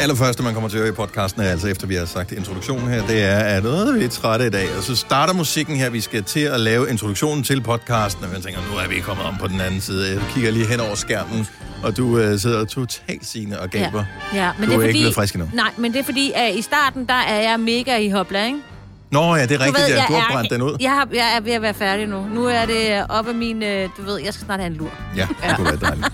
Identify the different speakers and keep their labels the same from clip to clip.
Speaker 1: allerførste, man kommer til at høre i podcasten, er altså efter vi har sagt introduktionen her, det er, at øh, vi er trætte i dag. Og så starter musikken her, vi skal til at lave introduktionen til podcasten, og man tænker, nu er vi kommet om på den anden side. Jeg kigger lige hen over skærmen, og du øh, sidder totalt sine og gaber.
Speaker 2: Ja. ja, men det er,
Speaker 1: du er
Speaker 2: fordi,
Speaker 1: ikke blevet frisk endnu.
Speaker 2: Nej, men det er fordi, at i starten, der er jeg mega i hopla, ikke?
Speaker 1: Nå ja, det er rigtigt, ved, ja. du har brændt den ud.
Speaker 2: Jeg, har, jeg er ved at være færdig nu. Nu er det øh, op af min, øh, du ved, jeg skal snart have en lur.
Speaker 1: Ja, det kunne være dejligt.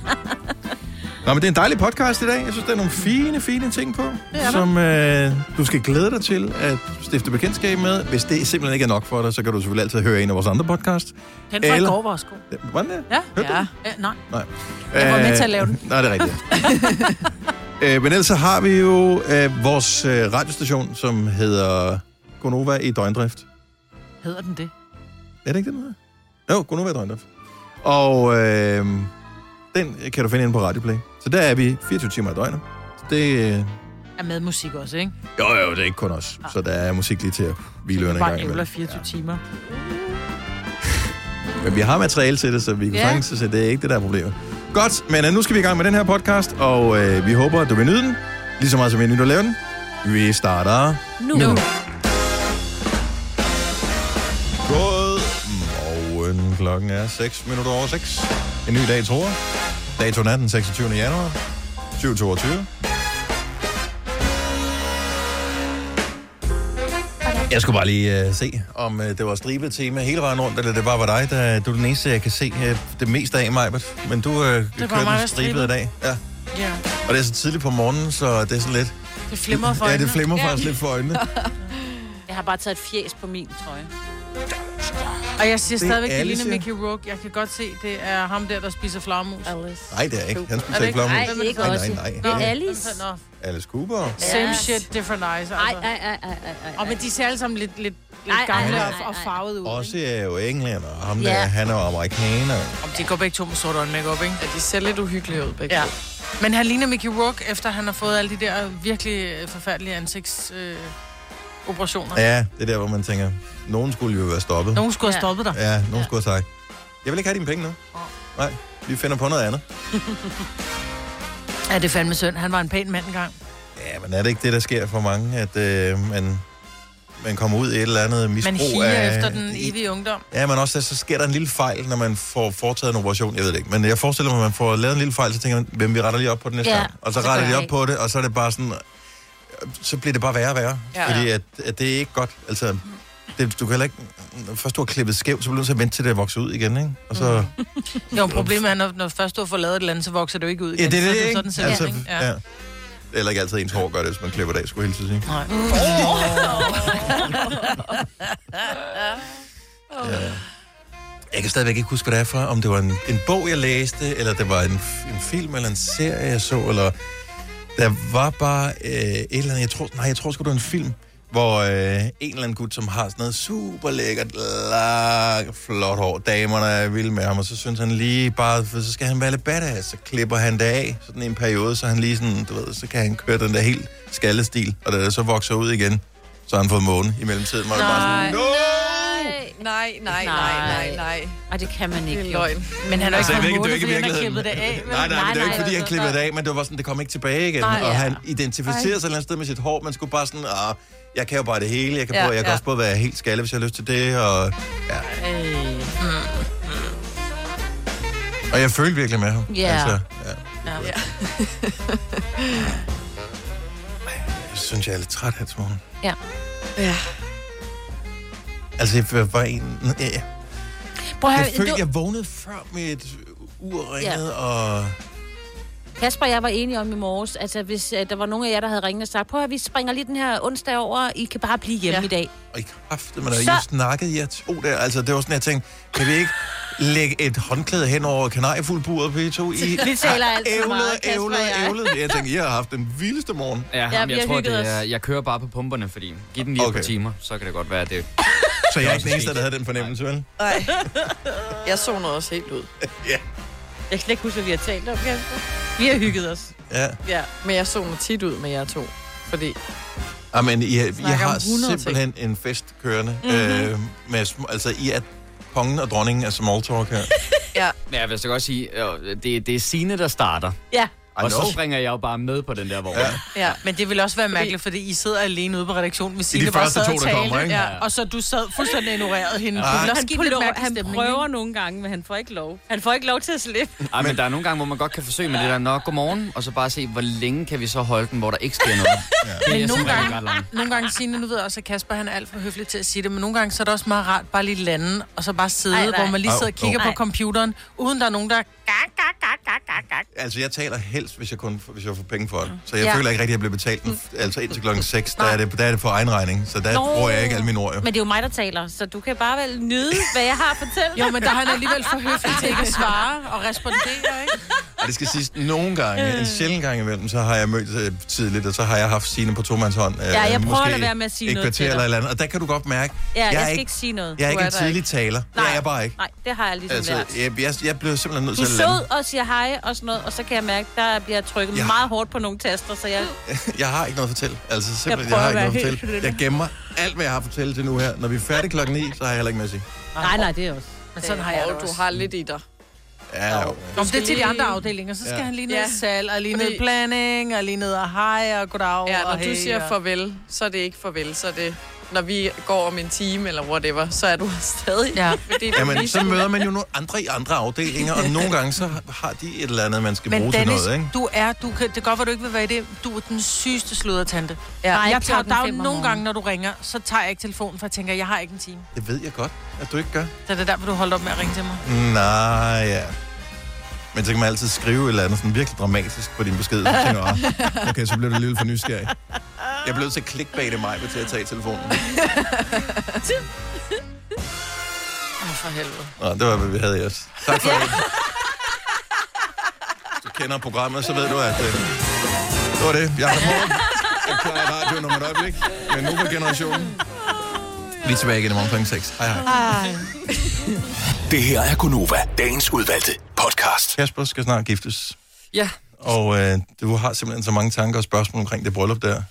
Speaker 1: Nå, men det er en dejlig podcast i dag. Jeg synes, der er nogle fine, fine ting på,
Speaker 2: der.
Speaker 1: som øh, du skal glæde dig til at stifte bekendtskab med. Hvis det simpelthen ikke er nok for dig, så kan du selvfølgelig altid høre en af vores andre podcasts.
Speaker 3: Den fra i
Speaker 1: Eller-
Speaker 3: går var også god.
Speaker 1: Hvordan det?
Speaker 3: Ja,
Speaker 1: Hørte du
Speaker 3: ja.
Speaker 1: den?
Speaker 3: ja nej.
Speaker 1: Nej.
Speaker 3: Jeg var med
Speaker 1: Øh,
Speaker 3: til at lave den.
Speaker 1: Nej, det er rigtigt. øh, men ellers så har vi jo øh, vores øh, radiostation, som hedder Gonova i døgndrift.
Speaker 3: Hedder den det?
Speaker 1: Er det ikke det, den hedder? Jo, Gonova i døgndrift. Og øh, den kan du finde inde på Radioplay. Så der er vi 24 timer i døgnet. Så Det, øh,
Speaker 3: Er med musik også, ikke?
Speaker 1: Jo, jo, det er ikke kun os. Så der er musik lige til at hvile ørerne en
Speaker 3: Bare
Speaker 1: gang
Speaker 3: ævler
Speaker 1: imellem.
Speaker 3: 24 timer.
Speaker 1: Men vi har materiale til det, så vi kan
Speaker 3: Ja.
Speaker 1: sagtens så det er ikke det, der er problemet. Godt, men øh, nu skal vi i gang med den her podcast, og øh, vi håber, at du vil nyde den. Lige så meget som vi nyder at lave den. Vi starter
Speaker 2: Nu.
Speaker 1: nu.
Speaker 2: nu.
Speaker 1: God morgen. Klokken er 6 minutter over 6. En ny dag, tror jeg. Datoen er den 26. januar 2022. Jeg skulle bare lige uh, se, om uh, det var stribet tema hele vejen rundt, eller det bare var dig, der du er den eneste, jeg kan se uh, det meste af, Majbert. Men du uh, kørte
Speaker 3: mig, der
Speaker 1: den stribet i
Speaker 3: stribede.
Speaker 1: dag. Ja.
Speaker 3: Ja.
Speaker 1: Og det er så tidligt på morgenen, så det er sådan lidt...
Speaker 3: Det flimmer for
Speaker 1: ja, det
Speaker 3: øjnene.
Speaker 1: flimmer faktisk lidt for øjnene.
Speaker 2: Jeg har bare taget et fjes på min trøje.
Speaker 3: Og jeg siger
Speaker 1: Det er
Speaker 3: stadigvæk, det
Speaker 1: Alice,
Speaker 3: ligner
Speaker 1: ja.
Speaker 3: Mickey Rourke. Jeg kan godt se, det er ham der, der spiser flagermus.
Speaker 2: Alice.
Speaker 1: Nej, det er ikke. Han
Speaker 3: Er
Speaker 1: spiser
Speaker 3: det
Speaker 1: ikke blommus.
Speaker 2: Nej, det er ikke
Speaker 1: Nej, nej,
Speaker 2: også.
Speaker 1: nej.
Speaker 2: Det er Alice.
Speaker 3: Nå,
Speaker 1: Alice Cooper.
Speaker 3: Same
Speaker 2: Yes.
Speaker 3: shit, different eyes. Altså.
Speaker 2: Ej, ej, ej, ej, ej, ej.
Speaker 3: Og men de ser alle sammen lidt, lidt, lidt
Speaker 2: Ej, ej,
Speaker 3: gamle
Speaker 1: ej,
Speaker 2: ej,
Speaker 3: og, og
Speaker 2: ej.
Speaker 3: farvede ud.
Speaker 1: Også
Speaker 3: Også.
Speaker 1: er jo englænder, og ham
Speaker 2: Ja.
Speaker 1: der, han er jo amerikaner.
Speaker 3: Om de går begge to med sort øjenmakeup, make ikke?
Speaker 4: Ja, de ser lidt uhyggelige ud begge
Speaker 3: Ja.
Speaker 4: ja.
Speaker 3: Men han ligner Mickey Rourke, efter han har fået alle de der virkelig forfærdelige ansigtsoperationer. Øh, ja.
Speaker 1: Ja, det er der, hvor man tænker, nogen skulle jo være stoppet.
Speaker 3: Nogen skulle have
Speaker 2: Ja.
Speaker 3: stoppet dig.
Speaker 1: Ja, nogen skulle have sagt, jeg vil ikke have dine penge nu. Nej, vi finder på noget andet.
Speaker 3: Ja, det er fandme synd. Han var en pæn mand engang.
Speaker 1: Ja, men er det ikke det, der sker for mange, at øh, man, man kommer ud i et eller andet misbrug
Speaker 3: Man higer
Speaker 1: af...
Speaker 3: efter den evige ungdom.
Speaker 1: Ja, men også så sker der en lille fejl, når man får foretaget en operation. Jeg ved det ikke, men jeg forestiller mig, at man får lavet en lille fejl, så tænker man, hvem vi retter lige op på det næste
Speaker 2: Ja,
Speaker 1: gang. Og så
Speaker 2: det
Speaker 1: retter
Speaker 2: gør
Speaker 1: de op
Speaker 2: jeg
Speaker 1: på det, og så er det bare sådan, så bliver det bare værre og værre. Ja,
Speaker 4: Ja.
Speaker 1: fordi at, at det er ikke godt. Altså, det, du kan heller ikke, først du har klippet skævt, så bliver du nødt til at vente til det vokser ud igen, ikke? Og så, mm.
Speaker 3: Jo, problemet er, når, når først du har fået lavet et eller andet, så vokser det jo ikke ud
Speaker 1: ja,
Speaker 3: igen.
Speaker 1: det
Speaker 3: Så
Speaker 1: er det,
Speaker 3: jo
Speaker 1: ikke?
Speaker 3: Sådan set, altså, ikke? Ja.
Speaker 1: ja. Det er heller ikke altid ens hår gør det, hvis man klipper det af, skulle jeg hilse sige.
Speaker 3: Nej.
Speaker 1: Ja. Jeg kan stadigvæk ikke huske, hvad det er fra. Om det var en, en bog, jeg læste, eller det var en, en film, eller en serie, jeg så, eller... Der var bare øh, et eller andet... Jeg tror, nej, jeg tror sgu, det var en film, hvor øh, en eller anden gut, som har sådan noget super lækkert, lang, flot hår. Damerne er vilde med ham, og så synes han lige bare... For så skal han være lidt badass, så klipper han det af sådan en periode, så han lige sådan... Du ved, så kan han køre den der helt skallestil, og da det så vokser ud igen, så har han fået måne i mellemtiden. Nej, bare sådan, no!
Speaker 2: Ej,
Speaker 4: Nej, nej,
Speaker 2: Nej.
Speaker 4: nej, nej, nej.
Speaker 2: Ej, det kan man
Speaker 4: Det
Speaker 2: ikke.
Speaker 4: er
Speaker 2: jo.
Speaker 4: løgn.
Speaker 3: Men han har
Speaker 1: Altså,
Speaker 3: ikke
Speaker 1: jeg ved
Speaker 3: fået
Speaker 1: ikke,
Speaker 3: måne,
Speaker 1: det er
Speaker 3: fordi han har klippet det af.
Speaker 1: ikke i virkeligheden.
Speaker 3: vel?
Speaker 1: Nej, nej, men det var ikke,
Speaker 2: nej,
Speaker 1: fordi han
Speaker 2: nej.
Speaker 1: klippede det af, men det var sådan, det kom ikke tilbage igen.
Speaker 3: Nej,
Speaker 1: og
Speaker 3: ja.
Speaker 1: han identificerede sig et eller andet sted med sit hår. Man skulle bare sådan, ah, jeg kan jo bare det hele. Jeg kan,
Speaker 4: Ja,
Speaker 1: både, jeg kan
Speaker 4: ja.
Speaker 1: også både være helt skalle, hvis jeg har lyst til det. Og, ja.
Speaker 3: Mm,
Speaker 1: og jeg følte virkelig med ham.
Speaker 2: Ja.
Speaker 1: Altså, ja.
Speaker 3: Ja.
Speaker 4: Ja.
Speaker 1: Jeg synes, jeg er lidt træt her til morgen.
Speaker 2: Ja.
Speaker 4: Ja.
Speaker 1: Altså, jeg var en... Jeg,
Speaker 2: Prøv at
Speaker 1: jeg
Speaker 2: høre,
Speaker 1: følte,
Speaker 2: du,
Speaker 1: jeg vågnede før mit ur ringede, og...
Speaker 2: Kasper og jeg var enige om i morges, altså hvis øh, der var nogen af jer, der havde ringet og sagt, prøv at høre, vi springer lige den her onsdag over, I kan bare blive hjemme ja.
Speaker 4: Ja.
Speaker 2: i dag.
Speaker 1: Og i kraften, men når
Speaker 2: Så-
Speaker 1: I snakkede jer to der, altså det var sådan, jeg tænkte, kan vi ikke lægge et håndklæde hen over kanariefuglburet på I Ah, to? I
Speaker 2: Vi taler altid meget, Kasper
Speaker 1: ævlede,
Speaker 2: og jeg.
Speaker 1: ævlede. Jeg tænkte, I har haft den vildeste morgen.
Speaker 5: Ja,
Speaker 2: Ja,
Speaker 5: ja
Speaker 2: vi
Speaker 5: jeg
Speaker 2: har
Speaker 5: tror,
Speaker 2: hygget
Speaker 5: det er,
Speaker 2: os.
Speaker 5: jeg kører bare på pumperne, fordi giv den lige okay.
Speaker 1: Okay.
Speaker 5: et par timer, så kan det godt være, at det...
Speaker 1: Så jeg er ikke den eneste, der havde den fornemmelse, vel?
Speaker 4: Nej. Jeg så noget også helt ud.
Speaker 2: Jeg kan slet ikke huske, hvad vi har talt om, Kasper. Vi har hygget os.
Speaker 1: Ja.
Speaker 4: Ja. Men jeg så noget tit ud med jer to. Fordi
Speaker 1: Ah, men I, I
Speaker 4: Snakker om
Speaker 1: har
Speaker 4: 100 ting.
Speaker 1: simpelthen en fest kørende.
Speaker 2: Mhm.
Speaker 1: Mm-hmm. Øh, med, sm- altså, I er kongen og dronningen af small talk her.
Speaker 4: ja,
Speaker 5: Men jeg vil så godt sige, øh, det, det er Sine der starter.
Speaker 2: Ja,
Speaker 1: I
Speaker 5: Og så
Speaker 1: know.
Speaker 5: springer jeg jo bare med på den der vogn.
Speaker 1: Ja.
Speaker 5: Ja.
Speaker 4: Ja.
Speaker 3: Men det vil også være mærkeligt, fordi I sidder alene ude på redaktionen, hvis
Speaker 1: I de
Speaker 3: Signe bare
Speaker 1: første
Speaker 3: sad
Speaker 1: to,
Speaker 3: og
Speaker 1: der
Speaker 3: talte,
Speaker 1: kommer, ikke?
Speaker 3: Ja, og så du sad fuldstændig ignoreret hende. Ah.
Speaker 1: Ah.
Speaker 3: Det vil også
Speaker 2: Han,
Speaker 3: give
Speaker 2: på
Speaker 3: lidt
Speaker 2: lov,
Speaker 3: mærkelig
Speaker 2: han
Speaker 3: stemning.
Speaker 2: prøver nogle gange, men han får ikke lov. Han får ikke lov til at slippe.
Speaker 5: Ej, men der er nogle gange, hvor man godt kan forsøge med det der, nå, godmorgen, og så bare se, hvor længe kan vi så holde den, hvor der ikke sker noget. Ja.
Speaker 3: Men nogle gange, nogle gange Signe, nu ved jeg også, at Kasper han er alt for høflig til at sige det, men nogle gange så er det også meget rart bare lige lande, og så bare sidde,
Speaker 2: Ej,
Speaker 3: Ej,
Speaker 2: nej.
Speaker 3: hvor man lige
Speaker 1: Au,
Speaker 3: sidder og kigger
Speaker 2: au.
Speaker 3: på
Speaker 2: Ej.
Speaker 3: computeren, uden der er nogen, der...
Speaker 1: Altså, jeg taler helst, hvis jeg, kun, hvis jeg får penge for
Speaker 2: Mm.
Speaker 1: det. Så jeg
Speaker 3: Ja.
Speaker 1: føler ikke rigtig, at jeg bliver betalt. den. Altså indtil klokken 6, der er, det, der er det på egen regning. Så der
Speaker 2: Nå.
Speaker 1: bruger jeg ikke alle mine ord. Jo.
Speaker 2: Men det er jo mig, der taler, så du kan bare vel nyde, hvad jeg har at fortælle.
Speaker 3: Jo, men der er han alligevel for høflig til ikke at svare og respondere, ikke?
Speaker 1: Og det skal siges nogle
Speaker 2: Øh.
Speaker 1: gange, en sjældent gang imellem, så har jeg mødt øh, tidligt, og så har jeg haft Signe på tomandshånd. Øh,
Speaker 2: jeg prøver
Speaker 1: måske
Speaker 2: at lade være med at sige
Speaker 1: et
Speaker 2: noget
Speaker 1: kvarter
Speaker 2: til dig.
Speaker 1: eller, et eller andet. Og der kan du godt mærke,
Speaker 2: Ja, jeg,
Speaker 1: jeg, er
Speaker 2: skal
Speaker 1: ikke,
Speaker 2: ikke sige noget.
Speaker 1: jeg er ikke
Speaker 4: Du
Speaker 1: en
Speaker 4: er der
Speaker 1: tidlig taler. Nej. Jeg er bare ikke.
Speaker 2: Nej, det har jeg ligesom altså,
Speaker 1: Altså,
Speaker 2: lært.
Speaker 1: jeg, jeg, jeg bliver simpelthen nødt
Speaker 2: Du
Speaker 1: til
Speaker 2: er
Speaker 1: at lande.
Speaker 2: sød og siger hej og sådan noget, og så kan jeg mærke, der bliver trykket
Speaker 1: Ja.
Speaker 2: ja. meget hårdt på nogle taster, så jeg...
Speaker 1: Jeg har ikke noget at fortælle. Altså simpelthen, jeg,
Speaker 2: prøver
Speaker 1: jeg har
Speaker 2: at
Speaker 1: ikke noget
Speaker 2: være helt
Speaker 1: at fortælle. Jeg gemmer alt, hvad jeg har at fortælle til nu her. Når vi er færdige klokken 9, så har jeg heller ikke med at sige.
Speaker 2: Nej, nej, det er også.
Speaker 3: Men sådan har jeg det
Speaker 4: Og du
Speaker 3: også.
Speaker 4: har lidt i dig.
Speaker 1: Ja, jo.
Speaker 3: Om det er til de andre afdelinger, så skal
Speaker 1: Ja.
Speaker 3: ja. han lige ned
Speaker 4: Ja.
Speaker 3: i salg, og lige ned i
Speaker 4: Fordi-
Speaker 3: planning, og lige ned og hej, og goddag,
Speaker 4: Ja,
Speaker 3: og
Speaker 4: når du
Speaker 3: hey,
Speaker 4: siger
Speaker 3: og-
Speaker 4: farvel, så er det ikke farvel, så er det... Når vi går om en time eller whatever, så er du her stadig.
Speaker 3: Ja.
Speaker 4: Fordi du
Speaker 1: Jamen,
Speaker 4: viser-
Speaker 1: så møder man jo nogle andre i andre afdelinger, og nogle gange så har de et eller andet, man skal
Speaker 3: Men
Speaker 1: bruge
Speaker 3: Dennis,
Speaker 1: til noget, ikke?
Speaker 3: du er, du kan, det er godt, at du ikke vil være i det. Du er den sygeste sludertante.
Speaker 4: Ja.
Speaker 3: Ej,
Speaker 2: Ej,
Speaker 3: jeg tager, der er jo
Speaker 2: 14.05 om
Speaker 3: nogle gange,
Speaker 2: morgenen.
Speaker 3: når du ringer, så tager jeg ikke telefonen, for jeg tænker, jeg har ikke en time.
Speaker 1: Det ved jeg godt, at du ikke gør.
Speaker 3: Så det er derfor, du holdt op med at ringe til mig.
Speaker 1: Nej, ja. Men så kan man altid skrive et eller andet sådan virkelig dramatisk på din besked. Så tænker jeg, "Åh, okay, så bliver du alligevel for nysgerrig. Jeg blev nødt til at clickbaite mig til at tage telefonen.
Speaker 3: Åh, for helvede.
Speaker 1: Nå, det var, hvad vi havde i os. Tak for det. Hvis du kender programmet, så ved du, at øh, det var det. Jakob Morgen er klar i radioen om et øjeblik med Nova-generationen. Vi er tilbage igen i morgen kl. 6. Hej hej.
Speaker 6: Det her er Gunova, dagens udvalgte podcast.
Speaker 1: Kasper skal snart giftes,
Speaker 5: ja,
Speaker 1: og øh, du har simpelthen så mange tanker og spørgsmål omkring det bryllup der.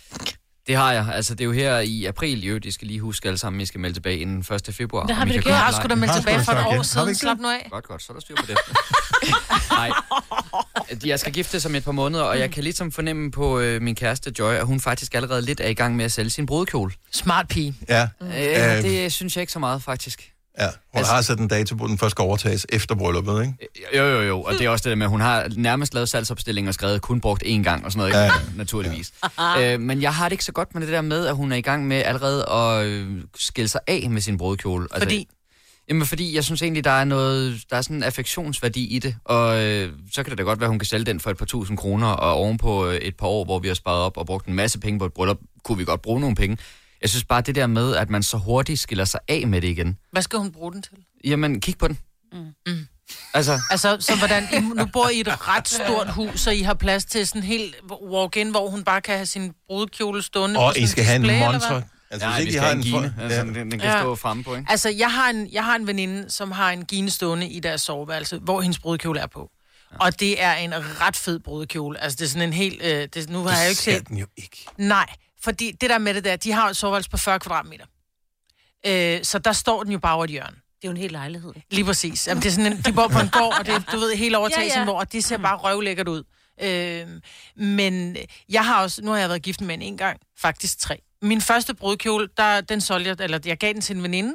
Speaker 5: det har jeg. Altså, det er jo her i april, jo, de skal lige huske alle sammen, I skal melde tilbage inden 1. februar.
Speaker 2: Det har
Speaker 5: om I
Speaker 2: vi da
Speaker 5: kan komme
Speaker 2: gjort.
Speaker 3: Jeg har
Speaker 5: eller
Speaker 3: sgu
Speaker 5: ej.
Speaker 3: da meldt
Speaker 1: Har
Speaker 3: tilbage
Speaker 1: sgu
Speaker 3: for
Speaker 1: da
Speaker 3: et
Speaker 1: snakket.
Speaker 3: år
Speaker 1: Har vi
Speaker 3: siden.
Speaker 1: ikke
Speaker 3: Slap nu af.
Speaker 5: Godt, godt, så er der styr på det. Nej. At Jeg skal gifte som et par måneder, og
Speaker 3: Mm.
Speaker 5: jeg kan ligesom fornemme på øh, min kæreste Joy, at hun faktisk allerede lidt er i gang med at sælge sin brudekjole.
Speaker 3: Smart pige.
Speaker 1: Ja,
Speaker 5: Øh,
Speaker 1: Øh.
Speaker 5: det synes jeg ikke så meget, faktisk.
Speaker 1: ja. Hun altså,
Speaker 5: Altså-
Speaker 1: har sat en dato på, den først skal overtages efter brylluppet, ikke?
Speaker 5: Jo, jo, jo, og det er også det der med, at hun har nærmest lavet salgsopstilling og skrevet kun brugt én gang og sådan noget, ikke? Ja. naturligvis. Ja. Øh, men jeg har det ikke så godt med det der med, at hun er i gang med allerede at øh, skille sig af med sin brudekjole. Altså,
Speaker 3: Fordi,
Speaker 5: Jamen fordi jeg synes egentlig, der er noget, der er sådan en affektionsværdi i det, og øh, så kan det da godt være, hun kan sælge den for et par tusind kroner, og ovenpå øh, et par år, hvor vi har sparet op og brugt en masse penge på et bryllup, kunne vi godt bruge nogle penge. Jeg synes bare, det der med, at man så hurtigt skiller sig af med det igen.
Speaker 3: hvad skal hun bruge den til?
Speaker 5: Jamen, kig på den. Mm. Altså,
Speaker 3: Altså, så hvordan, I, nu bor I i et ret stort hus, så I har plads til sådan en helt walk-in, hvor hun bare kan have sin brudekjole stående. på
Speaker 1: Og
Speaker 3: sådan
Speaker 1: I
Speaker 3: et
Speaker 1: skal have en
Speaker 3: display, eller hvad?
Speaker 1: montre. Altså,
Speaker 5: nej, vi
Speaker 1: I
Speaker 5: skal have en gine.
Speaker 1: for-
Speaker 5: Altså,
Speaker 1: Ja.
Speaker 5: den, den kan
Speaker 3: Ja.
Speaker 5: stå fremme på, ikke?
Speaker 3: Altså, jeg har, en, jeg har en veninde, som har en gine stående i deres soveværelse, hvor hendes brudekjole er på. Og det er en ret fed brudekjole. Altså, det er sådan en helt... Øh, det, nu har jeg jo
Speaker 1: Det
Speaker 3: ikke set...
Speaker 1: skal den jo ikke.
Speaker 3: Nej, fordi det der med det der, de har jo et soveværelse på 40 kvadratmeter. Øh, så der står den jo bare over et hjørne.
Speaker 2: Det er jo en hel lejlighed.
Speaker 3: Lige præcis. Jamen, det er sådan en, de bor på en gård, og det, er, du ved, hele overtagelsen,
Speaker 2: Ja, ja.
Speaker 3: ja, ja. hvor det ser bare røvlækkert ud. Øh, men jeg har også, nu har jeg været gift med en, en gang, faktisk tre. Min første brudkjole, der, den solgte jeg, eller jeg gav den til en veninde,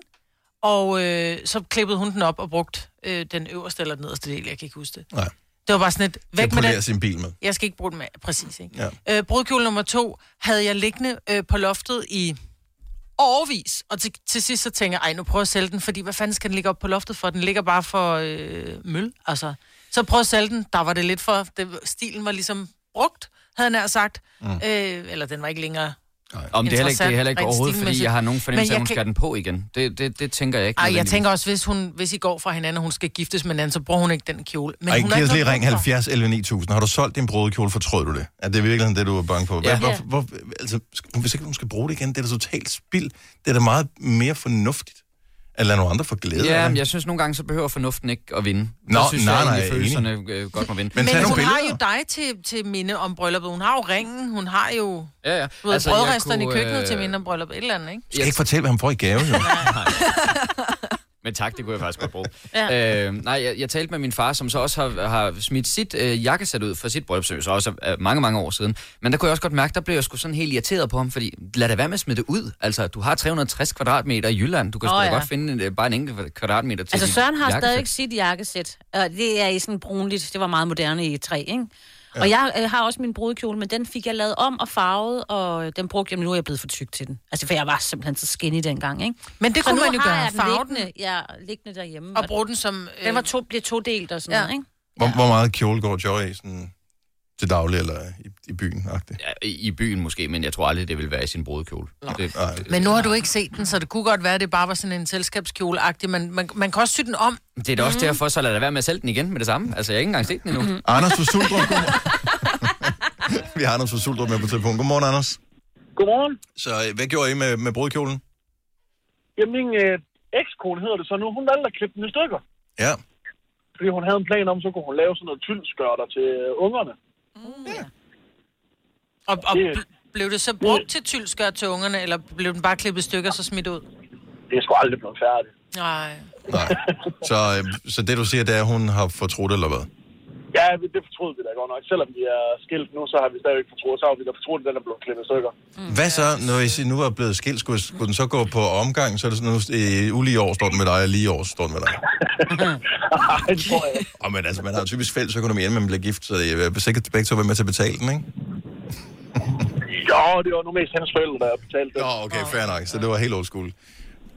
Speaker 3: og øh, så klippede hun den op og brugte øh, den øverste eller den nederste del, jeg kan ikke huske det.
Speaker 1: Nej.
Speaker 3: Det var bare Øh, sådan et,
Speaker 1: Væk
Speaker 3: væk med den,
Speaker 1: sin bil med.
Speaker 3: jeg skal ikke bruge den med, præcis, ikke?
Speaker 1: Ja.
Speaker 3: Øh, brudkjole nummer to havde jeg liggende øh, på loftet i overvis, og til, til sidst så tænker jeg, ej, nu prøver jeg at sælge den, fordi hvad fanden skal den ligge op på loftet for? Den ligger bare for øh, møl, altså. Så prøv at sælge den, der var det lidt for, det, stilen var ligesom brugt, havde jeg nær sagt, mm. øh, eller den var ikke længere.
Speaker 5: Om det er heller ikke, det er heller ikke
Speaker 3: Interessant,
Speaker 5: overhovedet,
Speaker 3: rent
Speaker 5: fordi jeg har nogen fornemmelse af,
Speaker 3: jeg
Speaker 5: at hun
Speaker 3: kan-
Speaker 5: skal have den på igen. Det, det, det tænker jeg ikke.
Speaker 3: Ej, jeg
Speaker 5: nødvendigvis.
Speaker 3: tænker også, hvis, hun, hvis I går fra hinanden, og hun skal giftes med hinanden, så bruger hun ikke den kjole. Men
Speaker 1: Ej,
Speaker 3: hun
Speaker 1: giv os lige
Speaker 3: noget
Speaker 1: ring
Speaker 3: brug for.
Speaker 1: 70 11 9000. Har du solgt din brudekjole, fortrød du det? Er det virkelig det, du er bange for? Hvad,
Speaker 5: Ja.
Speaker 1: ja. hvor, hvor, altså, sk- hvis ikke hun skal bruge det igen, det er da totalt spild. Det er da meget mere fornuftigt, at lade nogle andre få glæde
Speaker 5: Ja,
Speaker 1: af
Speaker 5: men
Speaker 1: det.
Speaker 5: jeg synes nogle gange, så behøver fornuften ikke at vinde.
Speaker 1: Nå,
Speaker 5: så synes
Speaker 1: nej,
Speaker 5: jeg
Speaker 1: nej,
Speaker 5: egentlig,
Speaker 1: jeg er enig.
Speaker 5: følelserne øh, godt må vinde.
Speaker 1: Men- Tag
Speaker 3: Men
Speaker 1: nogle
Speaker 3: hun har jo
Speaker 1: billeder.
Speaker 3: dig til, til minde om brylluppet. Hun har jo ringen, hun har jo...
Speaker 5: ja, ja.
Speaker 3: Du ved, altså, brødresterne i
Speaker 5: kunne,
Speaker 3: køkkenet øh... til
Speaker 5: øh,
Speaker 3: minde om bryllup, et eller andet, ikke?
Speaker 1: Jeg skal ikke fortælle, hvad han får i gave, jo.
Speaker 5: Men tak, det kunne jeg faktisk godt bruge.
Speaker 2: Ja.
Speaker 5: øh, nej, jeg, jeg talte med min far, som så også har, har smidt sit øh, jakkesæt ud for sit bryllup, som jo så også er, er mange, mange år siden. Men der kunne jeg også godt mærke, der blev jeg sgu sådan helt irriteret på ham, fordi lad da være med at smide det ud. Altså, du har 360 kvadratmeter i Jylland. Du kan
Speaker 2: Nå
Speaker 5: sgu da
Speaker 2: ja.
Speaker 5: godt finde en, øh, bare en enkelt kvadratmeter til
Speaker 2: Altså
Speaker 5: dit
Speaker 2: Søren har
Speaker 5: jakkesæt.
Speaker 2: stadig sit jakkesæt, og det er i sådan brunligt. Det var meget moderne i træ, ikke? Og jeg øh, har også min brudekjole, men den fik jeg lavet om og farvet, og øh, den brugte jeg, men nu er jeg blevet for tyk til den. Altså, for jeg var simpelthen så skinny dengang, ikke?
Speaker 3: Men det
Speaker 2: Så
Speaker 3: kunne
Speaker 2: nu
Speaker 3: man jo
Speaker 2: har
Speaker 3: gøre.
Speaker 2: jeg den
Speaker 3: Farve den
Speaker 2: liggende, ja, liggende derhjemme.
Speaker 3: og bruge den som... Øh,
Speaker 2: den var to, blev todelt og sådan
Speaker 3: Ja.
Speaker 2: noget, ikke?
Speaker 1: Hvor, hvor meget kjole går Joy i sådan, til daglig eller i, i byen? -agtigt?
Speaker 5: Ja, i, I byen måske, men jeg tror aldrig, det vil være i sin brudekjole. Det,
Speaker 3: men nu har du ikke set den, så det kunne godt være, at det bare var sådan en selskabskjole-agtig. Man, man, man kan også sy den om.
Speaker 5: det er da
Speaker 3: Mhm.
Speaker 2: Mhm.
Speaker 5: også derfor, så lad da være med at sælge den igen med det samme. Altså, jeg har ikke engang set den endnu.
Speaker 1: Anders fra Suldrup, godmorgen. Vi har Anders fra Suldrup med på telefonen. Godmorgen, Anders.
Speaker 7: Godmorgen.
Speaker 1: Så øh, hvad gjorde I med, med brudkjolen?
Speaker 7: Jamen, min øh, ekskone hedder det så nu. Hun valgte at klippe den i stykker.
Speaker 1: Ja.
Speaker 7: Fordi hun havde en plan om, så kunne hun lave sådan noget tyldskørter til øh, ungerne.
Speaker 3: Mm. Og, og
Speaker 7: Det-
Speaker 3: bl- blev det så brugt til tylskør til ungerne, eller blev den bare klippet i stykker og så smidt ud?
Speaker 7: Det er sgu aldrig blevet færdigt.
Speaker 3: Nej.
Speaker 1: Nej. Så, øh, så det, du siger, det er, at hun har fortrudt, eller hvad?
Speaker 7: Ja, vi- det fortrød vi da godt nok. Selvom vi er skilt nu, så har vi stadigvæk fortrudt. Så har vi da fortrudt, at den er blevet klippet i stykker.
Speaker 1: Mm. Hvad så, når I siger, nu er blevet skilt, skulle, skulle den så gå på omgang, så er det sådan, nu i ulige år står den med dig, og lige i år står den med dig.
Speaker 7: Ej, det tror jeg ikke.
Speaker 1: Og men altså, man har jo typisk fælles økonomi, inden man bliver gift, så jeg er øh, sikkert begge to vil være med til at betale den, ikke?
Speaker 7: Jo, det var nu mest hendes forældre, der betalte det.
Speaker 1: Nå, okay, fair nok, så det var helt old school.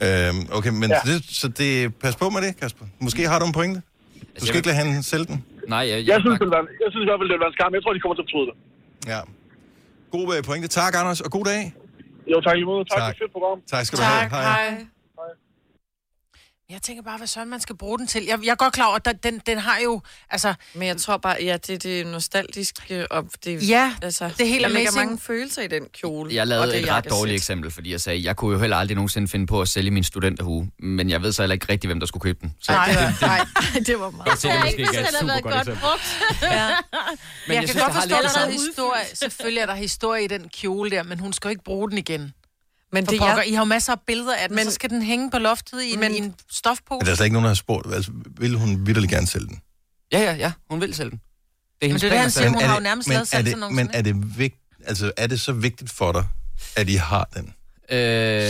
Speaker 1: Øhm, okay, men
Speaker 7: Ja.
Speaker 1: ja. det, så det, pas på med det, Kasper. Måske har du en pointe. Du skal
Speaker 5: jeg-
Speaker 1: ikke lade han sælge den.
Speaker 5: Nej, jeg,
Speaker 7: Jeg
Speaker 5: jeg,
Speaker 7: synes, det ville være, en- jeg synes i hvert fald, det ville være en skam. Jeg tror, de kommer til at fortryde det.
Speaker 1: Ja. God øh, pointe. Tak, Anders, og god dag.
Speaker 7: Jo, tak i lige måde. Tak,
Speaker 1: Tak.
Speaker 7: for et fedt program.
Speaker 1: Tak skal du
Speaker 3: Tak,
Speaker 1: have.
Speaker 3: hej. Jeg tænker bare, hvad søren man skal bruge den til. Jeg, jeg er godt klar over, at der- den, den har jo... Altså,
Speaker 4: Men jeg tror bare, ja, det, det er nostalgisk, og det,
Speaker 3: Ja,
Speaker 4: altså,
Speaker 3: det er helt
Speaker 4: der ligger
Speaker 3: amazing.
Speaker 4: mange følelser i den kjole.
Speaker 5: jeg
Speaker 4: og
Speaker 5: lavede
Speaker 4: det
Speaker 5: et ret
Speaker 4: jakkesæt.
Speaker 5: dårligt eksempel, fordi jeg sagde, jeg kunne jo heller aldrig nogensinde finde på at sælge min studenterhue, men jeg ved så heller ikke rigtig, hvem der skulle købe den. Så
Speaker 3: nej, nej.
Speaker 4: det var meget.
Speaker 5: det er måske
Speaker 2: hvis
Speaker 5: ikke
Speaker 2: den
Speaker 5: et
Speaker 2: havde
Speaker 5: super
Speaker 2: været
Speaker 5: godt
Speaker 2: godt
Speaker 5: eksempel.
Speaker 2: brugt.
Speaker 5: Men
Speaker 3: jeg,
Speaker 5: jeg
Speaker 3: jeg
Speaker 5: synes,
Speaker 3: kan
Speaker 5: det
Speaker 3: godt
Speaker 5: har lidt
Speaker 3: forstå, at der
Speaker 5: det
Speaker 3: er
Speaker 5: samme.
Speaker 3: historie. Selvfølgelig er der historie i den kjole der, men hun skal jo ikke bruge den igen.
Speaker 4: Men
Speaker 3: For
Speaker 4: det,
Speaker 3: pokker,
Speaker 4: jeg,
Speaker 3: I har jo masser af billeder af den, men,
Speaker 4: Men-
Speaker 3: så skal den hænge på loftet i en,
Speaker 4: Men-
Speaker 3: i en
Speaker 1: Men
Speaker 3: stofpose.
Speaker 1: der er slet ikke nogen, der har spurgt, altså, vil hun vitterligt gerne sælge den?
Speaker 5: Ja, ja, ja. Hun vil sælge den. Det er hendes
Speaker 3: det er det,
Speaker 5: plan
Speaker 3: han
Speaker 5: at sælge
Speaker 3: siger.
Speaker 5: den.
Speaker 3: hun
Speaker 1: er
Speaker 3: har jo
Speaker 1: det-
Speaker 3: nærmest
Speaker 1: men
Speaker 3: lavet
Speaker 1: er
Speaker 3: salg til
Speaker 1: det,
Speaker 3: nogen
Speaker 1: men
Speaker 3: sådan,
Speaker 1: er det, vigt, altså, er det så vigtigt for dig, at I har den?
Speaker 5: Øh,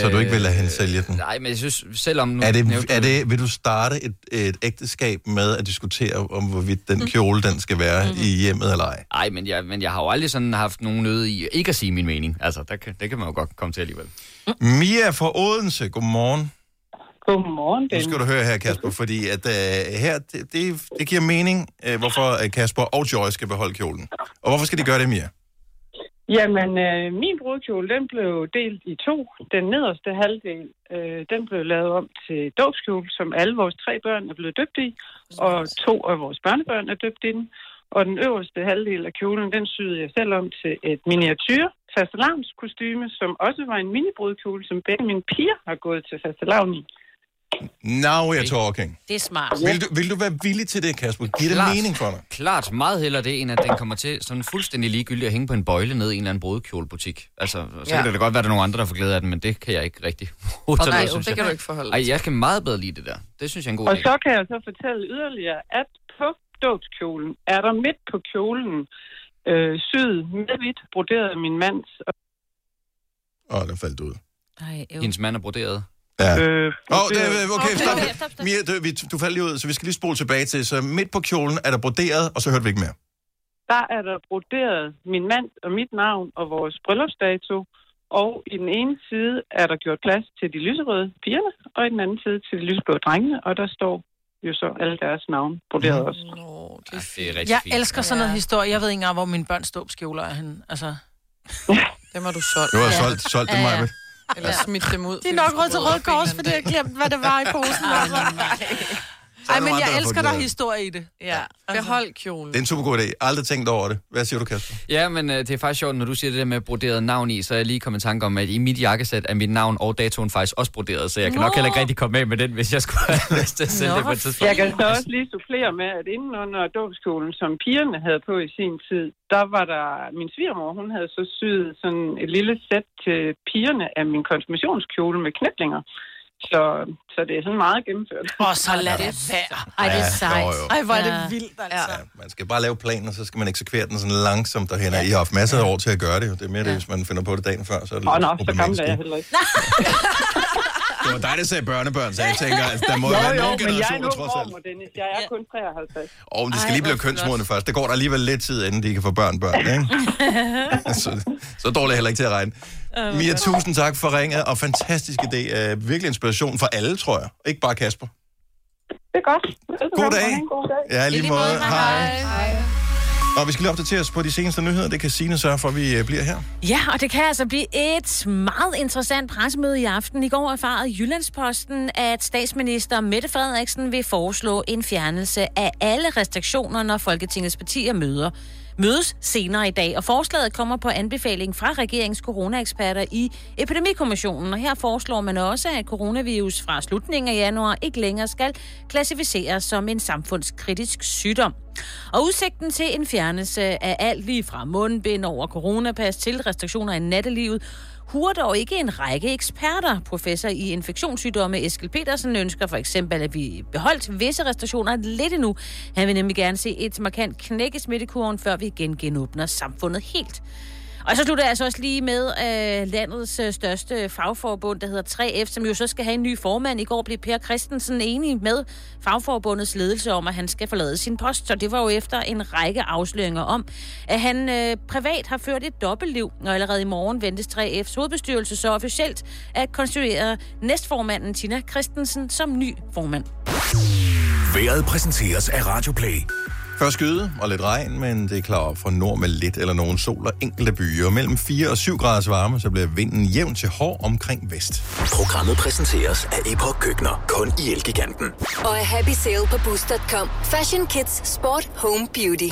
Speaker 1: Så du ikke vil lade hende sælge den?
Speaker 5: Nej, men jeg synes, selvom... Nu
Speaker 1: Er det,
Speaker 5: nævnte
Speaker 1: er
Speaker 5: du-
Speaker 1: det, vil du starte et, et ægteskab med at diskutere, om hvorvidt
Speaker 3: Mhm.
Speaker 1: den kjole, den skal være mm-hmm. i hjemmet eller ej?
Speaker 5: Ej, men jeg, men jeg har jo aldrig sådan haft nogen nøde i ikke at sige min mening. Altså, der kan, det kan man jo godt komme til alligevel.
Speaker 1: Mia fra Odense, godmorgen.
Speaker 8: Godmorgen,
Speaker 1: Nu
Speaker 8: den.
Speaker 1: skal du høre her, Kasper, fordi at, øh, her, det, det, det giver mening, øh, hvorfor øh, Kasper og Joy skal beholde kjolen. Og hvorfor skal de gøre det, Mia?
Speaker 8: Jamen, øh, min brudkjole, den blev delt i to. Den nederste halvdel, øh, den blev lavet om til dåbskjole, som alle vores tre børn er blevet døbt i, og to af vores børnebørn er døbt i den. Og den øverste halvdel af kjolen, den syede jeg selv om til et miniatyr fastelavnskostyme, som også var en minibrudkjole, som begge mine piger har gået til fastelavn i.
Speaker 1: Now we're talking.
Speaker 2: Det er smart.
Speaker 8: Ah.
Speaker 1: Vil du, vil du være villig til det, Kasper? Giver det
Speaker 5: Klart.
Speaker 1: mening for dig?
Speaker 5: Klart, meget hellere det, end at den kommer til sådan fuldstændig ligegyldigt at hænge på en bøjle ned i en eller anden brodekjolebutik. Altså, så ja. kan det da godt være, at der er nogle andre, der får glæde af den, men det kan jeg ikke rigtig. Og
Speaker 4: nej, det kan du ikke forholde dig
Speaker 5: Ej, jeg kan meget bedre lide det der. Det synes jeg er en god
Speaker 8: Og
Speaker 5: idé.
Speaker 8: så kan jeg så fortælle yderligere, at på dåbskjolen er der midt på kjolen øh, syet med hvidt broderet af min mands
Speaker 1: Åh, oh, den faldt ud.
Speaker 2: Ej, øv.
Speaker 5: Hendes mand er broderet.
Speaker 1: Ja. Åh,
Speaker 8: øh,
Speaker 1: oh, det,
Speaker 8: broderet-
Speaker 1: er- okay, stop.
Speaker 2: Okay, stop, stop.
Speaker 1: Mia, du, vi, du faldt lige ud, så vi skal lige spole tilbage til. Så midt på kjolen er der broderet, og så hørte vi ikke mere.
Speaker 8: Der er der broderet min mand og mit navn og vores bryllupsdato. Og i den ene side er der gjort plads til de lyserøde pigerne, og i den anden side til de lyseblå drengene, og der står jo så alle deres navne broderet også.
Speaker 4: Nå, Mm. det
Speaker 5: Ja,
Speaker 4: er
Speaker 5: det er
Speaker 4: fint.
Speaker 5: rigtig
Speaker 3: Jeg
Speaker 5: fint.
Speaker 3: elsker sådan noget
Speaker 4: Ja.
Speaker 3: historie. Jeg ved ikke engang, hvor mine børns dåbskjoler er henne. Altså,
Speaker 4: Dem har du solgt.
Speaker 1: Du har
Speaker 2: Ja.
Speaker 1: solgt, solgt det,
Speaker 2: Ja, ja.
Speaker 1: Maja.
Speaker 4: Eller smidt dem ud.
Speaker 3: Det er nok råd til Røde Kors, fordi jeg glemte, hvad det var i posen. Altså. Ej, men
Speaker 1: andre, der
Speaker 3: jeg
Speaker 1: har
Speaker 3: elsker,
Speaker 1: fået
Speaker 3: der er
Speaker 1: glæde af det.
Speaker 3: historie i det.
Speaker 4: Ja, altså. behold kjolen.
Speaker 1: Det er en super god idé. Aldrig tænkt over det. Hvad siger du, Kasper?
Speaker 5: Ja, men øh, det er faktisk sjovt, når du siger det der med broderet navn i, så er jeg lige kommet i tanke om, at i mit jakkesæt er mit navn og datoen faktisk også broderet, så jeg kan
Speaker 2: Nå.
Speaker 5: nok heller ikke rigtig komme af med den, hvis jeg skulle have lyst til at sende
Speaker 2: Nå,
Speaker 5: det på
Speaker 2: hvor
Speaker 5: et tidspunkt.
Speaker 8: Jeg kan så også lige supplere med, at inden under dåbskjolen, som pigerne havde på i sin tid, der var der, min svigermor, hun havde så syet sådan et lille sæt til pigerne af min konfirmationskjole med kniplinger.
Speaker 9: Så, så det er sådan meget gennemført.
Speaker 3: Og så lad det være.
Speaker 2: Ej, det er
Speaker 1: Ja,
Speaker 2: sejt.
Speaker 1: jo, jo.
Speaker 3: Ej, hvor er
Speaker 2: Ja.
Speaker 3: det vildt, altså.
Speaker 1: Ja, man skal bare lave planer, så skal man eksekvere den sådan langsomt derhen. Ja. I har haft masser af år til at gøre det. jo. Det er mere det, hvis man finder på det dagen før, så er det
Speaker 9: Og nå, så
Speaker 1: lidt
Speaker 9: gammel
Speaker 1: problematisk,
Speaker 9: er jeg
Speaker 1: ikke?
Speaker 9: heller ikke.
Speaker 1: Det var dig, der sagde børnebørn, så jeg tænker, altså, der må jo,
Speaker 9: Jo,
Speaker 1: være
Speaker 9: jo,
Speaker 1: nogle
Speaker 9: men jeg er
Speaker 1: generationer
Speaker 9: nu
Speaker 1: trods alt.
Speaker 9: mormor, Dennis. Jeg er kun 53.
Speaker 1: Og oh, de skal
Speaker 4: Ej,
Speaker 1: lige blive
Speaker 4: hvor flot.
Speaker 1: kønsmodne først. Det går der alligevel lidt tid, inden de kan få børn, børn, ikke? så, så dårligt er heller ikke til at regne.
Speaker 10: Øhm,
Speaker 1: Mia, tusind tak for ringet, og fantastisk idé. Øh, virkelig inspiration for alle, tror jeg. Ikke bare Kasper.
Speaker 9: Det er godt. Velbekomme,
Speaker 1: God dag.
Speaker 9: og have en god dag.
Speaker 1: Ja, lige, lige måde. Hej.
Speaker 4: Hej.
Speaker 1: Og vi skal lige opdatere os på de seneste nyheder. Det kan Signe sørge for, at vi øh, bliver her.
Speaker 2: Ja, og det kan altså blive et meget interessant pressemøde i aften. I går erfarede Jyllandsposten, at statsminister Mette Frederiksen vil foreslå en fjernelse af alle restriktioner, når Folketingets partier møder mødes senere i dag, og forslaget kommer på anbefaling fra regeringens coronaeksperter i Epidemikommissionen, og her foreslår man også, at coronavirus fra slutningen af januar ikke længere skal klassificeres som en samfundskritisk sygdom. Og udsigten til en fjernelse af alt lige fra mundbind over coronapas til restriktioner i nattelivet, huer dog ikke en række eksperter. Professor i infektionssygdomme Eskil Petersen ønsker for eksempel, at vi beholdt visse restriktioner lidt endnu. Han vil nemlig gerne se et markant knæk i smittekurven, før vi igen genåbner samfundet helt. Og så slutter jeg altså også lige med øh, landets øh, største fagforbund, der hedder 3F, som jo så skal have en ny formand. I går blev Per Christensen enig med fagforbundets ledelse om, at han skal forlade sin post. Så det var jo efter en række afsløringer om, at han øh, privat har ført et dobbeltliv. Og allerede i morgen ventes 3F's hovedbestyrelse så officielt at konstituere næstformanden Tina Christensen som ny formand.
Speaker 6: Været præsenteres af Radio Play.
Speaker 1: Først skyde og lidt regn, men det er klar op fra nord med lidt eller nogen sol og enkelte byer. Mellem 4 og 7 graders varme, så bliver vinden jævn til hård omkring vest.
Speaker 6: Programmet præsenteres af Epoch Køkkener. Kun i Elgiganten.
Speaker 11: Og er happy sale på Boost.com. Fashion, kids, sport, home, beauty.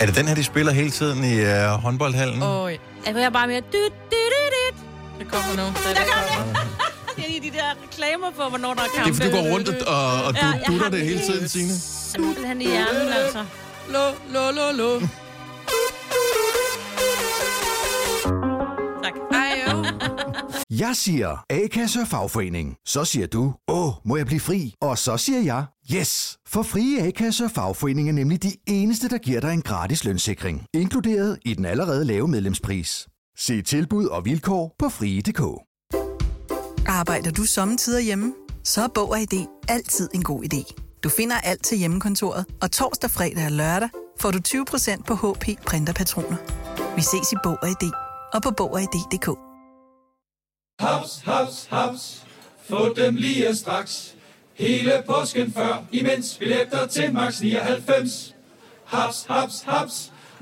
Speaker 1: Er det den her, de spiller hele tiden i øh, håndboldhallen? Oh.
Speaker 4: Oj,
Speaker 2: Jeg hører bare mere... Dyt, dyt, dyt, dyt.
Speaker 4: det kommer nu. Det der kommer.
Speaker 2: Det er i de der reklamer for, hvornår der er
Speaker 1: Det er,
Speaker 2: kamp.
Speaker 1: fordi du går rundt og, og, og du,
Speaker 2: Ja,
Speaker 1: ja,
Speaker 2: jeg
Speaker 1: dutter
Speaker 2: har
Speaker 1: det
Speaker 2: den
Speaker 1: hele
Speaker 2: helt-
Speaker 1: tiden, Signe.
Speaker 2: Simpelthen i hjernen, altså.
Speaker 4: Lå, lå, lå, lå.
Speaker 2: Tak.
Speaker 4: Ej, jo.
Speaker 12: Jeg siger A-kasse og fagforening. Så siger du, åh, må jeg blive fri? Og så siger jeg, yes! For frie A-kasse og fagforening er nemlig de eneste, der giver dig en gratis lønssikring. Inkluderet i den allerede lave medlemspris. Se tilbud og vilkår på frie.dk.
Speaker 13: Arbejder du sommetider hjemme? Så er Bog og ID altid en god idé. Du finder alt til hjemmekontoret, og torsdag, fredag og lørdag får du 20% på HP Printerpatroner. Vi ses i Bog og ID og på Bog og ID.dk.
Speaker 14: Haps, haps, haps. Få dem lige straks. Hele påsken før, imens billetter til max 99. Haps, haps, haps.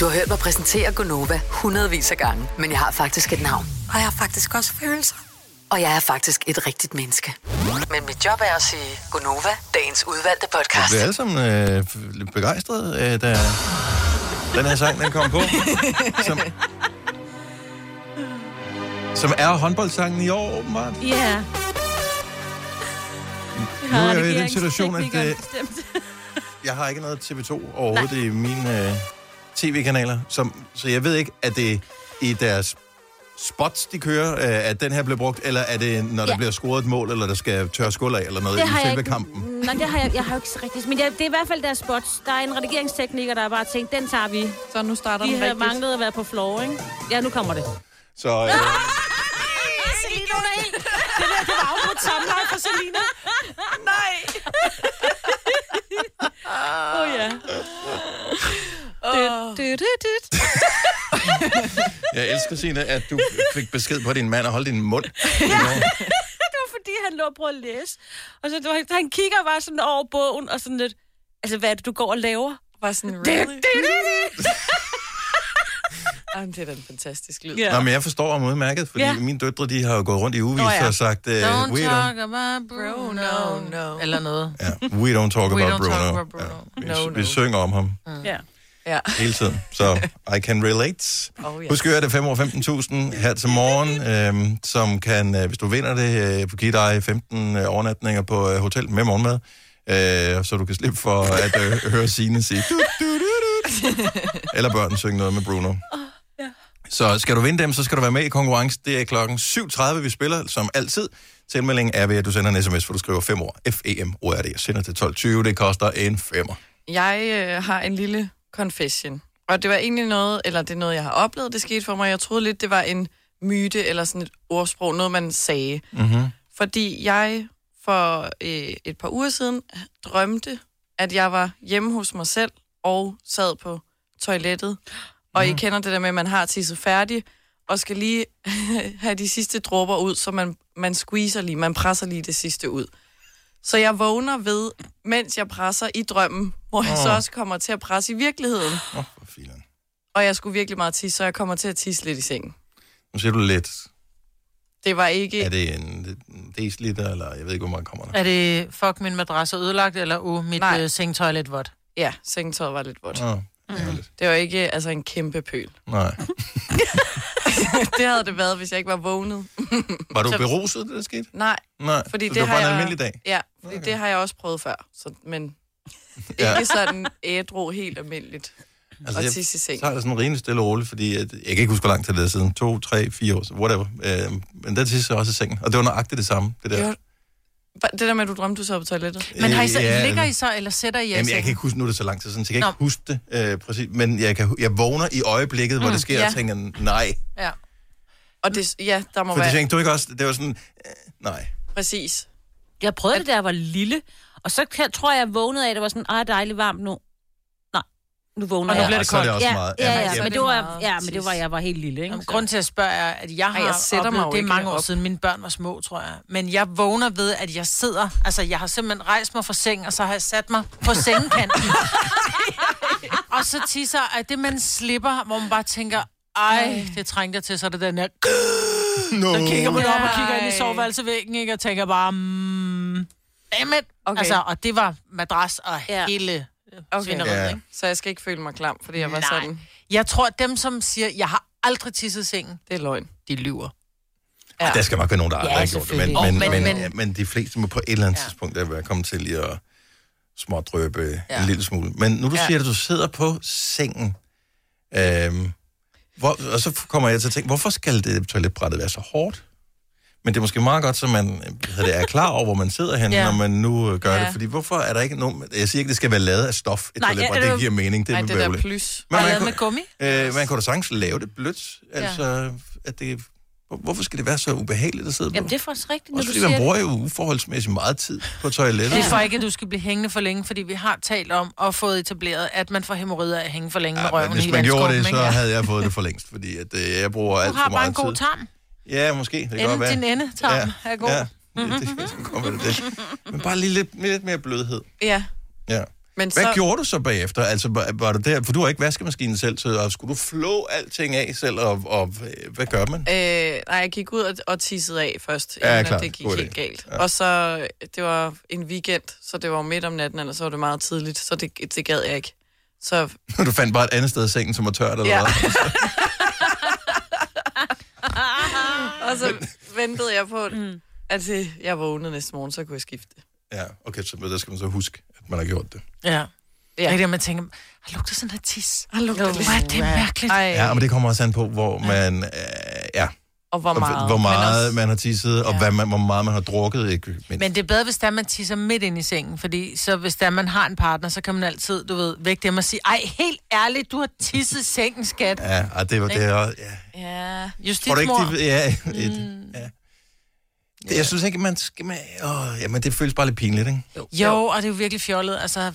Speaker 15: Du har hørt mig præsentere Gonova hundredvis af gange, men jeg har faktisk et navn.
Speaker 13: Og jeg har faktisk også følelser.
Speaker 15: Og jeg er faktisk et rigtigt menneske. Men mit job er at sige Gonova, dagens udvalgte
Speaker 1: Vi
Speaker 15: podcast.
Speaker 1: blev
Speaker 2: Altså-
Speaker 1: alle sammen øh, f- lidt begejstrede, øh, da den her sang den kom på. Som, som er håndboldsangen i år, åbenbart.
Speaker 2: Ja.
Speaker 1: Nu er jeg i den situation, at øh, jeg har ikke noget TV2 overhovedet i mine øh, tv-kanaler, som, så jeg ved ikke, er det i deres spots, de kører, øh, at den her bliver brugt, eller er det, når der
Speaker 2: Ja.
Speaker 1: bliver scoret et mål, eller der skal tørre skulder af, eller noget i selve kampen?
Speaker 2: Nej, det har jeg, jeg har jo ikke så rigtigt. Men jeg, det er i hvert fald deres spots. Der er en redigeringstekniker, der har bare tænkt, den tager vi.
Speaker 4: Så nu starter
Speaker 2: vi
Speaker 4: den
Speaker 2: har
Speaker 4: rigtigt.
Speaker 2: manglet at være på floor, ikke? Ja, nu kommer det.
Speaker 1: Så, øh,
Speaker 2: Selina, hun er helt... Det der, det var afbrudt samleje for Selina.
Speaker 4: Nej.
Speaker 2: Åh, oh, ja.
Speaker 4: Åh.
Speaker 2: Du, du, du, du.
Speaker 1: jeg elsker, Signe, at du fik besked på din mand at holde din mund.
Speaker 2: Det var fordi, han lå og prøvede at læse. Og så det var, han kigger bare sådan over bogen, og sådan lidt... Altså, hvad er det, du går og laver?
Speaker 4: Bare sådan,
Speaker 2: Det,
Speaker 4: really?
Speaker 2: det, det, det.
Speaker 4: Jamen, det er da en fantastisk lyd.
Speaker 1: Ja. Nå, men jeg forstår om udmærket, fordi
Speaker 4: Ja.
Speaker 1: ja. mine døtre, de har jo gået rundt i ugevis
Speaker 4: Nå
Speaker 1: oh,
Speaker 4: ja.
Speaker 1: ja. og sagt, uh, we,
Speaker 3: Don't
Speaker 1: don't,
Speaker 3: talk about Bruno. No. Eller noget.
Speaker 1: ja, we don't talk
Speaker 3: We
Speaker 1: about
Speaker 3: don't
Speaker 1: Bruno.
Speaker 3: talk about Bruno.
Speaker 1: Ja, vi,
Speaker 3: No, Mm.
Speaker 1: vi synger om ham
Speaker 4: Ja. ja.
Speaker 1: hele tiden, så I can relate.
Speaker 4: Oh, yes.
Speaker 1: Husk at høre det 5 år 15.000 her til morgen, øhm, som kan, øh, hvis du vinder det, øh, give dig 15 overnatninger på øh, hotel med morgenmad, øh, så du kan slippe for at øh, høre Signe sige, du, du, du,
Speaker 5: Altså,
Speaker 1: du, eller børn synge noget med Bruno. Så skal du vinde dem, så skal du være med i konkurrencen. Det er klokken 7.30, vi spiller, som altid. Tilmeldingen er ved, at du sender en sms, hvor du skriver 5 år. F-E-M-O-R-D. Jeg sender til 12.20. Det koster en femmer.
Speaker 4: Jeg øh, har en lille confession. Og det var egentlig noget, eller det er noget, jeg har oplevet, det skete for mig. Jeg troede lidt, det var en myte eller sådan et ordsprog, noget man sagde.
Speaker 16: Mm-hmm.
Speaker 4: Fordi jeg for øh, et par uger siden drømte, at jeg var hjemme hos mig selv og sad på toilettet. Og
Speaker 1: Mhm.
Speaker 4: I kender det der med, at man har tisset færdig, og skal lige have de sidste dråber ud, så man, man squeezer lige, man presser lige det sidste ud. Så jeg vågner ved, mens jeg presser i drømmen, hvor jeg så
Speaker 1: Åh.
Speaker 4: også kommer til at presse i virkeligheden.
Speaker 1: Åh,
Speaker 4: Og jeg skulle virkelig meget tisse, så jeg kommer til at tisse lidt i sengen.
Speaker 1: Nu siger du lidt.
Speaker 4: Det var ikke...
Speaker 1: Er det en en deciliter, eller jeg ved ikke, hvor meget kommer der?
Speaker 3: Er det, fuck, min madras er ødelagt, eller uh, mit
Speaker 4: Nej.
Speaker 3: øh, sengtøj er lidt vådt?
Speaker 4: Ja, sengetøjet var lidt vådt.
Speaker 1: Nå,
Speaker 4: Mm. Det var ikke altså en kæmpe pøl.
Speaker 1: nej.
Speaker 4: det havde det været, hvis jeg ikke var vågnet.
Speaker 1: Var du
Speaker 4: Så-
Speaker 1: beruset, da det skete?
Speaker 4: Nej.
Speaker 1: Nej,
Speaker 4: fordi
Speaker 1: så
Speaker 4: det,
Speaker 1: det var
Speaker 4: har
Speaker 1: bare en
Speaker 4: jeg,
Speaker 1: almindelig dag?
Speaker 4: Ja, fordi okay. det har jeg også prøvet før. Så, men
Speaker 1: Ja.
Speaker 4: ikke sådan ædru helt almindeligt. Altså, og tisse i seng.
Speaker 1: Så er det sådan rimelig stille og roligt, fordi at, jeg kan ikke huske, hvor lang tid det er siden. To, tre, fire år, så whatever. Øh, men der tissede jeg også i sengen, og det var nøjagtigt det samme, det der.
Speaker 4: Jo. Hva- Det der med, at du drømte, du sad på toilettet.
Speaker 1: Men har I så- Øh, ja, ligger
Speaker 3: I så, eller sætter I
Speaker 1: Jamen, jeg kan ikke huske, nu er det så lang tid siden, så jeg kan ikke huske det øh, præcis. Men jeg, kan, jeg vågner i øjeblikket, hvor
Speaker 4: Mm,
Speaker 1: det sker,
Speaker 4: ja.
Speaker 1: og tænker, nej.
Speaker 4: Ja. Og det, ja, der må
Speaker 1: For det
Speaker 4: være...
Speaker 1: tænkte du ikke også, det var sådan, øh, nej.
Speaker 4: Præcis.
Speaker 2: Jeg prøvede det, da jeg var lille, og så kan- tror jeg, jeg vågnede af, at det var sådan, ah, dejligt varmt nu. Nej, nu vågner
Speaker 1: Og nu
Speaker 2: jeg.
Speaker 1: bliver det Og så er det koldt. også
Speaker 2: ja,
Speaker 1: meget.
Speaker 2: Ja, ja,
Speaker 1: Jamen,
Speaker 2: ja,
Speaker 1: så er
Speaker 2: men
Speaker 1: det
Speaker 2: det var,
Speaker 3: meget
Speaker 2: ja, men det var, jeg var helt lille, ikke?
Speaker 3: Jamen, grunden til, at jeg spørger, er, at jeg har
Speaker 2: Ej, jeg sætter mig
Speaker 3: oplevet
Speaker 2: jo
Speaker 3: det
Speaker 2: ikke
Speaker 3: mange år
Speaker 2: op.
Speaker 3: siden. Mine børn var små, tror jeg. Men jeg vågner ved, at jeg sidder... Altså, jeg har simpelthen rejst mig fra sengen, og så har jeg sat mig på sengekanten. og så tisser, at det, man slipper, hvor man bare tænker, ej, det trængte jeg til, så er det den her...
Speaker 1: No.
Speaker 3: Så kigger man op og kigger ind i
Speaker 4: Nej.
Speaker 3: soveværelsevæggen, ikke? Og tænker bare, mm, damn it.
Speaker 4: Okay.
Speaker 3: Okay. Altså, og det var madras og ja. hele øh,
Speaker 4: Okay.
Speaker 3: svineriet,
Speaker 4: Ja.
Speaker 3: ikke?
Speaker 4: Så jeg skal ikke føle mig klam, fordi jeg var
Speaker 3: Nej.
Speaker 4: sådan.
Speaker 3: Jeg tror, at dem, som siger, jeg har aldrig tisset i sengen,
Speaker 4: det er løgn.
Speaker 3: De lyver.
Speaker 1: Ja. Der skal nok være nogen, der
Speaker 3: Ja,
Speaker 1: aldrig har gjort det, men,
Speaker 3: selvfølgelig.
Speaker 1: men,
Speaker 3: Åh, men-
Speaker 1: men,
Speaker 3: men-
Speaker 1: men, men de fleste må på et eller andet ja. tidspunkt der være kommet til lige at smådrøbe ja. en lille smule. Men nu du
Speaker 4: Ja.
Speaker 1: ja. siger, at du sidder på sengen, øhm, hvor, og så kommer jeg til at tænke, hvorfor skal det toiletbrættet være så hårdt? Men det er måske meget godt, så man øh, hvad det, er klar over, hvor man sidder henne,
Speaker 4: Ja.
Speaker 1: ja. når man nu øh, gør
Speaker 4: Ja.
Speaker 1: ja. det. Fordi hvorfor er der ikke nogen... Jeg siger ikke, det skal være lavet af stof, et
Speaker 3: Nej,
Speaker 1: Nej,
Speaker 3: ja,
Speaker 1: toiletbræt.
Speaker 3: det
Speaker 1: Det,
Speaker 3: er
Speaker 1: det
Speaker 3: jo-
Speaker 1: giver mening. Det
Speaker 4: Nej,
Speaker 1: er
Speaker 4: det der
Speaker 1: bøvlet.
Speaker 4: plus.
Speaker 1: Men
Speaker 3: Og
Speaker 1: man
Speaker 3: lavet
Speaker 1: kunne-
Speaker 3: med gummi?
Speaker 1: Øh, man kunne da sagtens lave det blødt.
Speaker 3: Ja.
Speaker 1: Altså, at det, hvor- hvorfor skal det være så ubehageligt at sidde på?
Speaker 2: Jamen, det er faktisk rigtigt, når
Speaker 1: Også
Speaker 2: du
Speaker 1: fordi
Speaker 2: siger
Speaker 1: man
Speaker 2: det.
Speaker 1: bruger jo uforholdsmæssigt meget tid på toilettet.
Speaker 3: Det er for ikke, at du skal blive hængende for længe, fordi vi har talt om og fået etableret, at man får hemorrider af at hænge for længe ja, med
Speaker 1: Ja, men
Speaker 3: røven
Speaker 1: hvis
Speaker 3: i
Speaker 1: man gjorde det,
Speaker 3: vandskorpen,
Speaker 1: så
Speaker 3: ikke? Ja.
Speaker 1: havde jeg fået det for længst, fordi at, øh, jeg bruger alt
Speaker 3: Du har
Speaker 1: for
Speaker 3: bare
Speaker 1: meget
Speaker 3: en god
Speaker 1: tid.
Speaker 3: tarm.
Speaker 1: Ja, måske. Det kan godt
Speaker 3: Ende,
Speaker 1: være.
Speaker 3: din endetarm
Speaker 1: ja.
Speaker 3: er god.
Speaker 1: Ja, det, det, det, kommer det, det. Men bare lige lidt, lidt mere blødhed.
Speaker 4: Ja.
Speaker 1: Ja.
Speaker 4: Men
Speaker 1: Hvad
Speaker 4: så-
Speaker 1: så... gjorde du så bagefter? Altså, var, var det der, for du har ikke vaskemaskinen selv, så og skulle du flå alting af selv, og, og øh, hvad gør man?
Speaker 4: Øh, nej, jeg gik ud og, og tissede af først,
Speaker 1: Ja,
Speaker 4: inden ja,
Speaker 1: klart.
Speaker 4: det gik
Speaker 1: God idé.
Speaker 4: helt galt. Ja.
Speaker 1: Ja.
Speaker 4: Og så, øh, det var en weekend, så det var jo midt om natten, eller så var det meget tidligt, så det, det gad jeg ikke. Så
Speaker 1: Du fandt bare et andet sted af sengen, som var tørt, eller
Speaker 4: Øh. Ja.
Speaker 1: hvad?
Speaker 4: og så ventede jeg på, mm. at øh, jeg vågnede næste morgen, så kunne jeg skifte.
Speaker 1: Ja, okay, så der skal man så huske, at man har gjort det.
Speaker 3: Ja. Det er ikke det, man tænker, har lugter sådan her tis?
Speaker 4: Har lugter
Speaker 3: det? Hvor er det mærkeligt. Ej.
Speaker 1: Ja, men det kommer også an på, hvor man... Øh, ja.
Speaker 4: Og hvor
Speaker 1: Og,
Speaker 4: meget.
Speaker 1: hvor
Speaker 4: Men
Speaker 1: meget
Speaker 4: også-
Speaker 1: man har tisset, og hvad man, hvor meget man har drukket. Ikke? Men,
Speaker 3: Men det er bedre, hvis der man tisser midt ind i sengen, fordi så hvis der man har en partner, så kan man altid, du ved, væk dem og sige, ej, helt ærligt, du har tisset i sengen, skat.
Speaker 1: Ja, ej, det var det er også... Ja.
Speaker 4: Ja.
Speaker 1: Tror du ikke,
Speaker 3: Justitsmor.
Speaker 1: de, ja, et, ja. Det, jeg synes ikke, man skal... Man, åh, jamen, det føles bare lidt pinligt, ikke?
Speaker 3: Jo, og det er jo virkelig fjollet, altså...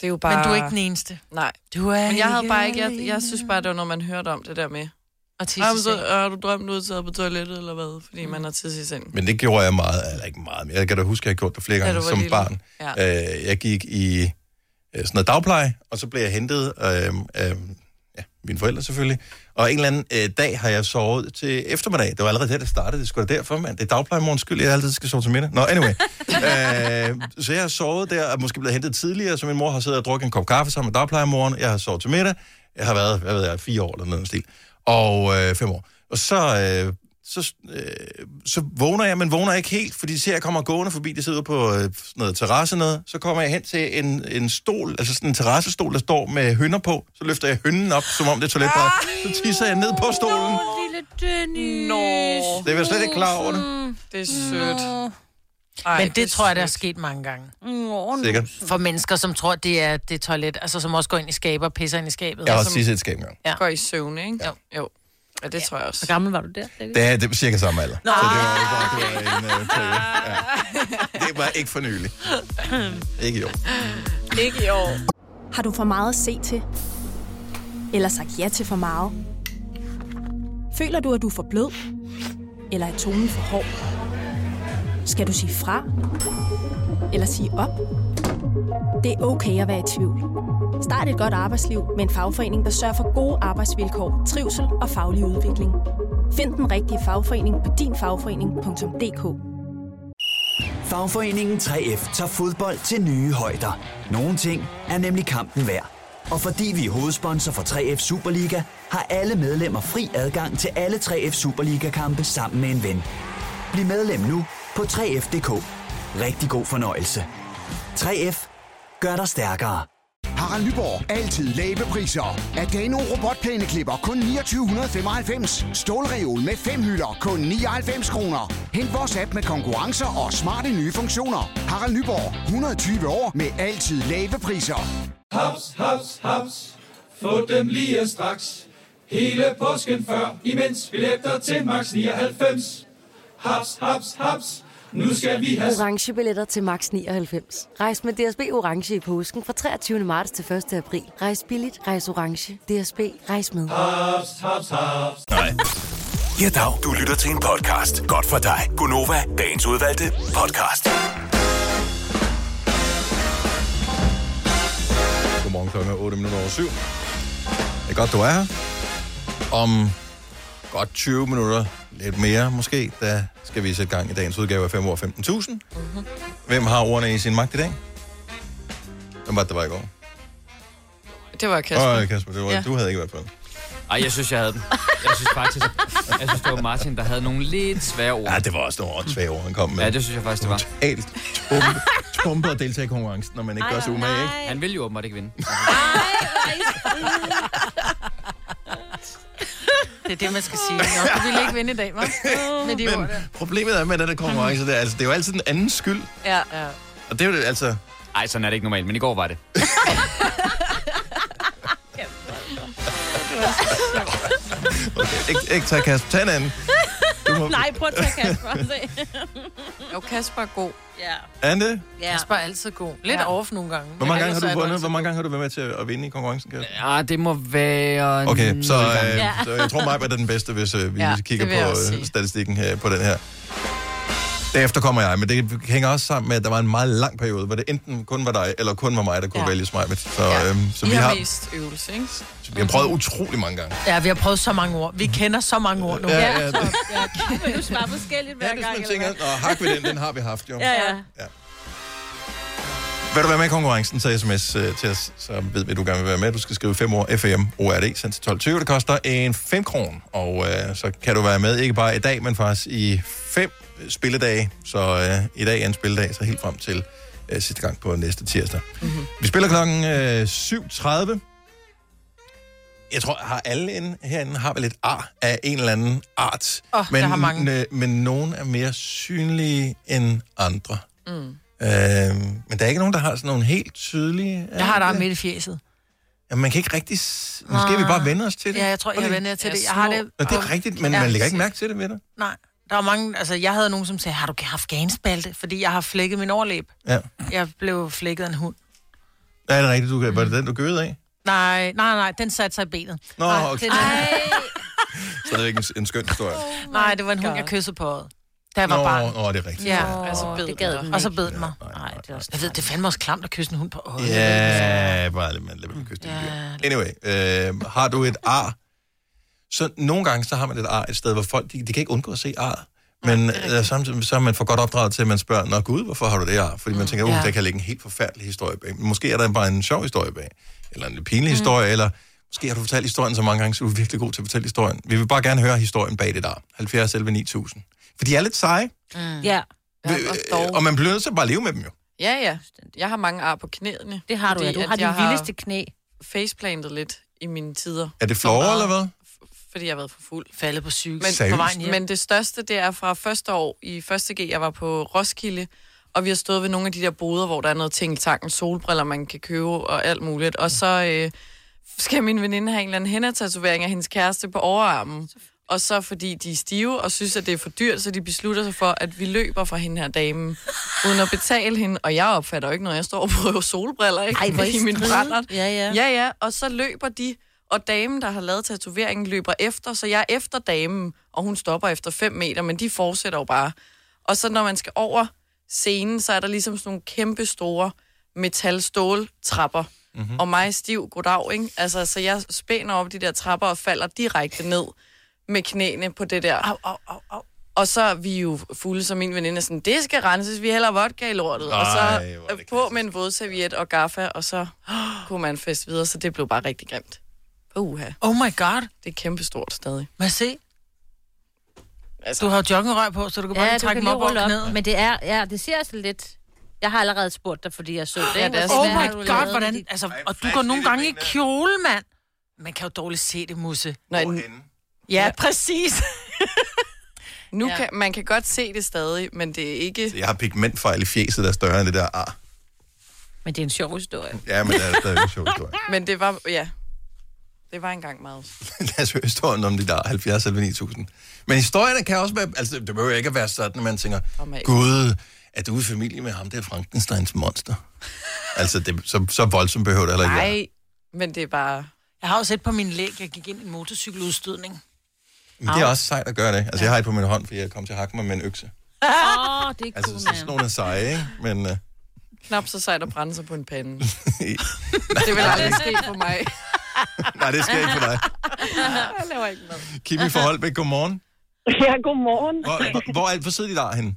Speaker 4: Det er jo
Speaker 3: Men du er
Speaker 4: bare-
Speaker 3: ikke den eneste.
Speaker 4: Nej.
Speaker 3: Du er
Speaker 4: Men jeg havde bare ikke, jeg,
Speaker 3: alene.
Speaker 4: jeg synes bare, det var noget, man hørte om det der med.
Speaker 3: Og
Speaker 1: tisse i
Speaker 4: så, har du drømt, du har taget på toilettet eller hvad? Fordi mm. man har tisset i sengen.
Speaker 1: Men det gjorde jeg meget, eller ikke meget, men jeg kan da huske, at jeg har gjort det flere
Speaker 4: Da
Speaker 1: gange
Speaker 4: du var
Speaker 1: som
Speaker 4: lille.
Speaker 1: barn.
Speaker 4: Ja.
Speaker 1: Øh, jeg gik i øh, sådan noget dagpleje, og så blev jeg hentet øh, øh, øhm, ja, mine forældre selvfølgelig. Og en eller anden øh, dag har jeg sovet til eftermiddag. Det var allerede der, det startede. Det skulle da derfor, mand. Det er dagplejemorgens skyld, jeg altid skal sove til middag. Nå, anyway. øh, så jeg har sovet der, og måske blevet hentet tidligere, så min mor har siddet og drukket en kop kaffe sammen med dagplejemoren. Jeg har sovet til middag. Jeg har været, hvad ved jeg, fire år eller noget i den stil. Og øh, fem år. Og så, øh, så, øh, så vågner jeg, men vågner ikke helt, fordi de ser, jeg kommer gående forbi, de sidder ude på øh, sådan noget terrasse noget. Så kommer jeg hen til en, en stol, altså sådan en terrassestol, der står med hønder på. Så løfter jeg hønnen op, som om det er toiletbræt. Så tisser jeg ned på stolen.
Speaker 2: Lille Dennis. Nå.
Speaker 4: Ah!
Speaker 1: Det er jeg slet ikke klar over det.
Speaker 4: Det er sødt.
Speaker 3: Ej, Men det, det tror jeg, der er sket mange gange.
Speaker 2: Mm,
Speaker 1: Sikkert.
Speaker 3: For mennesker, som tror, det er det er toilet, altså som også går ind i skaber og pisser ind i skabet.
Speaker 1: Jeg har
Speaker 3: Og
Speaker 1: også
Speaker 3: som-
Speaker 1: tisset i et skab engang.
Speaker 3: Ja.
Speaker 4: Går i søvn, ikke? Jo. jo. Ja, det tror jeg også.
Speaker 2: Hvor gammel var du der? Dennis?
Speaker 1: Det er, det er cirka samme alder. Så det var, det var, det var en øh, periode. ja. Det var ikke for nylig. Ikke jo.
Speaker 16: Ikke i år. Har du for meget at se til? Eller sagt ja til for meget? Føler du, at du er for blød? Eller er tonen for hård? Skal du sige fra? Eller sige op? Det er okay at være i tvivl. Start et godt arbejdsliv med en fagforening, der sørger for gode arbejdsvilkår, trivsel og faglig udvikling. Find den rigtige fagforening på dinfagforening.dk
Speaker 17: Fagforeningen 3F tager fodbold til nye højder. Nogle ting er nemlig kampen værd. Og fordi vi er hovedsponsor for 3F Superliga, har alle medlemmer fri adgang til alle 3F Superliga-kampe sammen med en ven. Bliv medlem nu på 3F.dk. Rigtig god fornøjelse. 3F gør dig stærkere.
Speaker 18: Harald Nyborg. Altid lave priser. Adano robotplæneklipper kun 2995. Stålreol med fem hylder kun 99 kroner. Hent vores app med konkurrencer og smarte nye funktioner. Harald Nyborg. 120 år med altid lave priser.
Speaker 14: Haps, haps, haps. Få dem lige straks. Hele påsken før, imens billetter til max 99. Haps, haps, haps. Nu skal vi have...
Speaker 10: orange billetter til max 99. Rejs med DSB orange i påsken fra 23. marts til 1. april. Rejs billigt, rejs orange. DSB rejs med.
Speaker 14: Haps, haps, haps.
Speaker 6: Nej. Ja, dag. Du lytter til en podcast. Godt for dig. Gunova, dagens udvalgte podcast.
Speaker 1: Godmorgen klokken er 8 minutter over 7. Det er godt, du er her. Om godt 20 minutter, lidt mere måske, der skal vi sætte gang i dagens udgave af 5 år 15.000. Mm-hmm. Hvem har ordene i sin magt i dag? Hvem var det, der var i går?
Speaker 4: Det var Kasper.
Speaker 1: Åh, Kasper, det var, ja. du havde ikke i hvert fald.
Speaker 5: Ej, jeg synes, jeg havde dem. Jeg synes faktisk, jeg synes, det var Martin, der havde nogle lidt svære ord.
Speaker 1: Ja, det var også nogle svære ord, han kom med.
Speaker 5: Ja, det synes jeg faktisk, det var.
Speaker 1: Totalt tumpe, tumpe at deltage i konkurrencen, når man ikke gør sig umage, ikke?
Speaker 5: Han vil jo åbenbart ikke vinde.
Speaker 3: Det er det, man skal sige. Nå, du ville ikke vinde i dag, hva'? Med de ord
Speaker 1: Men
Speaker 3: der.
Speaker 1: problemet er med den der konkurrence, det er, altså, det er jo altid den andens skyld.
Speaker 3: Ja. ja.
Speaker 1: Og det er jo det, altså...
Speaker 5: Ej, sådan er det ikke normalt, men i går var det.
Speaker 1: Okay, ikke, ikke tage Kasper, tag en anden. Du må-
Speaker 2: Nej, prøv at tage Kasper.
Speaker 4: Jo, Kasper er god.
Speaker 2: Ja.
Speaker 1: Ande,
Speaker 2: ja.
Speaker 3: Kasper er altid god. Lidt ja. off nogle gange.
Speaker 1: hvor mange gange har du vundet? Hvor mange gange har du været med til at vinde i konkurrencen, Kasper?
Speaker 5: Ja, det må være...
Speaker 1: Okay, så,
Speaker 5: nul gange.
Speaker 1: øh, så jeg tror mig, at er den bedste, hvis øh, vi
Speaker 5: Ja,
Speaker 1: ja,
Speaker 5: det
Speaker 1: kigger
Speaker 5: vil jeg
Speaker 1: på
Speaker 5: også
Speaker 1: øh, statistikken her, på den her. Derefter kommer jeg, men det hænger også sammen med, at der var en meget lang periode, hvor det enten kun var dig, eller kun var mig, der kunne ja. vælge Smajbet. Så, øh, så
Speaker 4: I
Speaker 1: vi, har,
Speaker 4: mest øvelse, ikke?
Speaker 1: vi har prøvet utrolig mange gange.
Speaker 3: Ja, vi har prøvet så mange ord. Vi kender så mange ord nu.
Speaker 1: Ja, ja, det-
Speaker 2: Du svarer forskelligt hver
Speaker 1: Ja, det er
Speaker 2: gang.
Speaker 1: sådan en
Speaker 2: eller
Speaker 1: ting,
Speaker 2: hvad?
Speaker 1: at "Nå, hak ved den, den har vi haft jo.
Speaker 2: Ja, ja.
Speaker 1: Vil du være med i konkurrencen, så sms øh, til os, så ved vi, at du gerne vil være med. Du skal skrive 5 år FM ORD, sendt til 12.20. Det koster en 5 kron, og øh, så kan du være med, ikke bare i dag, men faktisk i 5 spilledage. Så øh, i dag er en spilledag, så helt frem til øh, sidste gang på næste tirsdag.
Speaker 3: Mhm.
Speaker 1: Mm-hmm. Vi spiller klokken øh, 7.30. Jeg tror, har alle en, herinde har vel et ar af en eller anden art.
Speaker 3: Åh,
Speaker 1: men,
Speaker 3: der har mange.
Speaker 1: øh, men nogen er mere synlige end andre.
Speaker 3: Mm.
Speaker 1: Øh, men der er ikke nogen, der har sådan nogle helt tydelige...
Speaker 3: Jeg har et arm midt i fjeset.
Speaker 1: Ja, man kan ikke rigtig... s- Måske vi bare vender os til det.
Speaker 3: Ja, jeg tror, jeg vender jer til det. Jeg har det...
Speaker 1: Nå, det er rigtigt, men man lægger ikke mærke til det, ved du?
Speaker 3: Nej, der var mange... Altså, jeg havde nogen, som sagde, har du haft ganspalte? Fordi jeg har flækket min overlæb.
Speaker 1: Ja.
Speaker 3: Jeg blev flækket af en hund.
Speaker 1: ja. Er det rigtigt? Du, kan-
Speaker 3: Mm.
Speaker 1: var det den, du gøede af?
Speaker 3: Nej, nej, nej, den satte sig i benet.
Speaker 1: Nå,
Speaker 3: nej,
Speaker 1: okay.
Speaker 3: det er den-
Speaker 1: Så er det ikke en, en skøn historie. Oh,
Speaker 3: nej, det var en hund, jeg kyssede på øjet. Da jeg var
Speaker 1: nå,
Speaker 3: barn.
Speaker 1: Nå, det er rigtigt.
Speaker 3: Ja, og så
Speaker 2: Åh,
Speaker 3: bed
Speaker 2: det gad den
Speaker 3: Og så
Speaker 2: ikke.
Speaker 3: bed den mig. Nej, det er også... Jeg ved, det er fandme også klamt at kysse en hund på øjet.
Speaker 1: Ja, bare lidt med med at kysse dine dyr. Anyway, øh, har du et ar? Så nogle gange, så har man et ar et sted, hvor folk, de, de kan ikke undgå at se ar. Men øh, samtidig så er man for godt opdraget til, at man spørger, Nå gud, hvorfor har du det ar? Fordi man tænker, uh,
Speaker 19: ja.
Speaker 1: der kan ligge en helt forfærdelig historie bag. Men måske er der bare en sjov historie bag. Eller en lidt pinlig historie, eller måske har du fortalt historien så mange gange, så du er virkelig god til at fortælle historien. Vi vil bare gerne høre historien bag det ar. 70 11 9000. For de er lidt seje,
Speaker 2: Mm. Ja.
Speaker 1: ja, og, og man bliver nødt til at bare leve med dem jo.
Speaker 4: Ja, ja. Jeg har mange ar på knæene.
Speaker 2: Det har du, ja. Du har de vildeste knæ.
Speaker 4: faceplantet lidt i mine tider.
Speaker 1: Er det flore, eller hvad?
Speaker 4: F- Fordi jeg har været for fuld.
Speaker 3: Faldet på cykel.
Speaker 4: Men, på vejen hjem. men det største, det er fra første år i 1. G, jeg var på Roskilde, og vi har stået ved nogle af de der boder, hvor der er noget ting solbriller, man kan købe og alt muligt. Og så øh, skal min veninde have en eller anden hændetatovering af hendes kæreste på overarmen. Og så fordi de er stive og synes, at det er for dyrt, så de beslutter sig for, at vi løber fra hende her dame, uden at betale hende. Og jeg opfatter jo ikke noget, jeg står og prøver solbriller, ikke?
Speaker 2: Ej, hvor I
Speaker 4: i min
Speaker 2: stride.
Speaker 4: brændert.
Speaker 2: Ja, ja.
Speaker 4: ja, ja. Og så løber de, og damen, der har lavet tatoveringen, løber efter, så jeg er efter damen, og hun stopper efter 5 meter, men de fortsætter jo bare. Og så når man skal over scenen, så er der ligesom sådan nogle kæmpe store metal-ståltrapper. Mm-hmm. Og mig stiv, goddag, ikke? Altså, så jeg spænder op de der trapper og falder direkte ned med knæene på det der. Au, au, au, au. Og så er vi jo fulde, så min veninde er sådan, det skal renses, vi hælder vodka i lortet. og
Speaker 1: Ej,
Speaker 4: så
Speaker 1: hvor
Speaker 4: øh, på med en vådserviet og gaffa, og så kunne man feste videre, så det blev bare rigtig grimt. Uha.
Speaker 3: Oh my god.
Speaker 4: Det er kæmpestort stadig.
Speaker 3: Må jeg se? Altså. Du har jo joggenrør på, så du kan bare lige
Speaker 2: Ja, du
Speaker 3: trække
Speaker 2: kan lige
Speaker 3: dem op over
Speaker 2: rulle op,
Speaker 3: knæet.
Speaker 2: men det er, ja, det ser altså lidt... Jeg har allerede spurgt dig, fordi jeg så det.
Speaker 3: Ja,
Speaker 2: ikke?
Speaker 3: det er
Speaker 2: Hvad
Speaker 3: oh
Speaker 2: har du
Speaker 3: my god,
Speaker 2: lavet
Speaker 3: hvordan...
Speaker 2: med dit-
Speaker 3: Altså, og du går nogle gange i kjole, mand. Man kan jo dårligt se det, Musse.
Speaker 4: Nej,
Speaker 3: ja, præcis.
Speaker 4: Nu ja. kan, man kan godt se det stadig, men det er ikke...
Speaker 1: Jeg har pigmentfejl i fjeset, der er større end det der ar.
Speaker 2: Men det er en sjov historie.
Speaker 1: Ja, men det er stadig en sjov historie.
Speaker 4: Men det var, ja. Det var engang meget.
Speaker 1: Lad os høre historien om det der 70 eller 9000. Men historierne kan også være... Altså, det behøver ikke at være sådan, at man tænker,
Speaker 4: man ikke-
Speaker 1: Gud, er du i familie med ham, der Frankensteins monster? altså, det, så, så voldsomt behøver det heller ikke være.
Speaker 4: Nej, men det er bare...
Speaker 3: Jeg har også set på min læg, jeg gik ind i en motorcykeludstødning.
Speaker 1: Men det er også sejt at gøre det. Altså, jeg har et på min hånd, fordi jeg kom til at hakke mig med en økse.
Speaker 2: Åh, oh, det er
Speaker 1: Altså, så sådan nogle er seje, ikke? Men øh,
Speaker 4: Knap så sejt at brænde sig på en pande. det vil aldrig ske for mig.
Speaker 1: nej, det sker ikke for dig.
Speaker 4: Jeg laver ikke noget.
Speaker 1: Kimi for Holbæk, godmorgen.
Speaker 20: Ja, godmorgen.
Speaker 1: Hvor, hvor, hvor, er- hvor sidder de der henne?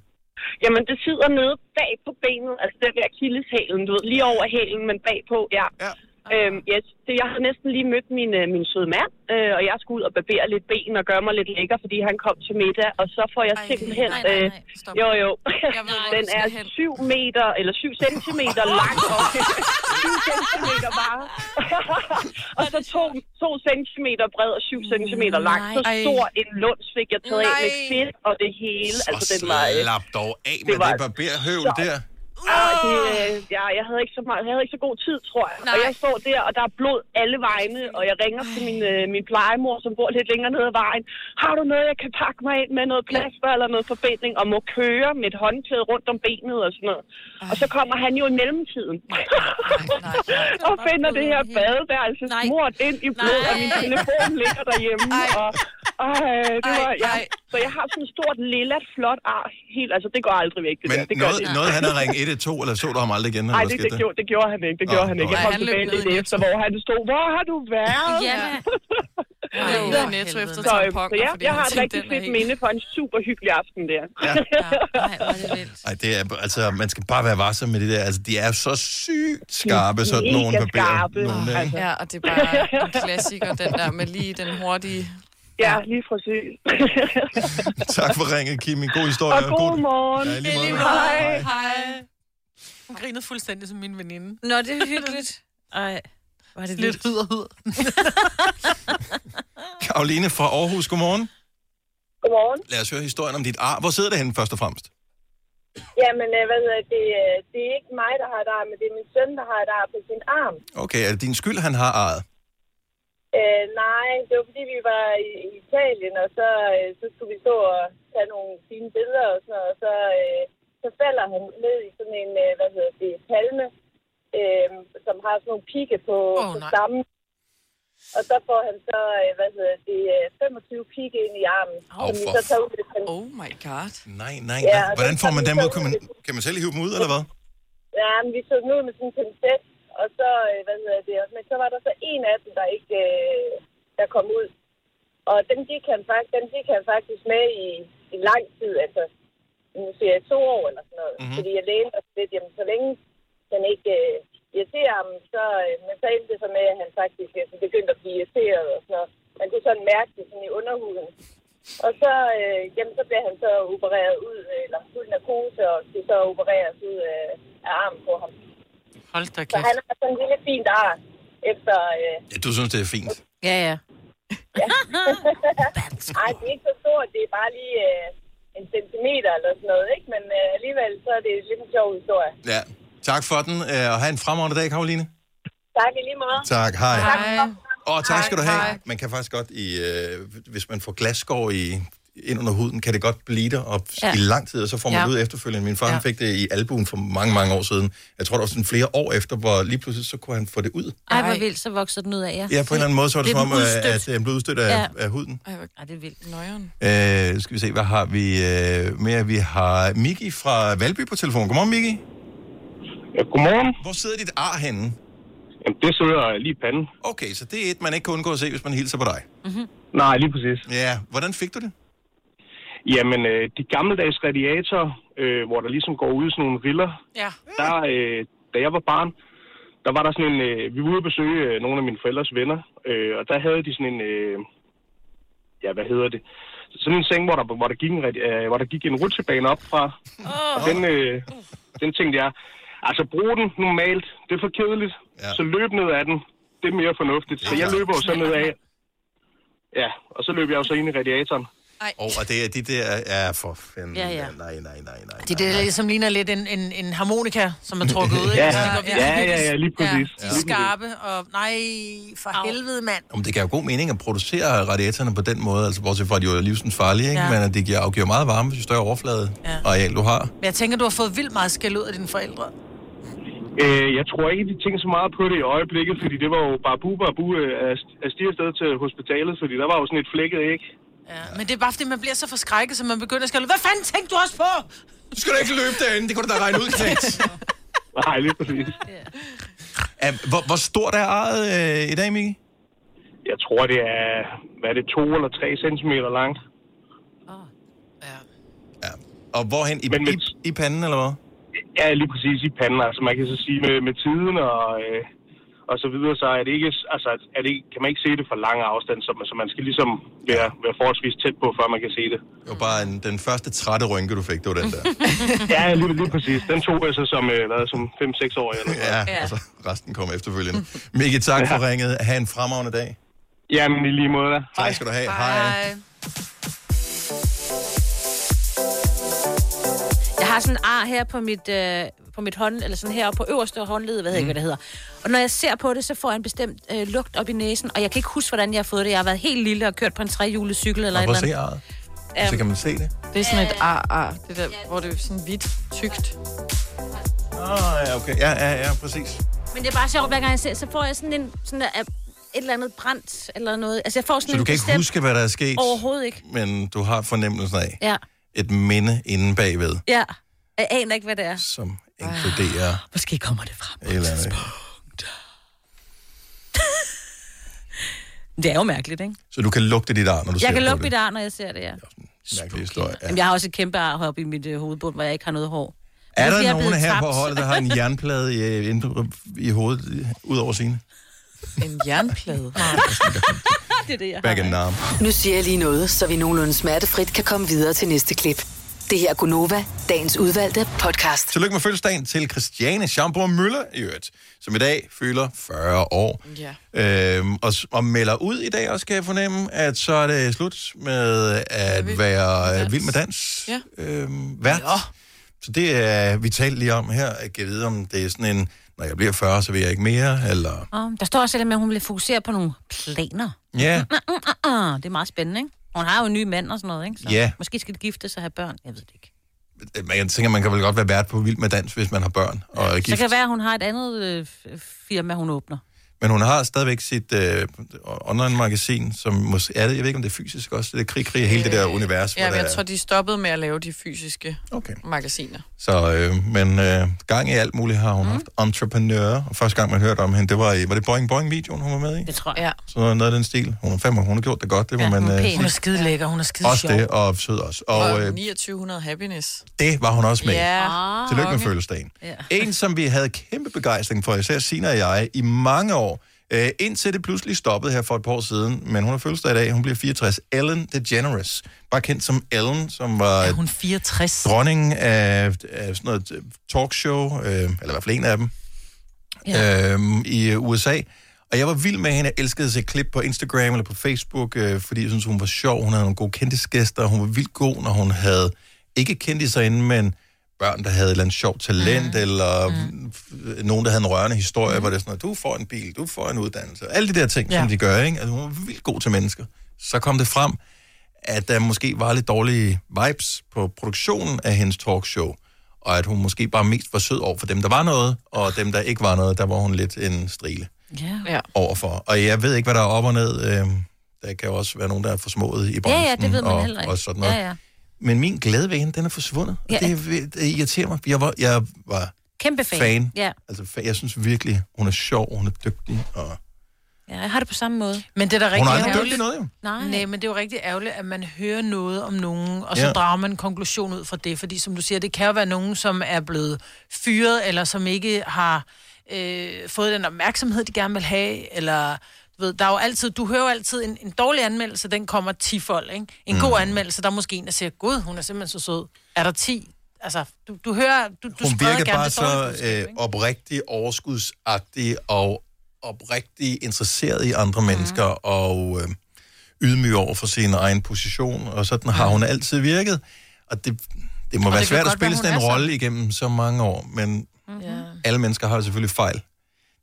Speaker 20: Jamen, det sidder nede bag på benet, altså der ved akilleshælen, du ved, lige over hælen, men bagpå, ja.
Speaker 1: ja.
Speaker 20: Øhm, yes, det, jeg har næsten lige mødt min, øh, min søde mand, øh, og jeg skulle ud og barbere lidt ben og gøre mig lidt lækker, fordi han kom til middag, og så får jeg simpelthen...
Speaker 4: nej, nej,
Speaker 20: øh,
Speaker 4: nej, stop.
Speaker 20: Jo, jo.
Speaker 4: Jeg ved, hvor
Speaker 20: Den
Speaker 4: du skal
Speaker 20: er
Speaker 4: hen.
Speaker 20: 7 meter, eller 7 centimeter lang, og 7 centimeter bare. og så 2, 2 centimeter bred og 7 centimeter lang. Så
Speaker 4: Nej.
Speaker 20: stor en lunds fik jeg taget af med
Speaker 4: Nej.
Speaker 20: fedt og det hele. altså, den var... øh,
Speaker 1: Slap dog af med det,
Speaker 20: var-
Speaker 1: det barberhøvl
Speaker 20: Så-
Speaker 1: der.
Speaker 20: Ah, det, øh, ja, jeg havde ikke så meget, jeg havde ikke så god tid, tror jeg. Nej. Og jeg står der, og der er blod alle vegne, og jeg ringer til min, øh, min plejemor, som bor lidt længere nede ad vejen. Har du noget, jeg kan pakke mig ind med noget plaster eller noget forbinding, og må køre med et håndklæde rundt om benet og sådan noget. Og så kommer han jo i mellemtiden. og finder det her badeværelse smurt ind i blod, og min telefon ligger derhjemme. Og, øh, det var,
Speaker 4: Ej,
Speaker 20: jeg,
Speaker 4: ej.
Speaker 20: så jeg har sådan et stort lilla flot ar. Helt, altså, det går aldrig væk, det
Speaker 1: Men
Speaker 20: der. Det gør det
Speaker 1: noget,
Speaker 20: ikke.
Speaker 1: noget han har ringet 112, eller så du ham aldrig igen?
Speaker 20: Nej,
Speaker 1: eller
Speaker 20: det,
Speaker 1: skete
Speaker 20: det, gjorde, det gjorde han ikke. Det gjorde
Speaker 1: Nå,
Speaker 20: han ikke. Jeg
Speaker 1: nå,
Speaker 20: kom
Speaker 1: ja.
Speaker 20: tilbage lidt efter, hvor han stod, hvor har du været?
Speaker 4: Ja.
Speaker 20: Ja.
Speaker 4: Ej,
Speaker 20: Så-
Speaker 4: Netto efter
Speaker 20: så, øh,
Speaker 4: tamponer,
Speaker 20: så ja,
Speaker 4: fordi
Speaker 20: jeg
Speaker 4: han
Speaker 20: har et
Speaker 4: tænkte,
Speaker 20: rigtig
Speaker 4: den er
Speaker 20: fedt
Speaker 4: helt-
Speaker 20: minde for en super hyggelig aften der.
Speaker 1: Ja.
Speaker 20: Ja.
Speaker 1: Ej, det er, altså, man skal bare være varsom med det der. Altså, de er så sygt skarpe, sådan nogle barberer. Nogle, der,
Speaker 20: Altså.
Speaker 1: ikke?
Speaker 4: Ja, og det er bare en klassiker, den der med lige den hurtige...
Speaker 20: Ja, lige præcis.
Speaker 1: tak for ringet, Kim. En god
Speaker 20: Altså. Og
Speaker 1: historie.
Speaker 20: god morgen.
Speaker 1: Ja, i lige måde.
Speaker 3: Hej. Hej. Hun grinede fuldstændig som min veninde.
Speaker 2: Nå, det er hyggeligt. Ej, var det
Speaker 3: Lidt hyd og hyd.
Speaker 1: Karoline fra Aarhus, godmorgen.
Speaker 21: Godmorgen.
Speaker 1: Lad os høre historien om dit ar. Hvor sidder det henne, først og fremmest?
Speaker 21: Jamen, øh, hvad hedder det? øh, Det er ikke mig, der har et ar, men det er min søn, der har et ar på sin arm.
Speaker 1: Okay, er det din skyld, han har arret?
Speaker 21: Øh, nej, det var fordi, vi var i i Italien, og så, øh, så skulle vi stå og tage nogle fine billeder og sådan noget, og så, øh, så falder han ned i sådan en, øh, hvad hedder det, palme, øh, som har sådan nogle pigge på, oh, på stammen. Og så får han så, øh, hvad hedder det, øh, 25 pigge ind i armen,
Speaker 1: Åh,
Speaker 21: som vi
Speaker 1: for
Speaker 21: så
Speaker 1: f-
Speaker 21: tager ud til
Speaker 4: Oh my god.
Speaker 1: Nej, nej,
Speaker 21: Ja,
Speaker 1: nej.
Speaker 21: og
Speaker 1: Hvordan
Speaker 21: den
Speaker 1: får man
Speaker 21: tager
Speaker 1: dem
Speaker 21: vi
Speaker 1: ud?
Speaker 21: så
Speaker 1: Kan man, kan man selv hive dem ud, eller hvad?
Speaker 21: Ja, men vi tog den ud med sådan en pincet, og så, øh, hvad hedder det, men så var der så en af dem, der ikke, øh, der kom ud. Og den gik han, fakt, den gik han faktisk med i, i lang tid, altså nu siger jeg to år eller sådan noget.
Speaker 1: Mhm.
Speaker 21: Mm-hmm.
Speaker 3: Mhm.
Speaker 21: Fordi jeg lægen var sådan lidt, jamen så længe den ikke øh, irriterer ham, så, øh, men så endte det så med, at han faktisk øh, sådan begyndte at blive irriteret og sådan noget. Man kunne sådan mærke det sådan i underhuden. Og så, øh, jamen, så blev han så opereret ud, øh, eller fuld narkose, og skulle så opereres ud øh, af armen på ham.
Speaker 3: Hold da
Speaker 21: Så
Speaker 3: kæft.
Speaker 21: han har sådan en lille fint ar efter... Øh,
Speaker 1: Ja, du synes, det er fint.
Speaker 2: Ja, ja.
Speaker 21: Ej, det er ikke så stort. Det er bare lige øh, en centimeter eller sådan noget, ikke? Men øh, alligevel, så er det lidt en sjov historie.
Speaker 1: Ja. Tak for den, øh, og have en fremragende dag, Karoline.
Speaker 21: Tak i lige måde.
Speaker 1: Tak, hej.
Speaker 21: Hej.
Speaker 1: Og tak skal du have.
Speaker 21: Hej.
Speaker 1: Man kan faktisk godt, i, øh, hvis man får glasskår i, ind under huden, kan det godt blive der op
Speaker 19: Ja.
Speaker 1: ja. i lang tid, og så får man
Speaker 19: Ja.
Speaker 1: ja. ud efterfølgende. Min far ja. fik det i albuen for mange, mange år siden. Jeg tror, det var sådan flere år efter, hvor lige pludselig så kunne han få det ud.
Speaker 2: Ej, hvor vildt, så voksede den ud af jer.
Speaker 1: Ja, på en eller anden måde, så var det,
Speaker 2: Blev
Speaker 1: som
Speaker 2: den
Speaker 1: om, øh,
Speaker 2: Ah, udstødt?
Speaker 1: at den blev udstødt af, ja. af huden.
Speaker 2: Ej, hvor- Ej, det er vildt. Nøjeren.
Speaker 1: Øh, skal vi se, hvad har vi øh, mere? Vi har Miki fra Valby på telefon. Godmorgen, Miki. Ja, godmorgen. Hvor sidder dit ar henne? Jamen, det sidder lige i panden. Okay, så det er et, man ikke kan undgå at se, hvis man hilser på dig.
Speaker 22: Mm-hmm.
Speaker 1: Nej, lige præcis. Ja, hvordan fik du det?
Speaker 22: Jamen, øh, de gammeldags radiatorer, øh, hvor der ligesom går ud i sådan nogle riller,
Speaker 3: Ja.
Speaker 22: der, øh, da jeg var barn, der var der sådan en... Øh, vi var ude at besøge øh, nogle af mine forældres venner, øh, og der havde de sådan en... Øh, ja, hvad hedder det? Sådan en seng, hvor der, hvor der, gik, en, radi- øh, hvor der gik en rutsjebane op fra. Og den, øh, den tænkte jeg, altså brug den normalt, det er for kedeligt. Ja. Så løb ned af den, det er mere fornuftigt. Så jeg løber jo så ned af. Ja, og så løb jeg jo så ind i radiatoren.
Speaker 1: Og, og det er de der, ja, for fanden.
Speaker 3: Ja, ja.
Speaker 1: Nej, nej, nej, nej.
Speaker 3: Det er det, der som ligner lidt en, en, en harmonika, som man trukket ud.
Speaker 1: Ja,
Speaker 3: ikke? Så de går virkelig
Speaker 1: ja,
Speaker 3: vildt.
Speaker 1: ja, ja, lige præcis.
Speaker 3: Ja,
Speaker 1: Ja.
Speaker 3: de er skarpe, og nej, for helvede, mand.
Speaker 1: Om det gav jo god mening at producere radiatorerne på den måde, altså bortset fra, at de jo er livsens farlige, ikke?
Speaker 3: Ja.
Speaker 1: Ja. men at det giver, afgiver meget varme, hvis jo større overflade
Speaker 3: Ja.
Speaker 1: ja. areal du har.
Speaker 3: Men jeg tænker, du har fået vildt meget skæld ud af dine forældre.
Speaker 22: Øh, jeg tror ikke, de tænkte så meget på det i øjeblikket, fordi det var jo bare bu, bare bu øh, at st- at stige afsted til hospitalet, fordi der var jo sådan et flækket æg.
Speaker 3: Ja. Men det er bare, fordi man bliver så forskrækket, så man begynder at skælde. Hvad fanden tænkte du også på?
Speaker 1: Du skal da ikke løbe derinde, det kunne du da regne ud, knægt.
Speaker 22: Nej, lige præcis.
Speaker 1: Ja, hvor, hvor stort er arret øh, i dag, Miki?
Speaker 22: Jeg tror, det er, hvad er det, to eller tre centimeter langt.
Speaker 1: Og hvorhen? I, i, i panden, eller hvad?
Speaker 22: Ja, lige præcis i panden. Altså, man kan så sige, med, med tiden og, øh, og så videre, så er det ikke, altså, er det, ikke- kan man ikke se det fra lang afstand, så, man- så man skal ligesom være, være forholdsvis tæt på, før man kan se det.
Speaker 1: Det var bare en, den første trætte rynke, du fik, det var den der.
Speaker 22: ja, lige, lige præcis. Den tog jeg så som, øh, hvad, som 5-6 år eller sådan
Speaker 1: Ja, ja. altså resten kommer efterfølgende. Miki, tak ja. for ringet. Ha' en fremragende dag.
Speaker 22: Jamen, i lige måde.
Speaker 1: Tak skal du have. Hej. Hej.
Speaker 2: Jeg har sådan en ar her på mit, øh, på mit hånd, eller sådan her på øverste håndled, hvad hedder mm. hvad det hedder. Og når jeg ser på det, så får jeg en bestemt øh, lugt op i næsen, og jeg kan ikke huske, hvordan jeg har fået det. Jeg har været helt lille og kørt på en trehjulet cykel eller
Speaker 1: Og prøv
Speaker 2: et
Speaker 1: at se
Speaker 2: eller andet. Øh.
Speaker 1: arret. Så kan man se det.
Speaker 4: Det er sådan et ar-ar, det der, hvor det er sådan hvidt, tykt.
Speaker 1: Ah, ja, okay. Ja, ja, ja, præcis.
Speaker 2: Men det er bare sjovt, hver gang jeg ser, så får jeg sådan en sådan der, øh, et eller andet brændt eller noget. Altså jeg får sådan
Speaker 1: Så
Speaker 2: en
Speaker 1: du kan ikke
Speaker 2: bestemt-
Speaker 1: huske, hvad der er sket,
Speaker 2: Overhovedet ikke.
Speaker 1: men du har fornemmelsen af
Speaker 2: Ja,
Speaker 1: et minde inde bagved,
Speaker 2: ja. Jeg aner ikke, hvad det er.
Speaker 1: Som
Speaker 2: Ah.
Speaker 1: inkluderer...
Speaker 2: Måske kommer det frem
Speaker 1: på et tidspunkt.
Speaker 2: Det er jo mærkeligt, ikke?
Speaker 1: Så du kan lugte dit ar, når du
Speaker 2: jeg
Speaker 1: ser
Speaker 2: kan
Speaker 1: på
Speaker 2: lukke
Speaker 1: det.
Speaker 2: mit ar, når jeg ser det, ja.
Speaker 1: Mærkelig historie. Ja.
Speaker 2: Jamen, jeg har også et kæmpe ar heroppe i mit øh, hovedbund, hvor jeg ikke har noget hår.
Speaker 1: Er
Speaker 2: Måske jeg
Speaker 1: der
Speaker 2: blevet
Speaker 1: nogen her på
Speaker 2: tabt.
Speaker 1: holdet, der har en jernplade i, indre- i hovedet, øh, ud over sine?
Speaker 4: En jernplade?
Speaker 2: det er det, jeg
Speaker 1: Back in arm.
Speaker 15: Nu siger jeg lige noget, så vi nogenlunde smertefrit kan komme videre til næste klip. Det her er Gunova, dagens udvalgte podcast.
Speaker 1: Tillykke med fødselsdagen til Christiane Schamburg Møller, i øvrigt, som i dag fylder 40 år.
Speaker 4: Ja.
Speaker 1: Øhm, og, s- og melder ud i dag også, kan jeg fornemme, at så er det slut med at være øh, vild med dans
Speaker 4: Ja.
Speaker 1: øhm, vært. Ja. Så det er, vi talte lige om her, at jeg ved, om det er sådan en, når jeg bliver 40, så vil jeg ikke mere, eller...
Speaker 2: Oh, der står også det der med, at hun vil fokusere på nogle planer.
Speaker 1: Ja,
Speaker 2: Mm, mm, mm, det er meget spændende, ikke? Hun har jo en ny mand og sådan noget, ikke? Så
Speaker 1: Ja.
Speaker 2: Måske skal de gifte sig og have børn. Jeg ved det ikke.
Speaker 1: Øh, men jeg tænker, man kan vel godt være vært på vild med dans, hvis man har børn og er
Speaker 2: Så
Speaker 1: gift.
Speaker 2: kan det være, at hun har et andet øh, f- firma, hun åbner.
Speaker 1: Men hun har stadigvæk sit øh, online-magasin, som måske, er det, jeg ved ikke, om det er fysisk også, det er krig-krig hele det der univers.
Speaker 4: Ja,
Speaker 1: hvor
Speaker 4: men
Speaker 1: der
Speaker 4: jeg
Speaker 1: er-
Speaker 4: tror, de stoppede med at lave de fysiske
Speaker 1: okay.
Speaker 4: magasiner.
Speaker 1: Så, øh, men øh, gang i alt muligt har hun mm. haft. Entrepreneur. Og første gang, man hørte om hende, det var i, var det Boing Boing-videoen, hun var med i?
Speaker 2: Det tror
Speaker 4: jeg. Ja.
Speaker 1: Så noget af den stil. Hun er fem år, hun har gjort det godt, det må man øh,
Speaker 3: Hun er
Speaker 1: sige.
Speaker 3: skide lækker, hun er skide
Speaker 1: Også
Speaker 3: sjov.
Speaker 1: det, og sød også.
Speaker 4: Og
Speaker 1: Og øh,
Speaker 4: 2900 Happiness.
Speaker 1: det var hun også med. i. Ah,
Speaker 4: Ja.
Speaker 1: Tillykke med
Speaker 4: Konge.
Speaker 1: fødselsdagen. Ja. En, som vi havde kæmpe begejstring for, især Sina og jeg, i mange år, øh, indtil det pludselig stoppede her for et par år siden, men hun har fødselsdag i dag, hun bliver 64. Ellen DeGeneres, bare kendt som Ellen, som var ja,
Speaker 3: hun 64.
Speaker 1: dronningen af, af sådan noget øh, talkshow, øh, eller i hvert fald en af dem, ja. øh, i øh, USA. Og jeg var vild med hende, jeg elskede at se klip på Instagram eller på Facebook, øh, fordi jeg synes hun var sjov, hun havde nogle gode kendtisgæster, hun var vildt god, når hun havde ikke kendtiser inde, men børn, der havde et eller andet sjovt talent, mm. eller mm. nogen, der havde en rørende historie, mm. hvor det er sådan noget, du får en bil, du får en uddannelse, alle de der ting, ja. som de gør, ikke? Altså, hun var vildt god til mennesker. Så kom det frem, at der måske var lidt dårlige vibes på produktionen af hendes talkshow, og at hun måske bare mest var sød over for dem, der var noget, og dem, der ikke var noget, der var hun lidt en strile
Speaker 4: Ja.
Speaker 1: overfor. Og jeg ved ikke, hvad der er op og ned. Øh, der kan jo også være nogen, der er forsmået i branchen.
Speaker 2: Ja, ja, det ved man
Speaker 1: og,
Speaker 2: heller ikke.
Speaker 1: Og sådan noget.
Speaker 2: Ja, ja.
Speaker 1: Men min glæde ved hende, den er forsvundet. Ja.
Speaker 2: Ja.
Speaker 1: Det, er- det irriterer mig. Jeg var, jeg var
Speaker 2: Kæmpe fan.
Speaker 1: fan.
Speaker 2: Ja.
Speaker 1: Altså, fa- jeg synes virkelig, hun er sjov, hun er dygtig. Og...
Speaker 2: ja, jeg har det på samme måde.
Speaker 3: Men det er da
Speaker 1: Hun
Speaker 3: rigtig
Speaker 1: har aldrig
Speaker 3: ærgerligt.
Speaker 1: dømt i noget, jo.
Speaker 2: Nej.
Speaker 3: Nej, men det er jo rigtig ærgerligt, at man hører noget om nogen, og så
Speaker 1: Ja.
Speaker 3: ja. drager man en konklusion ud fra det. Fordi som du siger, det kan jo være nogen, som er blevet fyret, eller som ikke har øh, fået den opmærksomhed, de gerne vil have, eller du ved, der er jo altid, du hører jo altid, en, en dårlig anmeldelse, den kommer tifold, ikke? En mm. god anmeldelse, der er måske en, der siger, gud, hun er simpelthen så sød. Er der ti? Altså, du, du hører, du, du
Speaker 1: Hun
Speaker 3: spreder
Speaker 1: virker
Speaker 3: gerne
Speaker 1: bare
Speaker 3: det dårlige
Speaker 1: så øh, oprigtig, overskudsagtig og oprigtig interesseret i andre mennesker og øh, ydmyg over for sin egen position, og sådan har hun altid virket. Og det, det må
Speaker 23: Og
Speaker 1: være
Speaker 23: det kan
Speaker 1: svært at
Speaker 23: godt være,
Speaker 1: spille sådan
Speaker 23: hun
Speaker 1: en
Speaker 23: er sådan.
Speaker 1: rolle igennem så mange år, men
Speaker 23: Ja.
Speaker 1: alle mennesker har jo selvfølgelig fejl.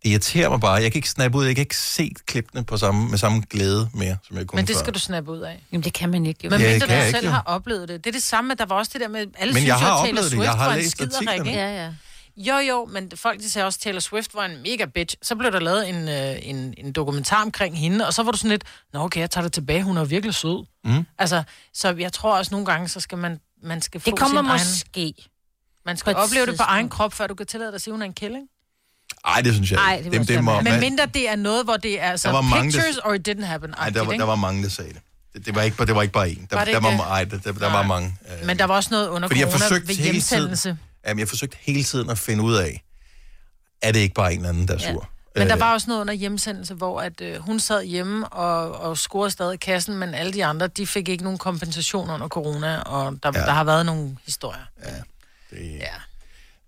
Speaker 1: Det irriterer mig bare. Jeg kan ikke snappe ud, jeg kan ikke se klippene på samme, med samme glæde mere, som jeg kunne
Speaker 3: Men det
Speaker 1: før.
Speaker 3: skal du snappe ud af.
Speaker 2: Jamen, det kan man ikke,
Speaker 1: jo.
Speaker 3: Men
Speaker 1: Ja, det
Speaker 3: mindre du
Speaker 1: kan jeg
Speaker 3: selv
Speaker 1: ikke, jo.
Speaker 3: har oplevet det. Det er det samme, at der var også det der med, alle
Speaker 1: Men
Speaker 3: synes,
Speaker 1: jeg
Speaker 3: jo,
Speaker 1: har
Speaker 3: at
Speaker 1: oplevet
Speaker 3: Taylor
Speaker 1: det.
Speaker 3: Swift
Speaker 1: Jeg har
Speaker 3: var en
Speaker 1: læst
Speaker 3: skiderik,
Speaker 1: artiklerne.
Speaker 3: ikke? Ja, ja. Jo, jo, men folk de sagde også, at Taylor Swift var en mega bitch. Så blev der lavet en, øh, en, en dokumentar omkring hende, og så var du sådan lidt, nå okay, jeg tager det tilbage, hun er virkelig sød.
Speaker 1: Mm.
Speaker 3: Altså, så jeg tror også nogle gange, så skal man, man skal få
Speaker 2: Det kommer
Speaker 3: sin
Speaker 2: Egen...
Speaker 3: Man skal
Speaker 2: på et
Speaker 3: opleve det på
Speaker 2: tidspunkt.
Speaker 3: egen krop, før du kan tillade dig at sige, at hun er en kælling.
Speaker 1: Ej, det synes jeg
Speaker 3: Nej,
Speaker 1: ikke.
Speaker 3: det, det, det
Speaker 1: må-
Speaker 3: Men mindre det er noget, hvor det er altså,
Speaker 1: Der var mange, der-
Speaker 3: pictures, or it didn't happen.
Speaker 1: Ej, der, var,
Speaker 3: ikke?
Speaker 1: der var mange, der sagde det. Det, det, var, ikke, det var ikke bare én. Der,
Speaker 3: Var
Speaker 1: var,
Speaker 3: det
Speaker 1: der,
Speaker 3: ikke
Speaker 1: var,
Speaker 3: det?
Speaker 1: ej, der, der, der var mange. Øh,
Speaker 3: Men der var også noget under
Speaker 1: Fordi jeg
Speaker 3: corona
Speaker 1: forsøgte
Speaker 3: ved
Speaker 1: hele tiden-
Speaker 3: hjemsendelse.
Speaker 1: Jamen, jeg forsøgte hele tiden at finde ud af, er det ikke bare en eller anden, der er sur?
Speaker 3: Ja. Men der
Speaker 1: Øh,
Speaker 3: var også noget under hjemsendelse, hvor at, øh, hun sad hjemme og, og scorede stadig kassen, men alle de andre, de fik ikke nogen kompensation under corona, og der,
Speaker 1: Ja.
Speaker 3: ja. der har været nogle historier.
Speaker 1: Det, ja.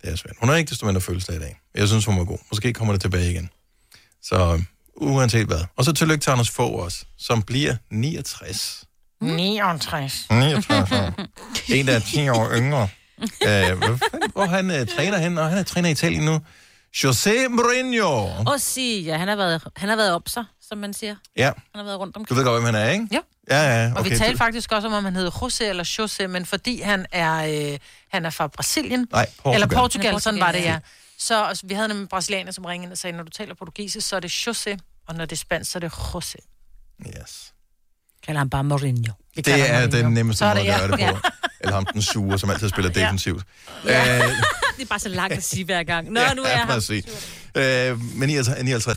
Speaker 1: det er svært. Hun har ikke desto mindre fødselsdag i dag. Jeg synes, hun var god. Måske kommer det tilbage igen. Så øh, uanset hvad. Og så tillykke til Anders Fogh også, som bliver 69.
Speaker 3: 69.
Speaker 1: 69 år. En, der er 10 år yngre. Øh, hvor fanden- hvor han øh, træner hen, og han er træner i Italien nu. José Mourinho.
Speaker 2: Og sige, ja, han har været, han har været op sig, som man siger.
Speaker 1: Ja,
Speaker 2: Han har været rundt omkring.
Speaker 1: du ved godt, hvem han er, ikke?
Speaker 3: Ja.
Speaker 1: Ja, ja.
Speaker 3: Og okay, vi talte faktisk også om, om han hedder José eller José, men fordi han er, øh, han er fra Brasilien,
Speaker 1: Nej, Portugal.
Speaker 3: eller
Speaker 1: Han er
Speaker 3: Portugal, sådan var det,
Speaker 1: portugiser.
Speaker 3: ja. Så og, vi havde en brasilianer, som ringede ind og sagde, når du taler portugisisk, så er det José, og når det er spansk, så er det José.
Speaker 1: Yes.
Speaker 2: Kalder han bare Mourinho.
Speaker 1: Det, det er den nemmeste
Speaker 2: Så er
Speaker 1: måde
Speaker 2: det
Speaker 1: at gøre
Speaker 2: jer.
Speaker 1: det på.
Speaker 2: Ja.
Speaker 1: Eller ham den sure, som altid spiller
Speaker 2: Ja.
Speaker 1: defensivt.
Speaker 2: Ja.
Speaker 1: Øh,
Speaker 2: det er bare så langt at sige hver gang. Nå, nu er
Speaker 1: ja,
Speaker 2: jeg her.
Speaker 1: præcis. Øh, men 59, 59.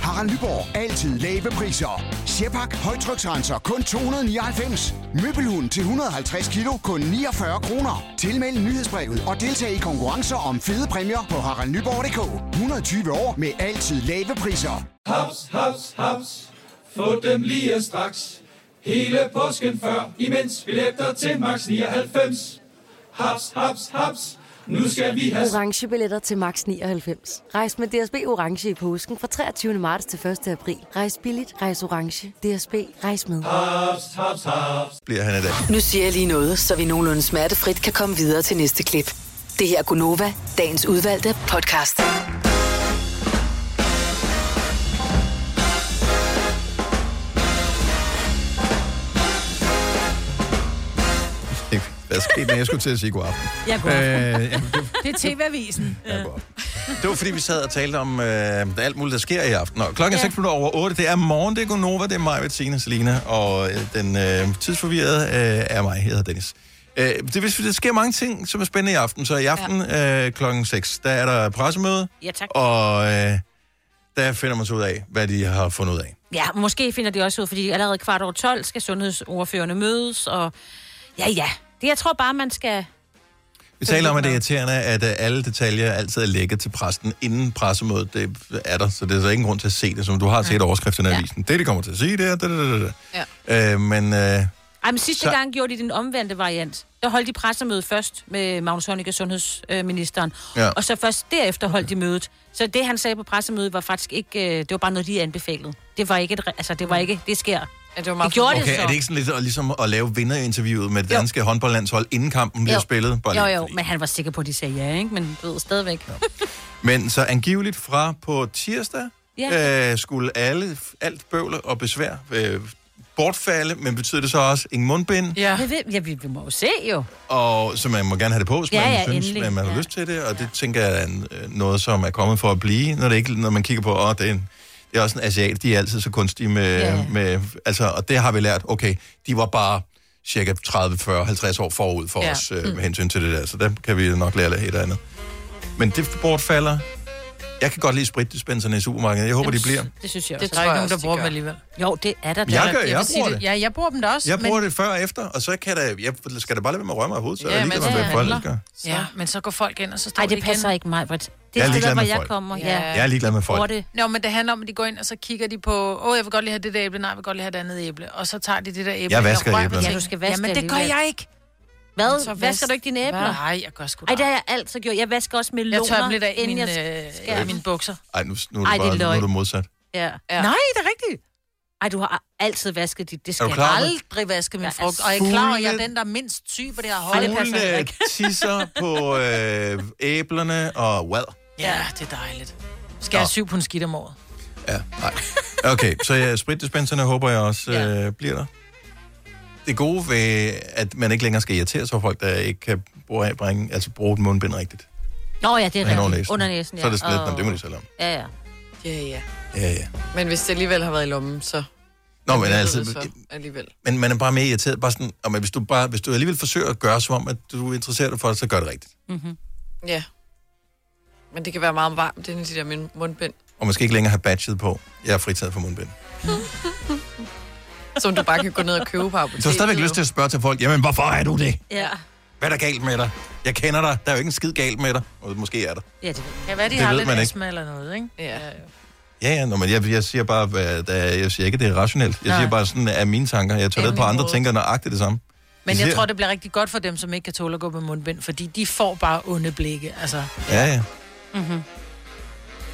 Speaker 18: Harald Nyborg. Altid lave priser. Sjehpak. Højtryksrenser. Kun 299. Møbelhund til 150 kilo. Kun 49 kroner. Tilmeld nyhedsbrevet og deltag i konkurrencer om fede præmier på haraldnyborg.dk. 120 år med altid lave priser.
Speaker 14: Haps, haps, haps. Få dem lige straks. Hele påsken før, imens billetter til max 99. Haps, haps, haps. Nu skal vi have...
Speaker 10: orange billetter til max 99. Rejs med DSB orange i påsken fra 23. marts til 1. april. Rejs billigt, rejs orange. DSB rejs med.
Speaker 14: Haps, haps, haps.
Speaker 1: bliver han i dag.
Speaker 15: Nu siger jeg lige noget, så vi nogenlunde smertefrit kan komme videre til næste klip. Det her er Gunova, dagens udvalgte podcast.
Speaker 1: Hvad skete, men jeg skulle til at sige god aften.
Speaker 3: Ja, god aften.
Speaker 1: Øh, ja,
Speaker 3: Det er TV-avisen. Ja.
Speaker 1: det var fordi, vi sad og talte om øh, alt muligt, der sker i aften. Og klokken er 6 minutter over 8. Det er morgen, det er Gonova, det er mig, Bettina, Selina, og øh, den øh, tidsforvirrede øh, er mig, jeg hedder Dennis. Øh, det vil sige, der sker mange ting, som er spændende i aften. Så i aften øh, klokken 6, der er der pressemøde,
Speaker 2: Ja, tak.
Speaker 1: og øh, der finder man så ud af, hvad de har fundet ud af.
Speaker 2: Ja, måske finder de også ud, fordi allerede kvart over 12 skal sundhedsordførende mødes, og ja, ja. Det, jeg tror bare, man skal...
Speaker 1: Vi taler om, at det er irriterende, at øh, alle detaljer altid er lækket til præsten, inden pressemødet det er der, så det er så ingen grund til at se det, som du har set overskrifterne i avisen. Det, de kommer til at sige, det er... Da, da, da, da.
Speaker 2: Ja.
Speaker 1: Øh, men øh,
Speaker 2: Ej, men sidste
Speaker 1: Så-
Speaker 2: så... gang gjorde de den omvendte variant. Der holdt de pressemødet først med Magnus Heunicke, sundhedsministeren,
Speaker 1: Ja.
Speaker 2: ja. og så først derefter holdt de mødet. Så det, han sagde på pressemødet, var faktisk ikke... øh, Det var bare noget, de anbefalede. Det var ikke... Et, re- altså, det var ikke... Det sker.
Speaker 4: Ja, det, var
Speaker 2: det gjorde
Speaker 1: okay,
Speaker 2: det så.
Speaker 1: er det ikke sådan lidt at, ligesom at lave vinderinterviewet med det danske håndboldlandshold, inden kampen bliver
Speaker 2: Jo.
Speaker 1: spillet? Bare
Speaker 2: Jo,
Speaker 1: lige.
Speaker 2: jo, men han var sikker på, at de sagde ja, ikke? Men du ved, stadigvæk.
Speaker 1: Men så angiveligt fra på tirsdag
Speaker 2: Ja.
Speaker 1: øh, skulle alle, alt bøvl og besvær øh, bortfalde, men betyder det så også ingen mundbind?
Speaker 2: Ja. Vi, ved- ja, vi, vi må jo se jo.
Speaker 1: Og så man må gerne have det på, hvis
Speaker 2: Ja,
Speaker 1: man
Speaker 2: ja,
Speaker 1: synes,
Speaker 2: endelig.
Speaker 1: man, man har
Speaker 2: Ja.
Speaker 1: lyst til det. Og det tænker jeg er en, øh, noget, som er kommet for at blive, når, det ikke, når man kigger på, åh, det er, en, det er også en asiat, de er altid så kunstige med,
Speaker 23: Ja,
Speaker 1: ja,
Speaker 23: ja.
Speaker 1: med... Altså, og det har vi lært, okay, de var bare cirka 30, 40, 50 år forud for
Speaker 23: Ja.
Speaker 1: ja. os øh,
Speaker 23: Mm.
Speaker 1: med hensyn til det der, så der kan vi nok lære et eller andet. Men det bortfalder. Jeg kan godt lide spritdispenserne i supermarkedet. Jeg håber, de bliver.
Speaker 2: Det synes jeg
Speaker 3: Det
Speaker 2: også.
Speaker 3: tror jeg Der er ikke også, nogen, der de bruger gør. dem alligevel.
Speaker 2: Jo, det er der.
Speaker 1: Jeg
Speaker 2: da.
Speaker 1: gør, jeg
Speaker 3: vil sige
Speaker 1: bruger
Speaker 3: det.
Speaker 1: det.
Speaker 3: Ja, jeg bruger dem da også.
Speaker 1: Jeg bruger det før og efter, og så kan der, jeg skal da bare lade være med at røre mig af hovedet, så ja, er jeg
Speaker 3: men
Speaker 1: ligeglad med, hvad folk
Speaker 3: handler.
Speaker 1: gør.
Speaker 3: Ja, men så går folk ind, og så står
Speaker 2: Ej, det passer
Speaker 3: igen.
Speaker 2: ikke mig, Britt.
Speaker 1: Jeg
Speaker 2: Det
Speaker 1: er
Speaker 2: er
Speaker 1: ligeglad
Speaker 2: der, hvor
Speaker 1: med
Speaker 2: jeg
Speaker 1: folk.
Speaker 2: kommer. Ja.
Speaker 1: Jeg er ligeglad med folk.
Speaker 2: Bruger det.
Speaker 3: Nå, men det handler om, at de går ind, og så kigger de på, åh, jeg vil godt lige have det der æble, nej, jeg vil godt lige have det andet æble. Og så tager de det der æble.
Speaker 1: Jeg vasker
Speaker 3: og rører ved
Speaker 1: æblerne.
Speaker 3: ting.
Speaker 1: Ja, du
Speaker 2: skal vaske
Speaker 3: Jamen, det gør
Speaker 2: alligevel.
Speaker 3: jeg ikke.
Speaker 2: Hvad?
Speaker 3: Så
Speaker 2: Vasker
Speaker 3: vask-
Speaker 2: du ikke dine æbler?
Speaker 3: Hvad? Nej, jeg gør sgu da.
Speaker 2: Ej, det har jeg altid gjort. Jeg vasker også meloner,
Speaker 3: Jeg tør dem lidt af i
Speaker 2: inden
Speaker 3: mine,
Speaker 2: jeg
Speaker 3: øh,
Speaker 2: skærer
Speaker 3: i mine bukser.
Speaker 1: Ej, nu, nu, er
Speaker 2: Ej,
Speaker 1: det
Speaker 2: det er
Speaker 1: bare, nu er
Speaker 2: løgn.
Speaker 1: du modsat.
Speaker 2: Ja.
Speaker 3: Ja. Nej, det er rigtigt.
Speaker 2: Ej, du har altid vasket dit. Det
Speaker 1: Er
Speaker 2: skal
Speaker 1: du klar over
Speaker 2: jeg
Speaker 1: det?
Speaker 3: aldrig vaske min
Speaker 2: Jeg er
Speaker 3: frugt. Og jeg er klar over, at jeg er
Speaker 1: fugle-
Speaker 3: den, der er mindst syg på det her hold.
Speaker 1: Fuglene tisser på øh, æblerne og hvad?
Speaker 3: Ja, det er dejligt. Skal jeg syv på en skidt om året?
Speaker 1: Ja, nej. Okay, så ja, spritdispenserne håber jeg også øh, bliver der. Det gode ved, at man ikke længere skal irritere sig over folk, der ikke kan bruge, bringe, altså bruge et mundbind rigtigt.
Speaker 2: Nå ja, det er
Speaker 1: Hen over
Speaker 2: rigtigt.
Speaker 1: næsen.
Speaker 2: Under næsen, ja.
Speaker 1: Så er det sådan lidt,
Speaker 2: Åh.
Speaker 1: "Nå, det må de selv om."
Speaker 2: Ja, ja.
Speaker 4: Ja, ja.
Speaker 1: Ja, ja.
Speaker 4: Men hvis det alligevel har været i lommen, så...
Speaker 1: Nå, men
Speaker 4: ved
Speaker 1: altså,
Speaker 4: det så alligevel.
Speaker 1: men man er bare mere irriteret. Bare sådan, og men hvis, du bare, hvis du alligevel forsøger at gøre, som om at du interesserer dig for det, så gør det rigtigt.
Speaker 4: Mm-hmm. Ja. Men det kan være meget varmt inde i de der min- mundbind,
Speaker 1: Og man skal ikke længere have badget på. Jeg er fritaget for mundbind.
Speaker 4: som du bare kan gå ned og købe på apoteket.
Speaker 1: Så har jeg stadigvæk
Speaker 4: jo.
Speaker 1: lyst til at spørge til folk, jamen hvorfor er du det?
Speaker 2: Ja.
Speaker 1: Hvad er der galt med dig? Jeg kender dig. Der er jo ikke en skid galt med dig. Og måske er der.
Speaker 2: Ja, det ved jeg.
Speaker 3: Ja, hvad de
Speaker 1: Det
Speaker 3: har
Speaker 1: ved
Speaker 3: lidt
Speaker 1: man ikke.
Speaker 3: astma eller noget, ikke?
Speaker 4: Ja.
Speaker 1: Ja, ja, nå, men jeg, jeg siger bare, at øh, jeg siger ikke, at det er rationelt. Jeg
Speaker 3: Nej.
Speaker 1: siger bare sådan, at mine tanker, jeg tager
Speaker 3: Inde i
Speaker 1: ved på, at andre
Speaker 3: hovedet.
Speaker 1: tænker nøjagtigt det samme.
Speaker 3: Men
Speaker 1: De
Speaker 3: jeg
Speaker 1: siger-
Speaker 3: tror, det bliver rigtig godt for dem, som ikke kan tåle at gå med mundbind, fordi de får bare onde blikke. Altså, Mhm.
Speaker 1: Ja, ja.
Speaker 2: Mm-hmm.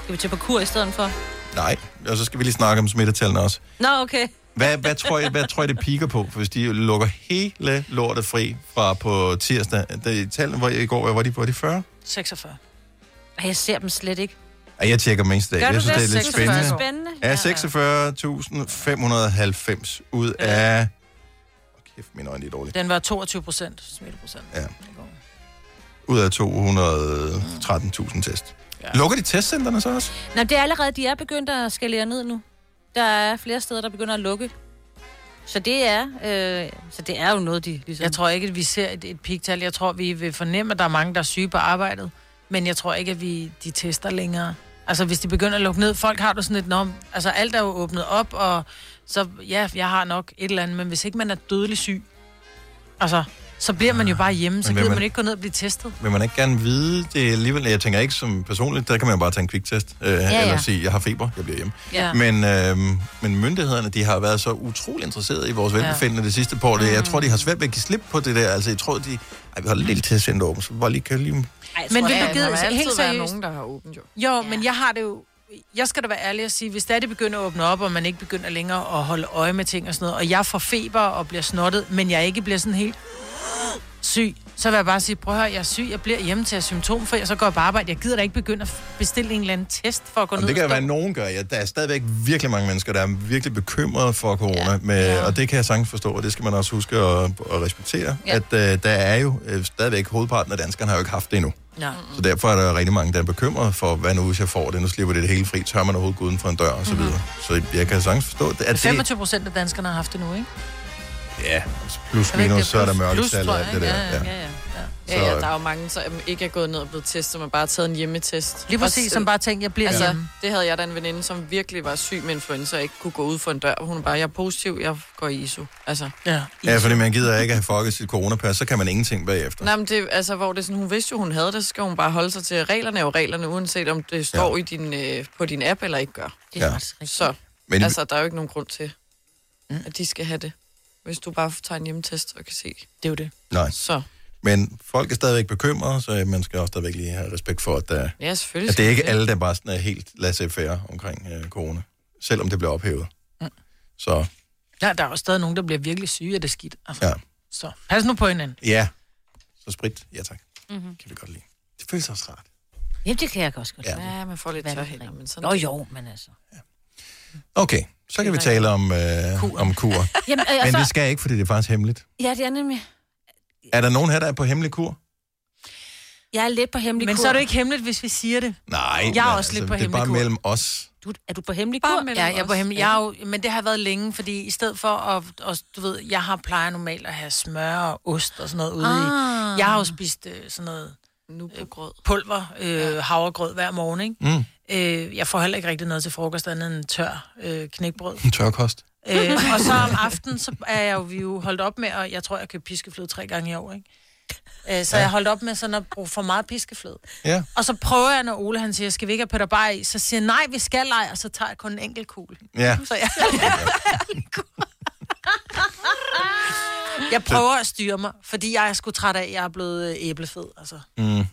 Speaker 2: Skal vi tage på kur i stedet for?
Speaker 1: Nej, og så skal vi lige snakke om smittetallene også.
Speaker 2: Nå, okay.
Speaker 1: Hvad, hvad, tror I, hvad tror I, det piker på? For hvis de lukker hele lortet fri fra på tirsdag. Det, tallene var i går, var de, var de 40?
Speaker 3: 46.
Speaker 2: Ej, jeg ser dem slet ikke.
Speaker 1: Ja, jeg tjekker dem eneste dag.
Speaker 2: Gør
Speaker 1: jeg
Speaker 2: du
Speaker 1: synes,
Speaker 2: det?
Speaker 1: det er lidt
Speaker 2: 46.
Speaker 1: spændende.
Speaker 2: Spændende.
Speaker 1: Ja, 46.590 ud af... Åh, Kæft, mine øjne er dårlige.
Speaker 3: den var 22 procent, smitteprocent.
Speaker 1: Ja. Ud af 213.000 test. Lukker de testcenterne så også?
Speaker 2: Nå, det er allerede, de er begyndt at skalere ned nu. Der er flere steder, der begynder at lukke. Så det er, øh, så det er jo noget, de ligesom...
Speaker 3: Jeg tror ikke, at vi ser et, et pigtal. Jeg tror, vi vil fornemme, at der er mange, der er syge på arbejdet. Men jeg tror ikke, at vi, de tester længere. Altså, hvis de begynder at lukke ned, folk har du sådan et, om, altså alt er jo åbnet op, og så, ja, jeg har nok et eller andet, men hvis ikke man er dødelig syg, altså, så bliver man jo bare hjemme, så
Speaker 1: Men vil
Speaker 3: gider man...
Speaker 1: man-
Speaker 3: ikke gå ned og blive testet.
Speaker 1: Vil man ikke gerne vide det alligevel? Jeg tænker ikke som personligt, der kan man jo bare tage en kviktest, øh, ja,
Speaker 3: ja.
Speaker 1: ja. eller sige, jeg har feber, jeg bliver hjemme.
Speaker 3: Ja.
Speaker 1: Men, øh, men myndighederne, de har været så utrolig interesserede i vores
Speaker 23: Ja.
Speaker 1: velbefindende det sidste par år. Mm. Jeg tror, de har svært ved at give slip på det der. Altså, jeg tror, de... Ej, vi holder et lille testcenter åbent, så vi bare lige kan lige...
Speaker 3: Ej, men vil du
Speaker 4: der
Speaker 3: gide,
Speaker 4: vil altid
Speaker 3: helt
Speaker 4: helt være
Speaker 3: seriøst,
Speaker 4: nogen, der har åbent, jo.
Speaker 3: Jo, ja. men jeg har det jo... Jeg skal da være ærlig og sige, hvis det er, det begynder at åbne op, og man ikke begynder længere at holde øje med ting og sådan noget, og jeg får feber og bliver snottet, men jeg ikke bliver sådan helt syg, så vil jeg bare sige, prøv at høre, jeg er syg, jeg bliver hjemme til at symptomfri, og så går jeg på arbejde. Jeg gider da ikke begynde at bestille en eller anden test for at gå
Speaker 1: Jamen,
Speaker 3: ned
Speaker 1: det
Speaker 3: og stå-
Speaker 1: kan være, at nogen gør. Ja, der er stadigvæk virkelig mange mennesker, der er virkelig bekymrede for corona. Ja. Med, ja. Og det kan jeg sagtens forstå, og det skal man også huske at, at respektere.
Speaker 3: Ja.
Speaker 1: Ja. At øh, der er jo øh, stadigvæk hovedparten af danskerne har jo ikke haft det endnu.
Speaker 3: Nej.
Speaker 1: Så derfor er der rigtig mange, der er bekymrede for, hvad nu hvis jeg får det. Nu slipper det, det hele fri. Tør man overhovedet gå uden for en dør og så videre. Mm-hmm. Så jeg kan sagtens forstå, at det,
Speaker 3: 25 procent af danskerne har haft det nu, ikke?
Speaker 1: ja, plus
Speaker 3: Jeg ved ikke,
Speaker 1: minus,
Speaker 3: det
Speaker 1: så er der
Speaker 3: plus-
Speaker 1: mørketal
Speaker 4: tror
Speaker 1: og
Speaker 4: jeg,
Speaker 1: alt det der.
Speaker 4: ikke?
Speaker 1: Ja,
Speaker 4: ja.
Speaker 1: Så-
Speaker 4: Ja, ja, der er jo mange, som ikke er gået ned og blevet testet, men bare har taget en hjemmetest.
Speaker 3: Lige præcis,
Speaker 4: Og-
Speaker 3: som bare tænkte, jeg bliver
Speaker 4: altså,
Speaker 3: hjemme.
Speaker 4: Det havde jeg da en veninde, som virkelig var syg med influenza, og ikke kunne gå ud for en dør. Hun er bare, jeg er positiv, jeg går i ISO. Altså.
Speaker 3: Ja.
Speaker 1: ja fordi man gider ikke have fucket sit coronapas, så kan man ingenting bagefter.
Speaker 4: Nej, men det, altså, hvor det er sådan, hun vidste jo, hun havde det, så skal hun bare holde sig til reglerne er jo reglerne, uanset om det står ja. i din, øh, på din app eller ikke gør.
Speaker 1: Det er Ja. også
Speaker 4: Så,
Speaker 1: Men-
Speaker 4: men, altså, der er jo ikke nogen grund til, at de skal have det, hvis du bare tager en hjemmetest og kan se.
Speaker 3: Det er jo det.
Speaker 1: Nej.
Speaker 4: Så.
Speaker 1: Men folk er stadigvæk bekymrede, så man skal også stadigvæk lige have respekt for, at, der,
Speaker 4: Ja, selvfølgelig
Speaker 1: at det
Speaker 4: skal
Speaker 1: er
Speaker 4: man
Speaker 1: ikke
Speaker 4: det.
Speaker 1: alle, der bare sådan er helt laissez-faire omkring øh, corona. Selvom det bliver ophævet.
Speaker 3: Mm.
Speaker 1: Så
Speaker 3: Ja, der er jo stadig nogen, der bliver virkelig syge af det skidt. Altså.
Speaker 1: Ja.
Speaker 3: Så pas nu på hinanden.
Speaker 1: ja, så sprit. Ja tak.
Speaker 2: Mm-hmm.
Speaker 1: Kan vi godt lide. Det føles også rart.
Speaker 2: Jamen, det kan jeg også godt
Speaker 1: Ja.
Speaker 2: lide.
Speaker 4: Ja, man får lidt
Speaker 2: Hvad
Speaker 4: tør
Speaker 2: ved
Speaker 4: hænder,
Speaker 2: jeg?
Speaker 4: men sådan
Speaker 2: Nå
Speaker 4: er det.
Speaker 2: jo, men altså.
Speaker 1: Okay, så kan vi tale om, øh, om kur.
Speaker 2: Jamen, øh,
Speaker 3: altså-
Speaker 1: Men
Speaker 2: så-
Speaker 1: det skal jeg ikke, fordi det er faktisk hemmeligt.
Speaker 2: Ja, det er nemlig.
Speaker 1: Er der nogen her, der er på hemmelig kur?
Speaker 2: Jeg er lidt på hemmelig
Speaker 3: Men
Speaker 2: kur.
Speaker 3: så er det ikke hemmeligt, hvis vi siger det.
Speaker 1: Nej.
Speaker 3: Jeg er
Speaker 1: men altså,
Speaker 3: også lidt på
Speaker 1: Det er
Speaker 3: hemmelig
Speaker 1: bare
Speaker 3: kur.
Speaker 1: mellem os.
Speaker 2: Du, er du på hemmelig
Speaker 3: Bare
Speaker 2: kur?
Speaker 3: ja, jeg er på hemmelig. Jeg er jo, men det har været længe, fordi i stedet for at, at du ved, jeg har plejer normalt at have smør og ost og sådan noget ude ah.
Speaker 2: Ah.
Speaker 3: i. Jeg har jo spist øh, sådan noget
Speaker 4: nu på grød.
Speaker 3: pulver, øh, ja. havregrød hver morgen, ikke?
Speaker 1: Mm.
Speaker 3: Øh, jeg får heller ikke rigtig noget til frokost andet end tør øh, knækbrød.
Speaker 1: Tørkost.
Speaker 3: øh, og så om aftenen, så er jeg jo, vi er jo holdt op med, og jeg tror, jeg købte piskefløde tre gange i år, ikke? Øh, så ja. jeg holdt op med sådan at bruge for meget piskefløde.
Speaker 1: Ja.
Speaker 3: Og så prøver jeg, når Ole han siger, skal vi ikke have Peter Bayer i? Så siger jeg, nej, vi skal ej, og så tager jeg kun en enkelt kugle.
Speaker 1: Ja.
Speaker 3: Så jeg... jeg prøver at styre mig, fordi jeg er sgu træt af, at jeg er blevet øh, æblefed. Altså.
Speaker 1: Mm.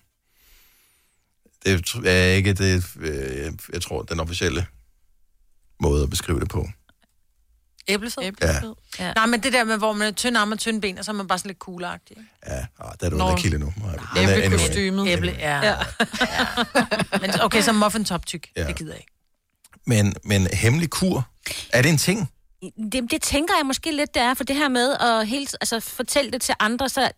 Speaker 1: Det tr- er ikke det, øh, jeg tror, den officielle måde at beskrive det på.
Speaker 3: Æblefed?
Speaker 1: Æblefed.
Speaker 3: Ja. ja. Nej, men det der med, hvor man er tynd arme og tynde ben, og så er man bare sådan lidt kugleagtig. ikke?
Speaker 1: Ah, der er du
Speaker 3: Nå.
Speaker 1: ude af kilde nu. Maja. Men, øh,
Speaker 3: Æble, ja. ja. Men okay, så muffin top tyk. Ja. Det gider jeg ikke.
Speaker 1: Men, men hemmelig kur, er det en ting?
Speaker 2: Det, det tænker jeg måske lidt, det er, for det her med at helt, altså, fortælle det til andre, så,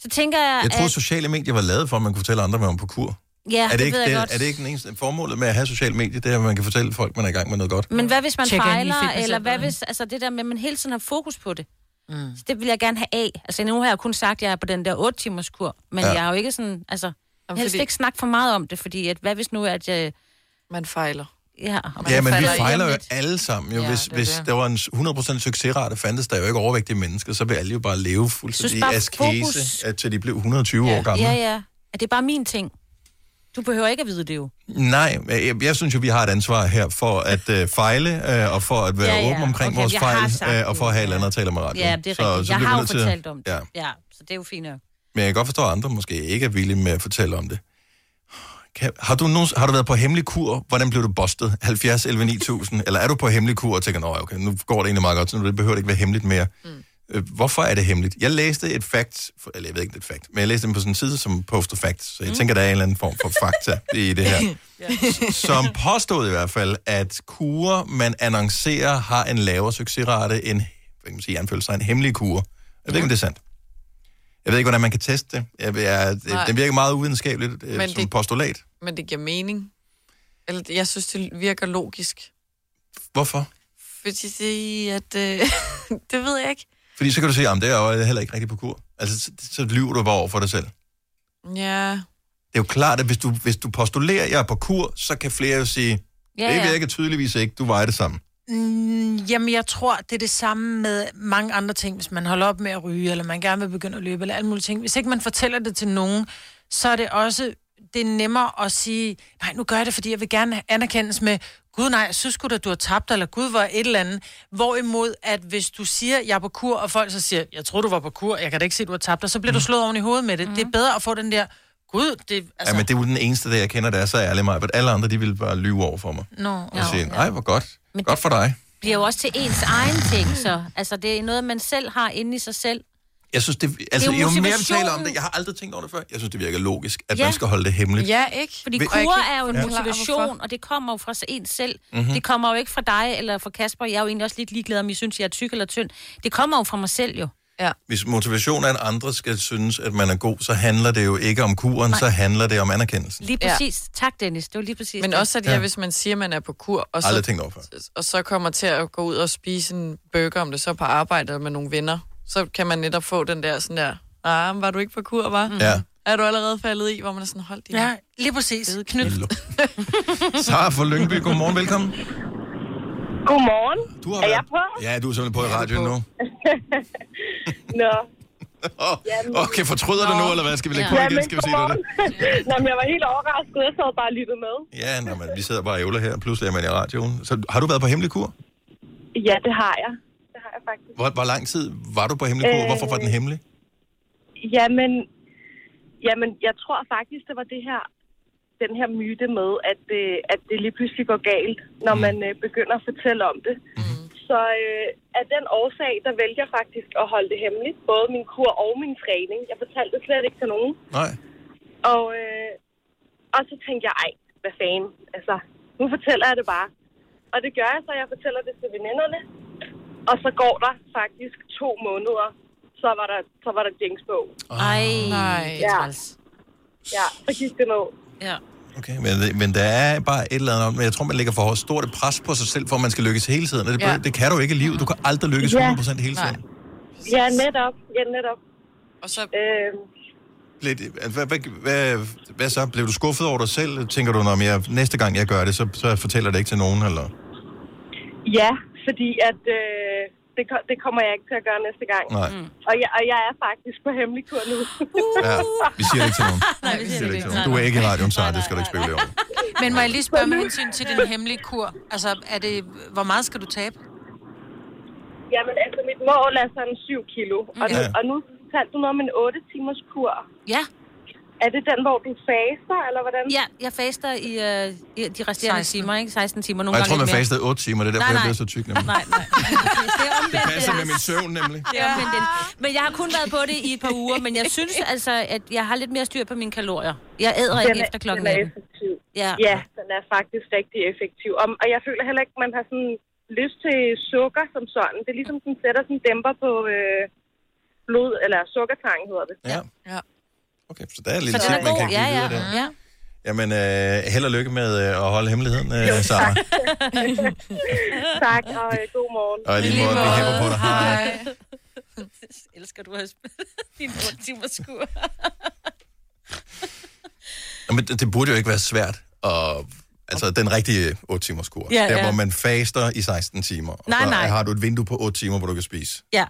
Speaker 2: så tænker jeg,
Speaker 1: Jeg troede,
Speaker 2: at...
Speaker 1: sociale medier var lavet for, at man kunne fortælle andre, hvad man var på kur.
Speaker 2: Ja,
Speaker 1: er det,
Speaker 2: det
Speaker 1: ikke,
Speaker 2: ved jeg godt.
Speaker 1: Er det ikke den eneste formålet med at have sociale medier, det er, at man kan fortælle folk, man er i gang med noget godt?
Speaker 2: Men hvad hvis man
Speaker 1: Tjek ind i
Speaker 2: fejler,
Speaker 1: fitnesscenteret,
Speaker 2: eller hvad
Speaker 1: ikke?
Speaker 2: hvis, altså det der med, at man hele tiden har fokus på det.
Speaker 3: Mm.
Speaker 2: Så det vil jeg gerne have af. Altså nu har jeg kun sagt, at jeg er på den der 8 timers kur, men
Speaker 4: Ja.
Speaker 2: ja. jeg er jo ikke sådan, altså, Jamen, helst
Speaker 4: fordi-
Speaker 2: fordi... ikke snakke for meget om det, fordi at, hvad hvis nu, at jeg...
Speaker 4: Man fejler.
Speaker 2: Ja, og man
Speaker 1: Ja, men vi
Speaker 2: falder
Speaker 1: fejler
Speaker 2: igennem
Speaker 1: jo
Speaker 2: lidt.
Speaker 1: alle sammen. Jo,
Speaker 2: Ja,
Speaker 1: ja, hvis
Speaker 2: det er
Speaker 1: hvis
Speaker 2: det.
Speaker 1: der var en 100% succesrate, fandtes der jo ikke overvægtige mennesker, så ville alle jo bare leve fuldstændig
Speaker 2: bare, fokus-
Speaker 1: askese, at- til de blev 120 år gamle.
Speaker 2: Ja, ja. Er det er bare min ting? Du behøver ikke at vide det jo.
Speaker 1: Nej, øh, jeg, jeg synes jo, vi har et ansvar her for at øh, fejle, øh, og for at være
Speaker 2: Ja,
Speaker 1: ja,
Speaker 2: ja.
Speaker 1: ja. åben omkring
Speaker 2: Okay,
Speaker 1: vores
Speaker 2: jeg har
Speaker 1: fejl,
Speaker 2: sagt
Speaker 1: øh, og for at have et eller andet at tale om i radioen.
Speaker 2: Ja, det er
Speaker 1: Så-
Speaker 2: rigtigt.
Speaker 1: så
Speaker 2: jeg
Speaker 1: bliver
Speaker 2: har
Speaker 1: vi
Speaker 2: jo
Speaker 1: nødt til-
Speaker 2: fortalt om det.
Speaker 1: Ja.
Speaker 2: ja, så det er jo fint nok.
Speaker 1: Men jeg kan godt forstå, at andre måske ikke er villige med at fortælle om det. Kan, har, du nogen, har du været på hemmelig kur? Hvordan blev du bustet? 70, 11, 9000? Eller er du på hemmelig kur og tænker, Nå, okay, nu går det egentlig meget godt, så nu det behøver det ikke være hemmeligt mere. Mm. Øh, hvorfor er det hemmeligt? Jeg læste et fact, for- eller jeg ved ikke, det er et fact, men jeg læste den på sådan en side, som poster facts, så jeg mm. tænker, der er en eller anden form for fakta i det her. Som påstod i hvert fald, at kurer, man annoncerer, har en lavere succesrate end, hvad kan man sige, i anførselstegn, hemmelige kurer. Jeg ved ikke, om det er sandt. Jeg ved ikke, hvordan man kan teste det. Jeg, jeg,
Speaker 4: Nej.
Speaker 1: det, det virker meget uvidenskabeligt øh,
Speaker 4: Men
Speaker 1: som
Speaker 4: det-
Speaker 1: det... postulat.
Speaker 4: Men det giver mening. Eller, jeg synes, det virker logisk.
Speaker 1: Hvorfor?
Speaker 4: Fordi det, at, øh, det ved jeg ikke.
Speaker 1: Fordi så kan du sige, at det er jo heller ikke rigtigt på kur. Altså, så, så lyver du bare over for dig selv.
Speaker 4: Ja,
Speaker 1: Det er jo klart, at hvis du, hvis du postulerer, at jeg er på kur, så kan flere jo sige,
Speaker 3: Ja,
Speaker 1: ja, det
Speaker 3: ja.
Speaker 1: virker tydeligvis ikke, du vejer det samme.
Speaker 3: Mm, jamen, jeg tror, det er det samme med mange andre ting. Hvis man holder op med at ryge, eller man gerne vil begynde at løbe, eller alle mulige ting. Hvis ikke man fortæller det til nogen, så er det også det er nemmere at sige, nej, nu gør jeg det, fordi jeg vil gerne anerkendes med, gud nej, jeg synes sgu da, du har tabt, eller gud, hvor et eller andet. Hvorimod, at hvis du siger, jeg er på kur, og folk så siger, jeg tror du var på kur, jeg kan da ikke se, du har tabt, og så bliver mm. du slået oven i hovedet med det. Mm. Det er bedre at få den der, gud, det,
Speaker 1: Altså... Ja, men det er jo den eneste, der jeg kender, der er så ærlig mig, men alle andre, de ville bare lyve over for mig.
Speaker 3: Nå,
Speaker 1: og
Speaker 2: nå,
Speaker 1: sige, nej, hvor godt. Men godt for dig.
Speaker 2: bliver jo også til ens egen ting, så. Altså, det er noget, man selv har inde i sig selv.
Speaker 1: Jeg synes, det, altså,
Speaker 2: Det
Speaker 1: det
Speaker 2: er jo
Speaker 1: jo mere vi
Speaker 2: motivationen.
Speaker 1: taler om det, jeg har aldrig tænkt over det før, jeg synes, det virker logisk, at
Speaker 2: Ja.
Speaker 1: ja. man skal holde det hemmeligt.
Speaker 4: Ja, ikke?
Speaker 2: Fordi
Speaker 1: Vi- Og jeg
Speaker 2: kur
Speaker 1: kan
Speaker 2: er jo en
Speaker 1: ikke forklare,
Speaker 2: motivation,
Speaker 1: hvorfor.
Speaker 2: og det kommer jo fra sig ens selv. Mm-hmm.
Speaker 1: Mhm.
Speaker 2: Det kommer jo ikke fra dig eller fra Kasper. Jeg er jo egentlig også lidt ligeglad, om I synes, jeg er tyk eller tynd. Det kommer jo fra mig selv, jo.
Speaker 4: Ja.
Speaker 1: Hvis motivationen er, at andre skal synes, at man er god, så handler det jo ikke om kuren,
Speaker 2: Nej.
Speaker 1: så handler det om anerkendelsen.
Speaker 2: Lige præcis. Ja. Tak, Dennis. Det var lige præcis
Speaker 4: Men
Speaker 2: det.
Speaker 4: også, at ja,
Speaker 1: Ja.
Speaker 4: hvis man siger, at man er på kur, og
Speaker 1: Aldrig
Speaker 4: så,
Speaker 1: tænkt over før.
Speaker 4: og så kommer til at gå ud og spise en burger, om det så er på arbejde eller med nogle venner, så kan man netop få den der sådan der, ah, men var du ikke på kur, var?
Speaker 1: Ja.
Speaker 4: Er du allerede faldet i, hvor man er sådan, hold din
Speaker 3: Ja, lige præcis.
Speaker 4: Knyt.
Speaker 1: Sara fra Lyngby, godmorgen, velkommen.
Speaker 24: Godmorgen.
Speaker 1: Du har
Speaker 24: er jeg på?
Speaker 1: Ja, du er simpelthen på i radioen nu.
Speaker 24: Nå.
Speaker 1: Jamen, okay, fortryder du nu, eller hvad? Skal vi lægge på igen? Skal vi sige det?
Speaker 24: det? Nå, men jeg var helt overrasket. Jeg sad bare og lyttede med.
Speaker 1: Ja, nå, men vi sidder bare og ævler her, pludselig er man i radioen. Så har du været på hemmelig kur?
Speaker 24: Ja, det har jeg. Det har jeg faktisk.
Speaker 1: Hvor, hvor lang tid var du på hemmelig kur?
Speaker 24: Øh.
Speaker 1: Hvorfor var den hemmelig?
Speaker 24: Jamen, jamen, jeg tror faktisk, det var det her, den her myte med, at, øh, at det lige pludselig går galt, når
Speaker 1: Mm.
Speaker 24: man øh, begynder at fortælle om det.
Speaker 1: Mm-hmm.
Speaker 24: Mm. Så øh, af den årsag, der vælger jeg faktisk at holde det hemmeligt. Både min kur og min træning. Jeg fortalte det slet ikke til nogen.
Speaker 1: Nej.
Speaker 24: Og, øh, og så tænkte jeg, ej, hvad fanden. Altså, nu fortæller jeg det bare. Og det gør jeg så, jeg fortæller det til veninderne. Og så går der faktisk to måneder, så var der, så var der jinx på.
Speaker 2: Ej, nej.
Speaker 24: Ja. ja, så gik det ned.
Speaker 2: Ja.
Speaker 1: Okay, men, men der er bare et eller andet om, men jeg tror, man lægger for hårdt stort et pres på sig selv, for at man skal lykkes hele tiden. Og det,
Speaker 24: Ja.
Speaker 1: ja. det kan du ikke i livet. Du kan aldrig lykkes
Speaker 24: Ja.
Speaker 1: 100% hele tiden.
Speaker 24: Ja, netop. Ja, netop.
Speaker 4: Og så...
Speaker 24: Øh,
Speaker 1: Blev det- altså, Hvad, hvad, hvad, hvad så? Blev du skuffet over dig selv? Tænker du, når jeg, næste gang jeg gør det, så, så fortæller jeg det ikke til nogen? Eller?
Speaker 24: ja, fordi at... Øh, det, ko- det kommer jeg ikke til at gøre næste gang.
Speaker 1: Nej. Mm.
Speaker 24: Og, jeg, og jeg er faktisk på hemmelig kur nu.
Speaker 1: Ja, vi siger det ikke til nogen.
Speaker 3: Nej, vi
Speaker 1: Vi
Speaker 3: siger
Speaker 1: siger
Speaker 3: det
Speaker 1: det
Speaker 3: ikke.
Speaker 1: til nogen. Du er ikke i radioen, så det skal du ikke spille over.
Speaker 3: Men må jeg lige spørge med hensyn til din hemmelige kur? Altså, er det, hvor meget skal du tabe?
Speaker 24: Jamen, altså, mit mål er sådan 7 kilo. Og, nu,
Speaker 3: Ja.
Speaker 24: og nu talte du noget om en 8 timers kur.
Speaker 2: Ja.
Speaker 24: Er det den, hvor du faster, eller hvordan?
Speaker 2: Ja, jeg faster i, øh, i de resterende 16. timer, ikke? 16 timer, nogle
Speaker 1: Og
Speaker 2: gange
Speaker 1: jeg tror, man
Speaker 2: lidt mere.
Speaker 1: fastede 8 timer. Det er derfor,
Speaker 2: Nej,
Speaker 1: jeg
Speaker 2: nej.
Speaker 1: blev så tyk nemlig.
Speaker 2: Nej, nej. Det er omvendt.
Speaker 1: Det passer med min søvn nemlig.
Speaker 2: Det er omvendt. lidt. Men jeg har kun været på det i et par uger, men jeg synes altså, at jeg har lidt mere styr på mine kalorier. Jeg æder
Speaker 24: Den
Speaker 2: ikke
Speaker 24: er-
Speaker 2: efter klokken
Speaker 24: den er
Speaker 2: 18.
Speaker 24: effektiv.
Speaker 2: Ja.
Speaker 24: ja, den er faktisk rigtig effektiv. Og, og jeg føler heller ikke, at man har sådan lyst til sukker som sådan. Det er ligesom, den sætter sådan en dæmper på øh, blod, eller sukkertang hedder det.
Speaker 1: Ja.
Speaker 4: ja.
Speaker 1: Okay, så der er et lille
Speaker 24: Så
Speaker 1: tip,
Speaker 24: den er
Speaker 1: man kan
Speaker 24: god.
Speaker 1: give
Speaker 24: Ja, ja.
Speaker 1: videre der.
Speaker 2: Ja.
Speaker 1: Jamen, øh, held og lykke med øh, at holde hemmeligheden, øh, Sara.
Speaker 24: tak, og øh, god morgen.
Speaker 1: Og i lige måde, vi hæpper på dig. Hej.
Speaker 2: Elsker du at spille din 8 timers skur.
Speaker 1: Jamen, det, det burde jo ikke være svært at... Altså, den rigtige 8 timers kur.
Speaker 2: Ja,
Speaker 1: der,
Speaker 2: ja.
Speaker 1: hvor man faster i 16 timer. Og
Speaker 2: Nej,
Speaker 1: så
Speaker 2: nej.
Speaker 1: har du et vindue på 8 timer, hvor du kan spise.
Speaker 2: Ja.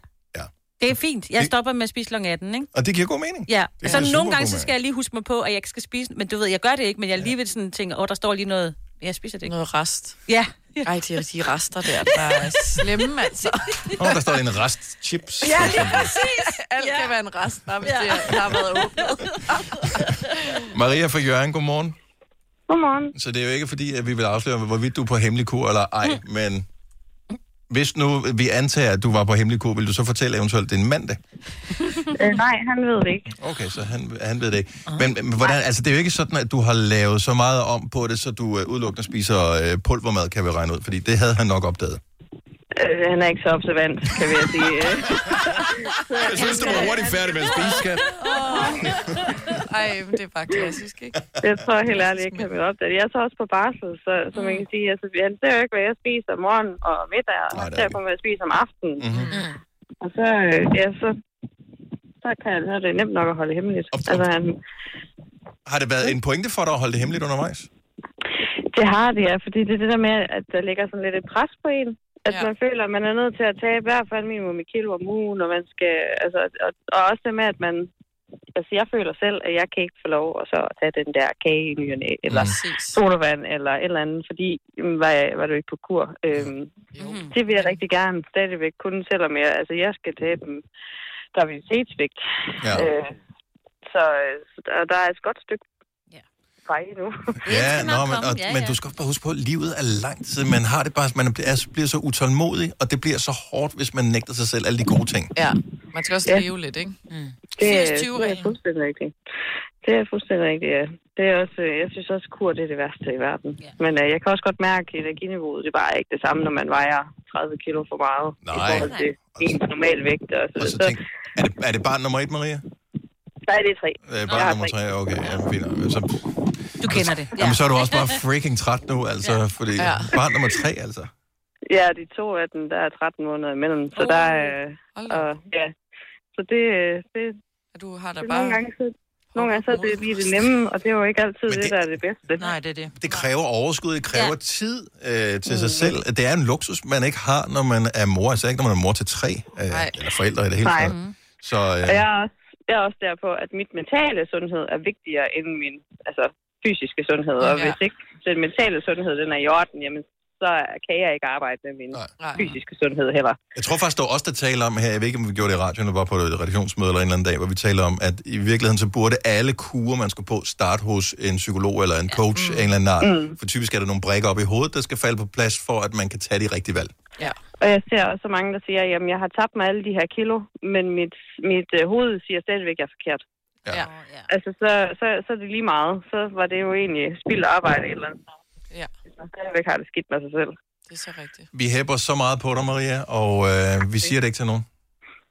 Speaker 2: Det er fint. Jeg stopper med at spise kl. 18, ikke?
Speaker 1: Og det giver god mening.
Speaker 2: Ja,
Speaker 1: Det
Speaker 2: så
Speaker 1: er altså
Speaker 2: nogle
Speaker 1: supergod
Speaker 2: gange så
Speaker 1: mening.
Speaker 2: skal jeg lige huske mig på, at jeg ikke skal spise, men du ved, jeg gør det ikke, men jeg alligevel sådan tænker, åh, oh, der står lige noget, jeg spiser det ikke.
Speaker 4: Noget rest.
Speaker 2: Ja.
Speaker 4: Ej, de, de rester der, der er slemme, altså.
Speaker 1: Åh, oh, der står en rest chips.
Speaker 4: Ja, lige præcis. Alt ja. kan være en rest, bare hvis ja. det har været åbnet.
Speaker 1: Maria fra Jørgen, godmorgen.
Speaker 23: Godmorgen.
Speaker 1: Så det er jo ikke fordi, at vi vil afsløre, hvorvidt du er på hemmelig kur eller ej,
Speaker 23: Mm.
Speaker 1: men hvis nu vi antager, at du var på hemmelig kur, vil du så fortælle eventuelt din mand det?
Speaker 23: Øh, nej, han ved det ikke.
Speaker 1: Okay, så han, han ved det ikke.
Speaker 23: Ah.
Speaker 1: Men, men hvordan, altså, det er jo ikke sådan, at du har lavet så meget om på det, så du øh, udelukkende spiser øh, pulvermad, kan vi regne ud, fordi det havde han nok opdaget.
Speaker 23: Øh, han er ikke så observant, kan vi sige.
Speaker 1: Jeg synes, du var hurtigt færdig med at spise, skat.
Speaker 4: Ej, men det er bare klassisk, ikke?
Speaker 23: Jeg tror helt ærligt ikke, han vil opdage det. Jeg er så også på barsel, så, så man kan sige, altså, han ser jo ikke, hvad jeg spiser om morgenen og middag, og han ser kun, hvad jeg spiser om aftenen.
Speaker 1: Mm-hmm.
Speaker 23: Og så, øh, ja, så, så, kan, jeg- så er det nemt nok at holde hemmeligt. Altså, han,
Speaker 1: Har det været en pointe for dig at holde det hemmeligt undervejs?
Speaker 23: Det har det, ja, fordi det er det der med, at der ligger sådan lidt et pres på en. At ja. Altså, man føler, at man er nødt til at tage i hvert fald minimum et kilo om ugen, og man skal, altså, og, og også det med, at man, altså jeg føler selv, at jeg kan ikke få lov at så tage den der kage i ny og næ, eller
Speaker 1: Mm.
Speaker 9: Præcis.
Speaker 23: sodavand, eller et eller andet, fordi jamen, var, jeg, var du ikke på kur. Øhm, det vil jeg rigtig gerne stadigvæk kunne, selvom jeg, altså jeg skal tage dem graviditetsvægt.
Speaker 1: Ja.
Speaker 23: Øh, så, øh, så der, der er et godt stykke vej endnu.
Speaker 1: Ja, nå, men,
Speaker 23: komme,
Speaker 1: og,
Speaker 23: ja,
Speaker 1: men
Speaker 23: ja.
Speaker 1: du skal også bare huske på, at livet er lang tid. Man har det bare, man er, bliver så utålmodig, og det bliver så hårdt, hvis man nægter sig selv alle de gode ting.
Speaker 4: Ja, man skal også
Speaker 23: Ja.
Speaker 4: leve lidt, ikke? Mm.
Speaker 23: Det, er-
Speaker 4: 80-20
Speaker 23: det er fuldstændig rigtigt. Det er fuldstændig rigtigt, ja. Det er også, øh, jeg synes også, kur det er det værste i verden. Ja. Men øh, jeg kan også godt mærke, at energiniveauet det er bare ikke det samme, når man vejer 30 kilo for meget. I
Speaker 1: Nej.
Speaker 23: forhold til ens normal vægt. Og så, og så, tænk,
Speaker 1: Er det, er det barn nummer et, Maria?
Speaker 23: nej, det er tre.
Speaker 1: Øh,
Speaker 23: Jeg
Speaker 1: barn
Speaker 23: har
Speaker 1: nummer
Speaker 23: tre.
Speaker 1: tre, okay. Ja, fint. Jamen, Så,
Speaker 2: Du kender det.
Speaker 1: jamen, så er du også bare freaking træt nu, altså. Ja. Fordi
Speaker 23: Ja.
Speaker 1: barn nummer tre, altså.
Speaker 23: Ja, de to af dem, der er 13 måneder imellem. Så
Speaker 4: Uh,
Speaker 23: der er... Og, ja. Så det, øh, det,
Speaker 4: Du har da
Speaker 23: det
Speaker 4: bare...
Speaker 23: nogle gange, så, nogle gange så er det lige det nemme, og det er jo ikke altid det, det, der er det bedste.
Speaker 3: Nej, det er det.
Speaker 1: Det kræver overskud, det kræver ja. tid øh, til
Speaker 23: Mm.
Speaker 1: sig selv. Det er en luksus, man ikke har, når man er mor. Altså ikke, når man er mor til tre, øh,
Speaker 23: Nej.
Speaker 1: eller forældre i det hele
Speaker 23: Nej.
Speaker 1: taget. Så øh,
Speaker 23: Og jeg er, også, jeg er også der på, at mit mentale sundhed er vigtigere end min altså, fysiske sundhed. Og
Speaker 4: Ja.
Speaker 23: ja. hvis ikke den mentale sundhed den er i orden, jamen, så kan jeg ikke arbejde med min Nej. fysiske sundhed heller.
Speaker 1: Jeg tror faktisk, det var os, der taler om her, jeg ved ikke, om vi gjorde det i radioen, eller bare på et redaktionsmøde eller en eller anden dag, hvor vi taler om, at i virkeligheden så burde alle kurer, man skal på, starte hos en psykolog eller en coach, ja. Mm. en eller anden art. For typisk er der nogle brækker op i hovedet, der skal falde på plads, for at man kan tage de rigtige valg.
Speaker 23: Ja. Og jeg ser også så mange, der siger, jamen jeg har tabt mig alle de her kilo, men mit, mit øh, hoved siger stadigvæk, at jeg er forkert.
Speaker 4: Ja.
Speaker 23: Altså, så, så, så er det lige meget. Så var det jo egentlig spild af arbejde et eller andet.
Speaker 4: Ja.
Speaker 23: Hvis man stadigvæk har det skidt med sig selv.
Speaker 4: Det er så rigtigt.
Speaker 1: Vi hæpper så meget på dig, Maria, og øh, vi siger det ikke til nogen.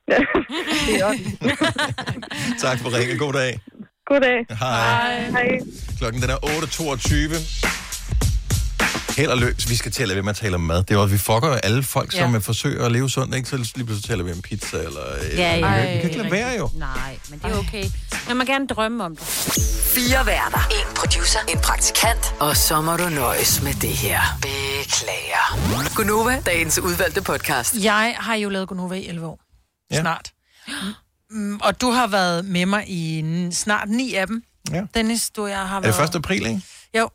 Speaker 23: Det er i orden.
Speaker 1: Tak for ringen. God dag.
Speaker 23: Goddag.
Speaker 1: Hej.
Speaker 23: Hej.
Speaker 1: Klokken den er 8.22. Held og løs. Vi skal til at lade være med at tale om mad. Det er også, vi fucker jo alle folk,
Speaker 2: Ja.
Speaker 1: ja. som øh, forsøger at leve sundt, ikke? Så lige pludselig taler vi om pizza eller... øh,
Speaker 2: Ja, ja.
Speaker 1: Vi kan ikke lade være jo.
Speaker 2: Nej, men det er okay. Man må gerne drømme om det.
Speaker 15: Fire værter. En producer. En praktikant. Og så må du nøjes med det her. Beklager. Gunova, dagens udvalgte podcast.
Speaker 3: Jeg har jo lavet Gonova i 11 år.
Speaker 15: Ja.
Speaker 3: Ja. Snart. Mm, Og du har været med mig i n- snart ni af dem.
Speaker 1: Ja.
Speaker 3: Dennis, du og jeg har
Speaker 1: Er det
Speaker 3: været...
Speaker 1: 1. april, ikke?
Speaker 3: Jo,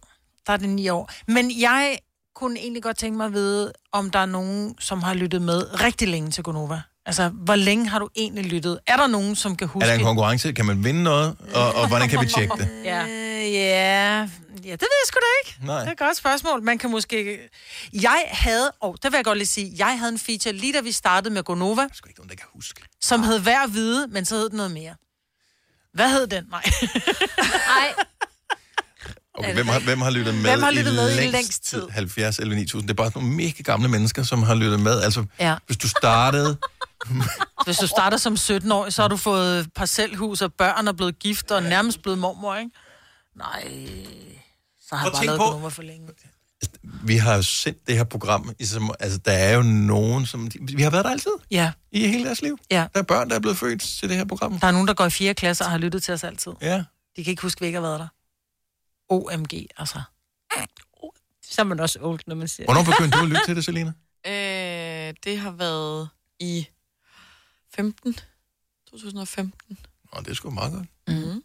Speaker 3: der er det ni år. Men jeg kunne egentlig godt tænke mig at vide, om der er nogen, som har lyttet med rigtig længe til Gonova. Altså, hvor længe har du egentlig lyttet? Er der nogen, som kan huske...
Speaker 1: Er der en konkurrence? Kan man vinde noget? Og, og hvordan kan vi tjekke det?
Speaker 3: Ja. Øh, ja. ja, det ved jeg sgu da ikke.
Speaker 1: Nej.
Speaker 3: Det er et godt spørgsmål. Man kan måske... ikke- Jeg havde, og der vil jeg godt lige sige, jeg havde en feature lige da vi startede med Gonova. Der
Speaker 1: ikke nogen, der kan huske.
Speaker 3: Som hed Hver Hvide, men så hed den noget mere. Hvad hed den? Nej.
Speaker 1: Okay, hvem, har, hvem har lyttet med,
Speaker 3: Hvem har lyttet med i længst tid?
Speaker 1: 70, 11, 9000. Det er bare sådan nogle mega gamle mennesker, som har lyttet med. Altså,
Speaker 3: Ja.
Speaker 1: hvis du startede...
Speaker 3: Hvis du starter som 17-årig, så har du fået parcelhus, og børn er blevet gift, og nærmest blevet mormor, ikke? Nej. Så har
Speaker 1: Prøv at
Speaker 3: jeg bare
Speaker 1: tænke
Speaker 3: lavet
Speaker 1: på-
Speaker 3: Gonova for længe.
Speaker 1: vi har jo sendt det her program, i som, altså der er jo nogen, som... Vi har været der altid.
Speaker 3: Ja.
Speaker 1: I hele deres liv.
Speaker 3: Ja.
Speaker 1: Der er børn, der er blevet født til det her program.
Speaker 3: Der er nogen, der går i 4. klasse og har lyttet til os altid.
Speaker 1: Ja.
Speaker 3: De kan ikke huske, at vi ikke har været der. OMG, altså. Så er man også old, når man siger
Speaker 1: Hvornår begyndte du at lytte til det, Selina?
Speaker 4: Øh, det har været i 15. 2015.
Speaker 1: Nå, det er sgu meget godt.
Speaker 3: Mm-hmm.
Speaker 4: Mm.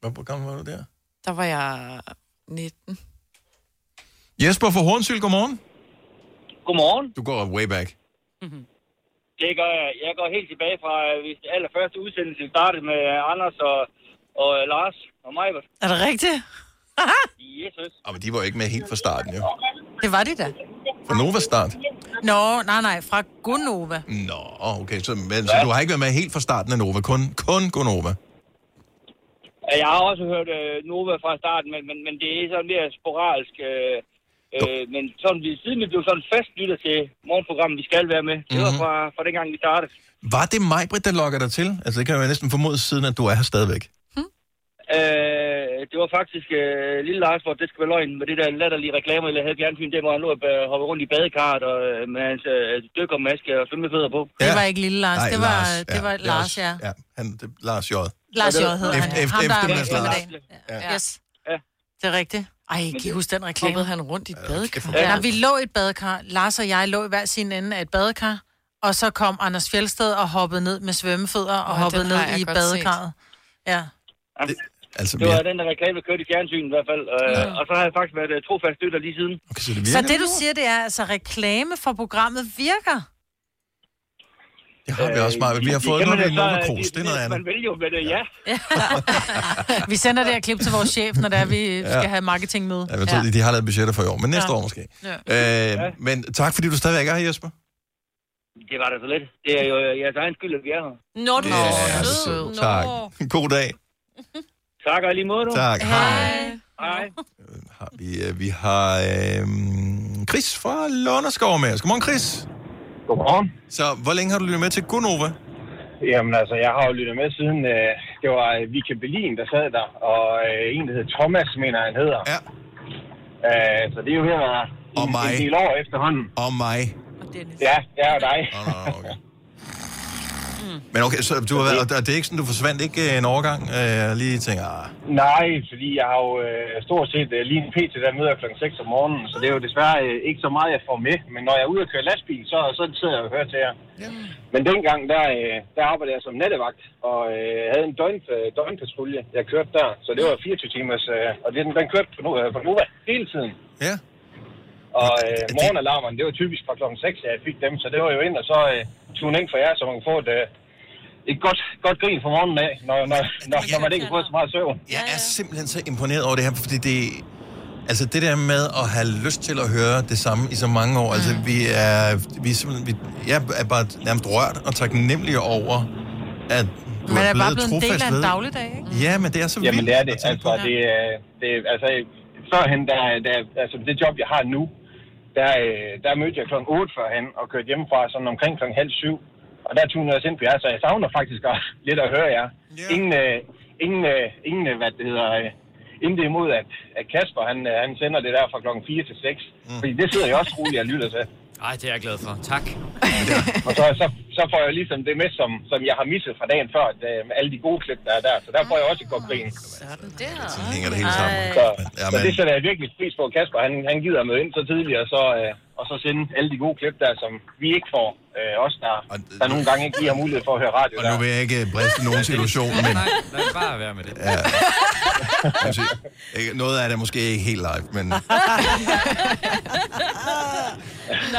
Speaker 1: Hvad program var du der?
Speaker 4: Der var jeg 19.
Speaker 1: Jesper fra Hornsyl, godmorgen.
Speaker 19: Godmorgen.
Speaker 1: Du går way back.
Speaker 19: Det gør jeg. Jeg går helt tilbage fra øh, hvis det allerførste udsendelse, vi startede med øh, Anders og, og øh, Lars og mig.
Speaker 3: Er det rigtigt?
Speaker 19: Jesus.
Speaker 1: Og de var jo ikke med helt fra starten, jo.
Speaker 3: Det var det da.
Speaker 1: Fra Nova Start?
Speaker 3: Nå, nej, nej, fra Gunova.
Speaker 1: Nå, okay. Så, men, så du har ikke været med helt fra starten af Nova. Kun, kun Gonova.
Speaker 19: Øh, Jeg har også hørt øh, Nova fra starten, men, men, men det er sådan mere sporadisk. Øh, øh, men sådan, vi- siden vi blev sådan fastlytter til morgenprogrammet, vi skal være med, det var
Speaker 1: Mhm.
Speaker 19: fra, fra dengang, vi startede.
Speaker 1: Var det mig, Britt, der lokker dig til? Altså, det kan jeg jo næsten formode siden, at du er her stadigvæk.
Speaker 19: Øh, det var faktisk øh, Lille Lars, hvor det skulle være løgn med det der latterlige reklamer, jeg havde i fjernsyn, der hvor han lå og øh, hoppede rundt i badekart og, øh, med hans øh, dykkermaske og svømmefødder på.
Speaker 3: Det var ikke lille Lars,
Speaker 1: Nej,
Speaker 3: det var,
Speaker 1: Lars,
Speaker 3: det var
Speaker 1: ja.
Speaker 3: ja.
Speaker 1: Det er
Speaker 3: Lars,
Speaker 1: også-
Speaker 3: ja.
Speaker 1: ja. Han, det, Lars J.
Speaker 3: Lars J. hedder
Speaker 21: Efter-
Speaker 3: han.
Speaker 21: efter-
Speaker 3: Ham, der er
Speaker 21: eftermiddags
Speaker 3: med
Speaker 21: Lars.
Speaker 3: dagen. Ja. Yes. Det er rigtigt. Ej, kan I huske den reklame?
Speaker 4: Hoppede han rundt i et badekar?
Speaker 3: Ja. Når vi lå i et badekar, Lars og jeg lå i hver sin ende af et badekar, og så kom Anders Fjeldsted og hoppede ned med svømmefødder og
Speaker 4: Åh,
Speaker 3: hoppede
Speaker 4: den har
Speaker 3: ned
Speaker 4: jeg
Speaker 3: i
Speaker 4: godt
Speaker 3: badekarret. Ja.
Speaker 1: Det, altså,
Speaker 19: det var den der reklame, der kørte i fjernsynet i hvert fald. Øh, Og så har jeg faktisk været øh, trofast støtter lige siden.
Speaker 1: Okay, så,
Speaker 3: Så det du siger, det er altså reklame for programmet virker.
Speaker 1: Det har vi også
Speaker 19: Øh,
Speaker 1: meget. Vi har fået noget med Mona Cruz. Det er noget andet.
Speaker 19: Man vælger jo med det, ja.
Speaker 3: Vi sender det her klip til vores chef, når det er, vi skal
Speaker 1: Ja.
Speaker 3: have marketingmøde.
Speaker 1: Ja, jeg tror, de har lavet budgetter for i år, men næste
Speaker 3: Ja.
Speaker 1: år måske.
Speaker 3: Ja.
Speaker 1: Øh, men tak, fordi du stadigvæk er her, Jesper.
Speaker 19: Det var da så lidt. Det er jo øh, jeres egen skyld, at vi er her.
Speaker 2: Nå, du
Speaker 1: Ja, altså sød. Tak. God dag.
Speaker 19: Tak og i lige måde. du.
Speaker 1: Tak. Hej.
Speaker 19: Hej.
Speaker 1: Vi, øh, vi har øh, Chris fra Lunderskov med os. Godmorgen, Chris.
Speaker 9: Godmorgen.
Speaker 1: Så hvor længe har du lyttet med til Gunova?
Speaker 9: Jamen altså, jeg har jo lyttet med siden, øh, det var øh, Vika Berlin, der sad der, og øh, en, der hed Thomas, mener jeg, han hedder.
Speaker 1: Ja.
Speaker 9: Øh, så det er jo her
Speaker 1: og mig.
Speaker 9: en del år efterhånden.
Speaker 1: Og mig.
Speaker 9: Ja, ja og dig.
Speaker 1: Oh, no, okay. Men okay, så du har været, og det er ikke sådan, du forsvandt ikke øh, en overgang? Øh, lige tænker, ah,
Speaker 9: Nej, fordi jeg har jo øh, stort set øh, lige en pt, der møder kl. 6 om morgenen, så det er jo desværre øh, ikke så meget, jeg får med. Men når jeg er ude og køre lastbil, så, så sidder jeg og hører til jer. Men dengang, der, øh, der arbejdede jeg som nattevagt, og øh, havde en døgn, øh, døgnpatrulje, jeg kørte der. Så det var 24 timers, øh, og det, den, den kørte på, nu, øh, på Nova hele tiden.
Speaker 1: Ja.
Speaker 9: Og øh, morgenalarmerne, det var typisk fra klokken 6, at jeg fik dem, så det var jo ind, og så øh, tune ind for jer, så man kunne få et, øh, et godt, godt grin fra morgenen af, når, når, når, når man ikke har fået så meget søvn.
Speaker 1: jeg er simpelthen så imponeret over det her, fordi det, altså det der med at have lyst til at høre det samme i så mange år, altså
Speaker 3: Mm.
Speaker 1: vi er, vi er simpelthen, vi, jeg er bare nærmest rørt og taknemmelig over, at du
Speaker 3: Man
Speaker 1: er,
Speaker 3: er bare
Speaker 1: blevet,
Speaker 3: blevet en del
Speaker 1: trofast
Speaker 3: af en
Speaker 1: ved-
Speaker 3: dagligdag, ikke?
Speaker 1: Ja, men det er så vildt.
Speaker 9: Jamen det er det. Altså, det, er- det, er- altså, førhen, der, der, altså det job, jeg har nu, der, øh, der mødte jeg klokken 8 førhen og kørte hjemmefra sådan omkring klokken halv syv. Og der tunede jeg os ind på jer, så jeg savner faktisk også lidt at høre jer. Ingen, øh, ingen, øh, ingen, øh, hvad det hedder, øh, intet imod, at, at Kasper, han, øh, han sender det der fra klokken 4 til 6. Mm. Fordi det sidder jeg også roligt og lytter til.
Speaker 5: Nej, det er jeg glad for. Tak.
Speaker 9: Og så, så, så får jeg ligesom det med, som, som jeg har misset fra dagen før, at, øh, med alle de gode klip, der er der. Så der får jeg også et godt grin.
Speaker 1: Sådan hænger det hele sammen.
Speaker 9: Så,
Speaker 1: Ja,
Speaker 9: så
Speaker 1: men-
Speaker 9: det sætter jeg virkelig pris på. Kasper, han, han gider at møde ind så tidligt, og så, øh, og så sende alle de gode klip der, som vi ikke får. Øh, os, der, der nogle gange ikke lige har mulighed for at høre radio
Speaker 1: Og
Speaker 9: der.
Speaker 1: nu vil jeg ikke briste nogen situation, men...
Speaker 9: Nej,
Speaker 5: Lad bare være med det.
Speaker 1: Ja. Altså, ikke- Noget af det er måske ikke helt live, men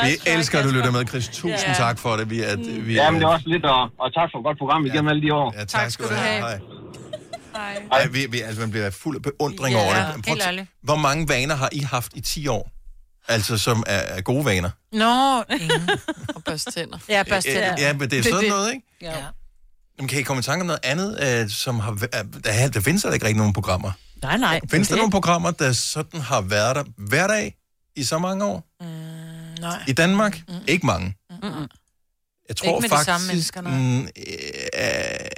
Speaker 1: vi elsker, at du lytter med, Chris. Tusind
Speaker 9: Ja.
Speaker 1: tak for det. Vi er, vi
Speaker 9: Jamen, det er også lidt, og, og tak for et godt program igennem alle de år.
Speaker 1: Ja, tak, skal du have. Hej. Ej, vi, vi, altså, man bliver fuld af beundring
Speaker 9: Ja,
Speaker 1: over det.
Speaker 9: helt
Speaker 1: Prøv at tæ-
Speaker 9: ærligt.
Speaker 1: Hvor mange vaner har I haft i 10 år? Altså, som er, er gode vaner.
Speaker 3: Nå, ingen.
Speaker 4: Og børste tænder.
Speaker 3: Ja, børste
Speaker 1: Øh, øh,
Speaker 3: tænder.
Speaker 1: ja, men det er sådan noget, ikke?
Speaker 4: Ja.
Speaker 1: Jamen, kan I komme i tanke om noget andet, øh, som har... væ- Øh, der, er- der findes der ikke rigtig nogen programmer.
Speaker 3: Nej, nej.
Speaker 1: Findes der nogle programmer, der sådan har været der hver dag i så mange år?
Speaker 3: nej.
Speaker 1: I Danmark? Mm. Ikke mange.
Speaker 3: Mm-mm.
Speaker 1: Jeg tror
Speaker 3: Ikke med de
Speaker 1: faktisk...
Speaker 3: samme mennesker, nej.
Speaker 1: mm, øh,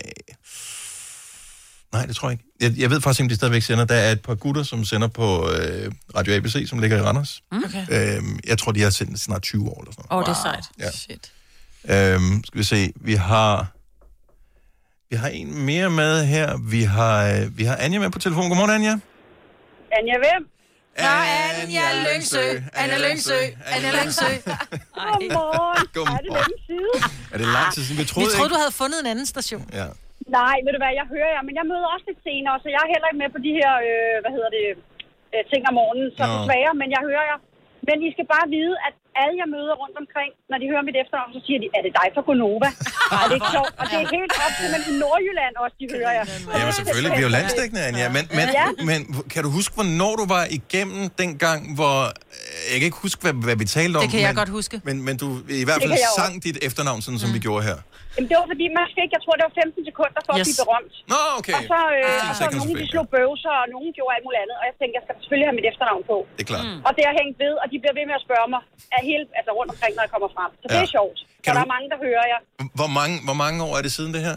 Speaker 1: nej, det tror jeg ikke. Jeg, jeg ved faktisk ikke, om de stadigvæk sender. Der er et par gutter, som sender på øh, Radio ABC, som ligger i Randers.
Speaker 3: Okay.
Speaker 1: Øhm, jeg tror, de har sendt snart 20 år eller sådan
Speaker 2: Åh, det er sejt.
Speaker 1: Ja.
Speaker 4: Shit.
Speaker 1: Øhm, skal vi se, vi har... Vi har en mere med her. Vi har, øh, vi har Anja med på telefon. Godmorgen, Anja.
Speaker 20: Anja, hvem?
Speaker 3: Nå, Anja Lyngsø. Anja Lyngsø. Anja Lyngsø.
Speaker 20: Godmorgen.
Speaker 1: Godmorgen.
Speaker 20: Er det længe siden?
Speaker 1: Er det lang tid siden? Vi troede,
Speaker 3: Ah, Vi troede,
Speaker 1: ikke...
Speaker 3: du havde fundet en anden station.
Speaker 1: Ja.
Speaker 20: Nej, ved du hvad, jeg hører jer, men jeg møder også lidt senere, så jeg er heller ikke med på de her, øh, hvad hedder det, øh, ting om morgenen, så
Speaker 1: Nå.
Speaker 20: desværre, men jeg hører jer. Men I skal bare vide, at alle jeg møder rundt omkring, når de hører mit efternavn, så siger de, er det dig fra Gonova? Og det er ikke sjovt, og det er helt op til, men i Nordjylland også, de hører jer.
Speaker 1: Jamen selvfølgelig, vi er jo landstækkende, Anja. Men, men, ja. men kan du huske, hvornår du var igennem den gang, hvor... øh, Jeg kan ikke huske, hvad, hvad vi talte om.
Speaker 20: Det kan jeg
Speaker 1: men,
Speaker 20: godt huske.
Speaker 1: Men, men du i hvert
Speaker 20: Det
Speaker 1: fald
Speaker 20: kan jeg
Speaker 1: sang dit efternavn, sådan som vi gjorde her.
Speaker 20: Jamen, det var fordi, man fik, jeg tror, det var 15 sekunder for yes.
Speaker 1: Yes.
Speaker 20: at blive berømt.
Speaker 1: Nå, okay.
Speaker 20: Og så, øh,
Speaker 1: Ah.
Speaker 20: og så
Speaker 1: 15
Speaker 20: nogen, de
Speaker 1: sekunder.
Speaker 20: slog bøvser, og nogen gjorde alt muligt andet. Og jeg tænkte, jeg skal selvfølgelig have mit efternavn på.
Speaker 1: Det er klart. Mm.
Speaker 20: Og det har hængt ved, og de bliver ved med at spørge mig af hele, altså rundt omkring, når jeg kommer frem. Så det
Speaker 1: Ja.
Speaker 20: er sjovt.
Speaker 1: Kan
Speaker 20: Kan
Speaker 1: du-
Speaker 20: der er mange, der hører jer.
Speaker 1: Hvor mange, hvor mange år er det siden det her?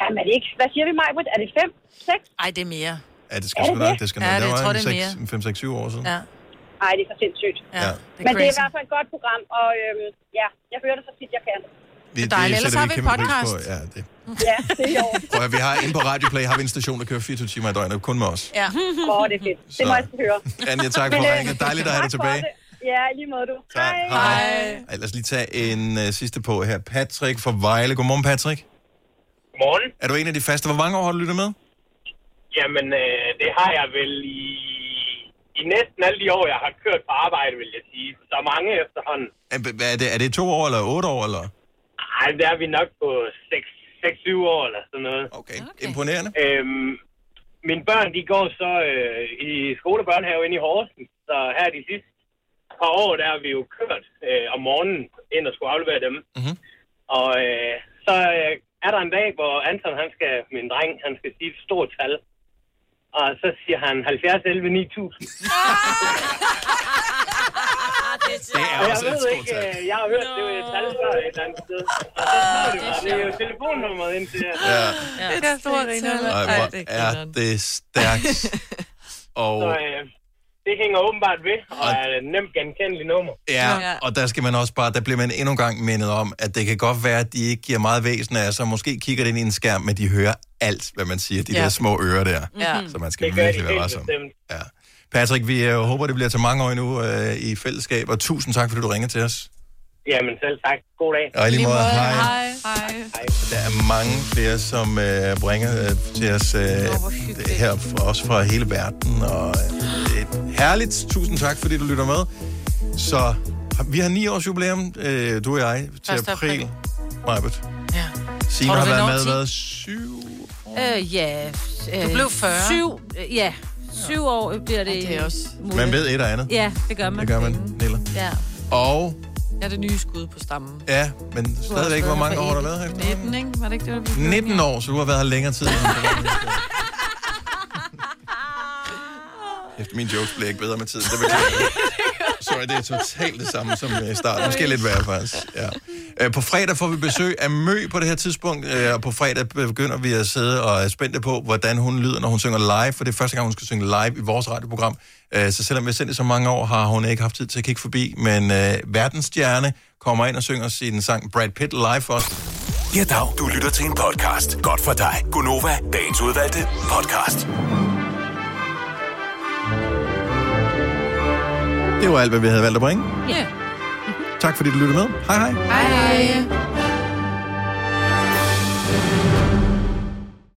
Speaker 20: Jamen, er det ikke... Hvad siger vi, Majbrit? Er det fem? Seks?
Speaker 3: Ej, det er mere.
Speaker 1: Ja, det skal
Speaker 20: Er
Speaker 1: sgu
Speaker 20: det
Speaker 1: nok.
Speaker 20: det?
Speaker 1: Det skal
Speaker 20: Ja,
Speaker 1: nok.
Speaker 20: det- jeg tror, det er mere.
Speaker 1: var 5-6-7 år siden.
Speaker 3: Ja.
Speaker 20: Nej, det er for sindssygt.
Speaker 1: Mm. Ja.
Speaker 20: Men det er i hvert fald et godt program, og øhm, ja, jeg hører det så tit, jeg kan.
Speaker 1: Vi,
Speaker 20: dejligt. Ellers
Speaker 1: sætter
Speaker 20: har vi en
Speaker 1: kæmpe
Speaker 20: podcast.
Speaker 1: pris På. Ja, det
Speaker 20: Ja, det er i orden.
Speaker 1: Prøv at, vi har inde på Radioplay har vi en station, der kører 24 timer i døgnet, kun med os.
Speaker 20: Ja. Åh, det er fedt. Det
Speaker 1: Så.
Speaker 20: må jeg sgu høre.
Speaker 1: Anja, tak for
Speaker 20: Men, øh,
Speaker 1: ringen. Dejligt at have dig
Speaker 20: tak for
Speaker 1: tilbage.
Speaker 20: det. Ja, i lige måde du. Hej.
Speaker 1: Ej, lad os lige tage en uh, sidste på her. Patrick fra Vejle. Godmorgen, Patrick.
Speaker 11: Godmorgen.
Speaker 1: Er du en af de faste? Hvor mange år har du lyttet med?
Speaker 11: Jamen, øh, det har jeg vel i, i næsten alle de år, jeg har kørt på arbejde, vil jeg sige. Der er mange efterhånden.
Speaker 1: Er, hvad er, det, er det to år eller otte år? Eller?
Speaker 11: Ej, der er vi nok på 6-7 år eller sådan noget.
Speaker 1: Okay, imponerende.
Speaker 11: Øhm, mine børn, de går så øh, i skole og børnehave inde i Horsens, så her de sidste par år, der har vi jo kørt øh, om morgenen ind og skulle aflevere dem.
Speaker 1: Mm-hmm.
Speaker 11: Og øh, så øh, er der en dag, hvor Anton, han skal, min dreng, han skal sige et stort tal. Og så siger han 70, 11, 9000.
Speaker 20: Det
Speaker 11: Og jeg ved ikke, øh, jeg har hørt, det er jo et tal før et eller andet sted. Og så står det, bare, det er jo telefonnummeret ind til jer.
Speaker 1: Ja.
Speaker 11: Det er stort
Speaker 1: Ej, hvor er det stærkt. Og,
Speaker 11: Så øh, det hænger åbenbart ved, og er et nemt genkendeligt nummer.
Speaker 1: ja, og der skal man også bare, der bliver man endnu en gang mindet om, at det kan godt være, at de ikke giver meget væsen af sig. Måske kigger det ind i en skærm, men de hører alt, hvad man siger. De
Speaker 11: Ja.
Speaker 1: der små ører der.
Speaker 11: Ja.
Speaker 1: Så man skal
Speaker 11: Det gør de
Speaker 1: virkelig være
Speaker 11: helt
Speaker 1: varsom.
Speaker 11: bestemt.
Speaker 1: Ja. Patrick, vi øh, håber, det bliver til mange år endnu øh, i fællesskab, og tusind tak, fordi du ringer til os.
Speaker 11: Jamen selv tak. God dag.
Speaker 1: Og i lige måde, hej.
Speaker 11: Hej.
Speaker 1: Der er mange flere, som øh, bringer øh, til os øh, det her, fra- også fra hele verden. Og øh, et herligt. Tusind tak, fordi du lytter med. Så har- vi har ni års jubilæum, øh, du og jeg, til
Speaker 2: Første april.
Speaker 1: april. Majbet.
Speaker 3: Ja.
Speaker 1: Signe
Speaker 3: Tror du,
Speaker 1: har
Speaker 3: vi
Speaker 1: været
Speaker 3: når
Speaker 1: med,
Speaker 3: ti?
Speaker 1: været syv
Speaker 2: Øh, ja.
Speaker 3: Du blev 40.
Speaker 2: Syv, øh, ja. Syv år bliver det. Ja, det er også.
Speaker 1: Man ved et og andet.
Speaker 2: Ja, det gør man.
Speaker 1: Det gør man, Nilla.
Speaker 2: Ja.
Speaker 1: Og,
Speaker 4: Ja, det nye skud på stammen.
Speaker 1: ja, men stadigvæk, hvor mange år har du været her?
Speaker 4: 19, ikke? Var det ikke det, der blev
Speaker 1: 19 år, så du har været her længere tid. end- Efter mine jokes bliver ikke bedre med tiden. Det beklager jeg. Sorry, det er totalt det samme som øh, i starten. Måske lidt værre, faktisk. Ja. Øh, På fredag får vi besøg af Mø på det her tidspunkt, øh, og på fredag begynder vi at sidde og er spændte på, hvordan hun lyder, når hun synger live, for det er første gang, hun skal synge live i vores radioprogram. Øh, Så selvom vi har sendt det så mange år, har hun ikke haft tid til at kigge forbi, men øh, verdensstjerne kommer ind og synger sin sang Brad Pitt live for os.
Speaker 6: Ja, dag. Du lytter til en podcast. Godt for dig. Gunova, dagens udvalgte podcast.
Speaker 1: Det var alt, hvad vi havde valgt at bringe.
Speaker 2: Ja.
Speaker 1: Tak fordi du lyttede med. Hej hej.
Speaker 4: Hej.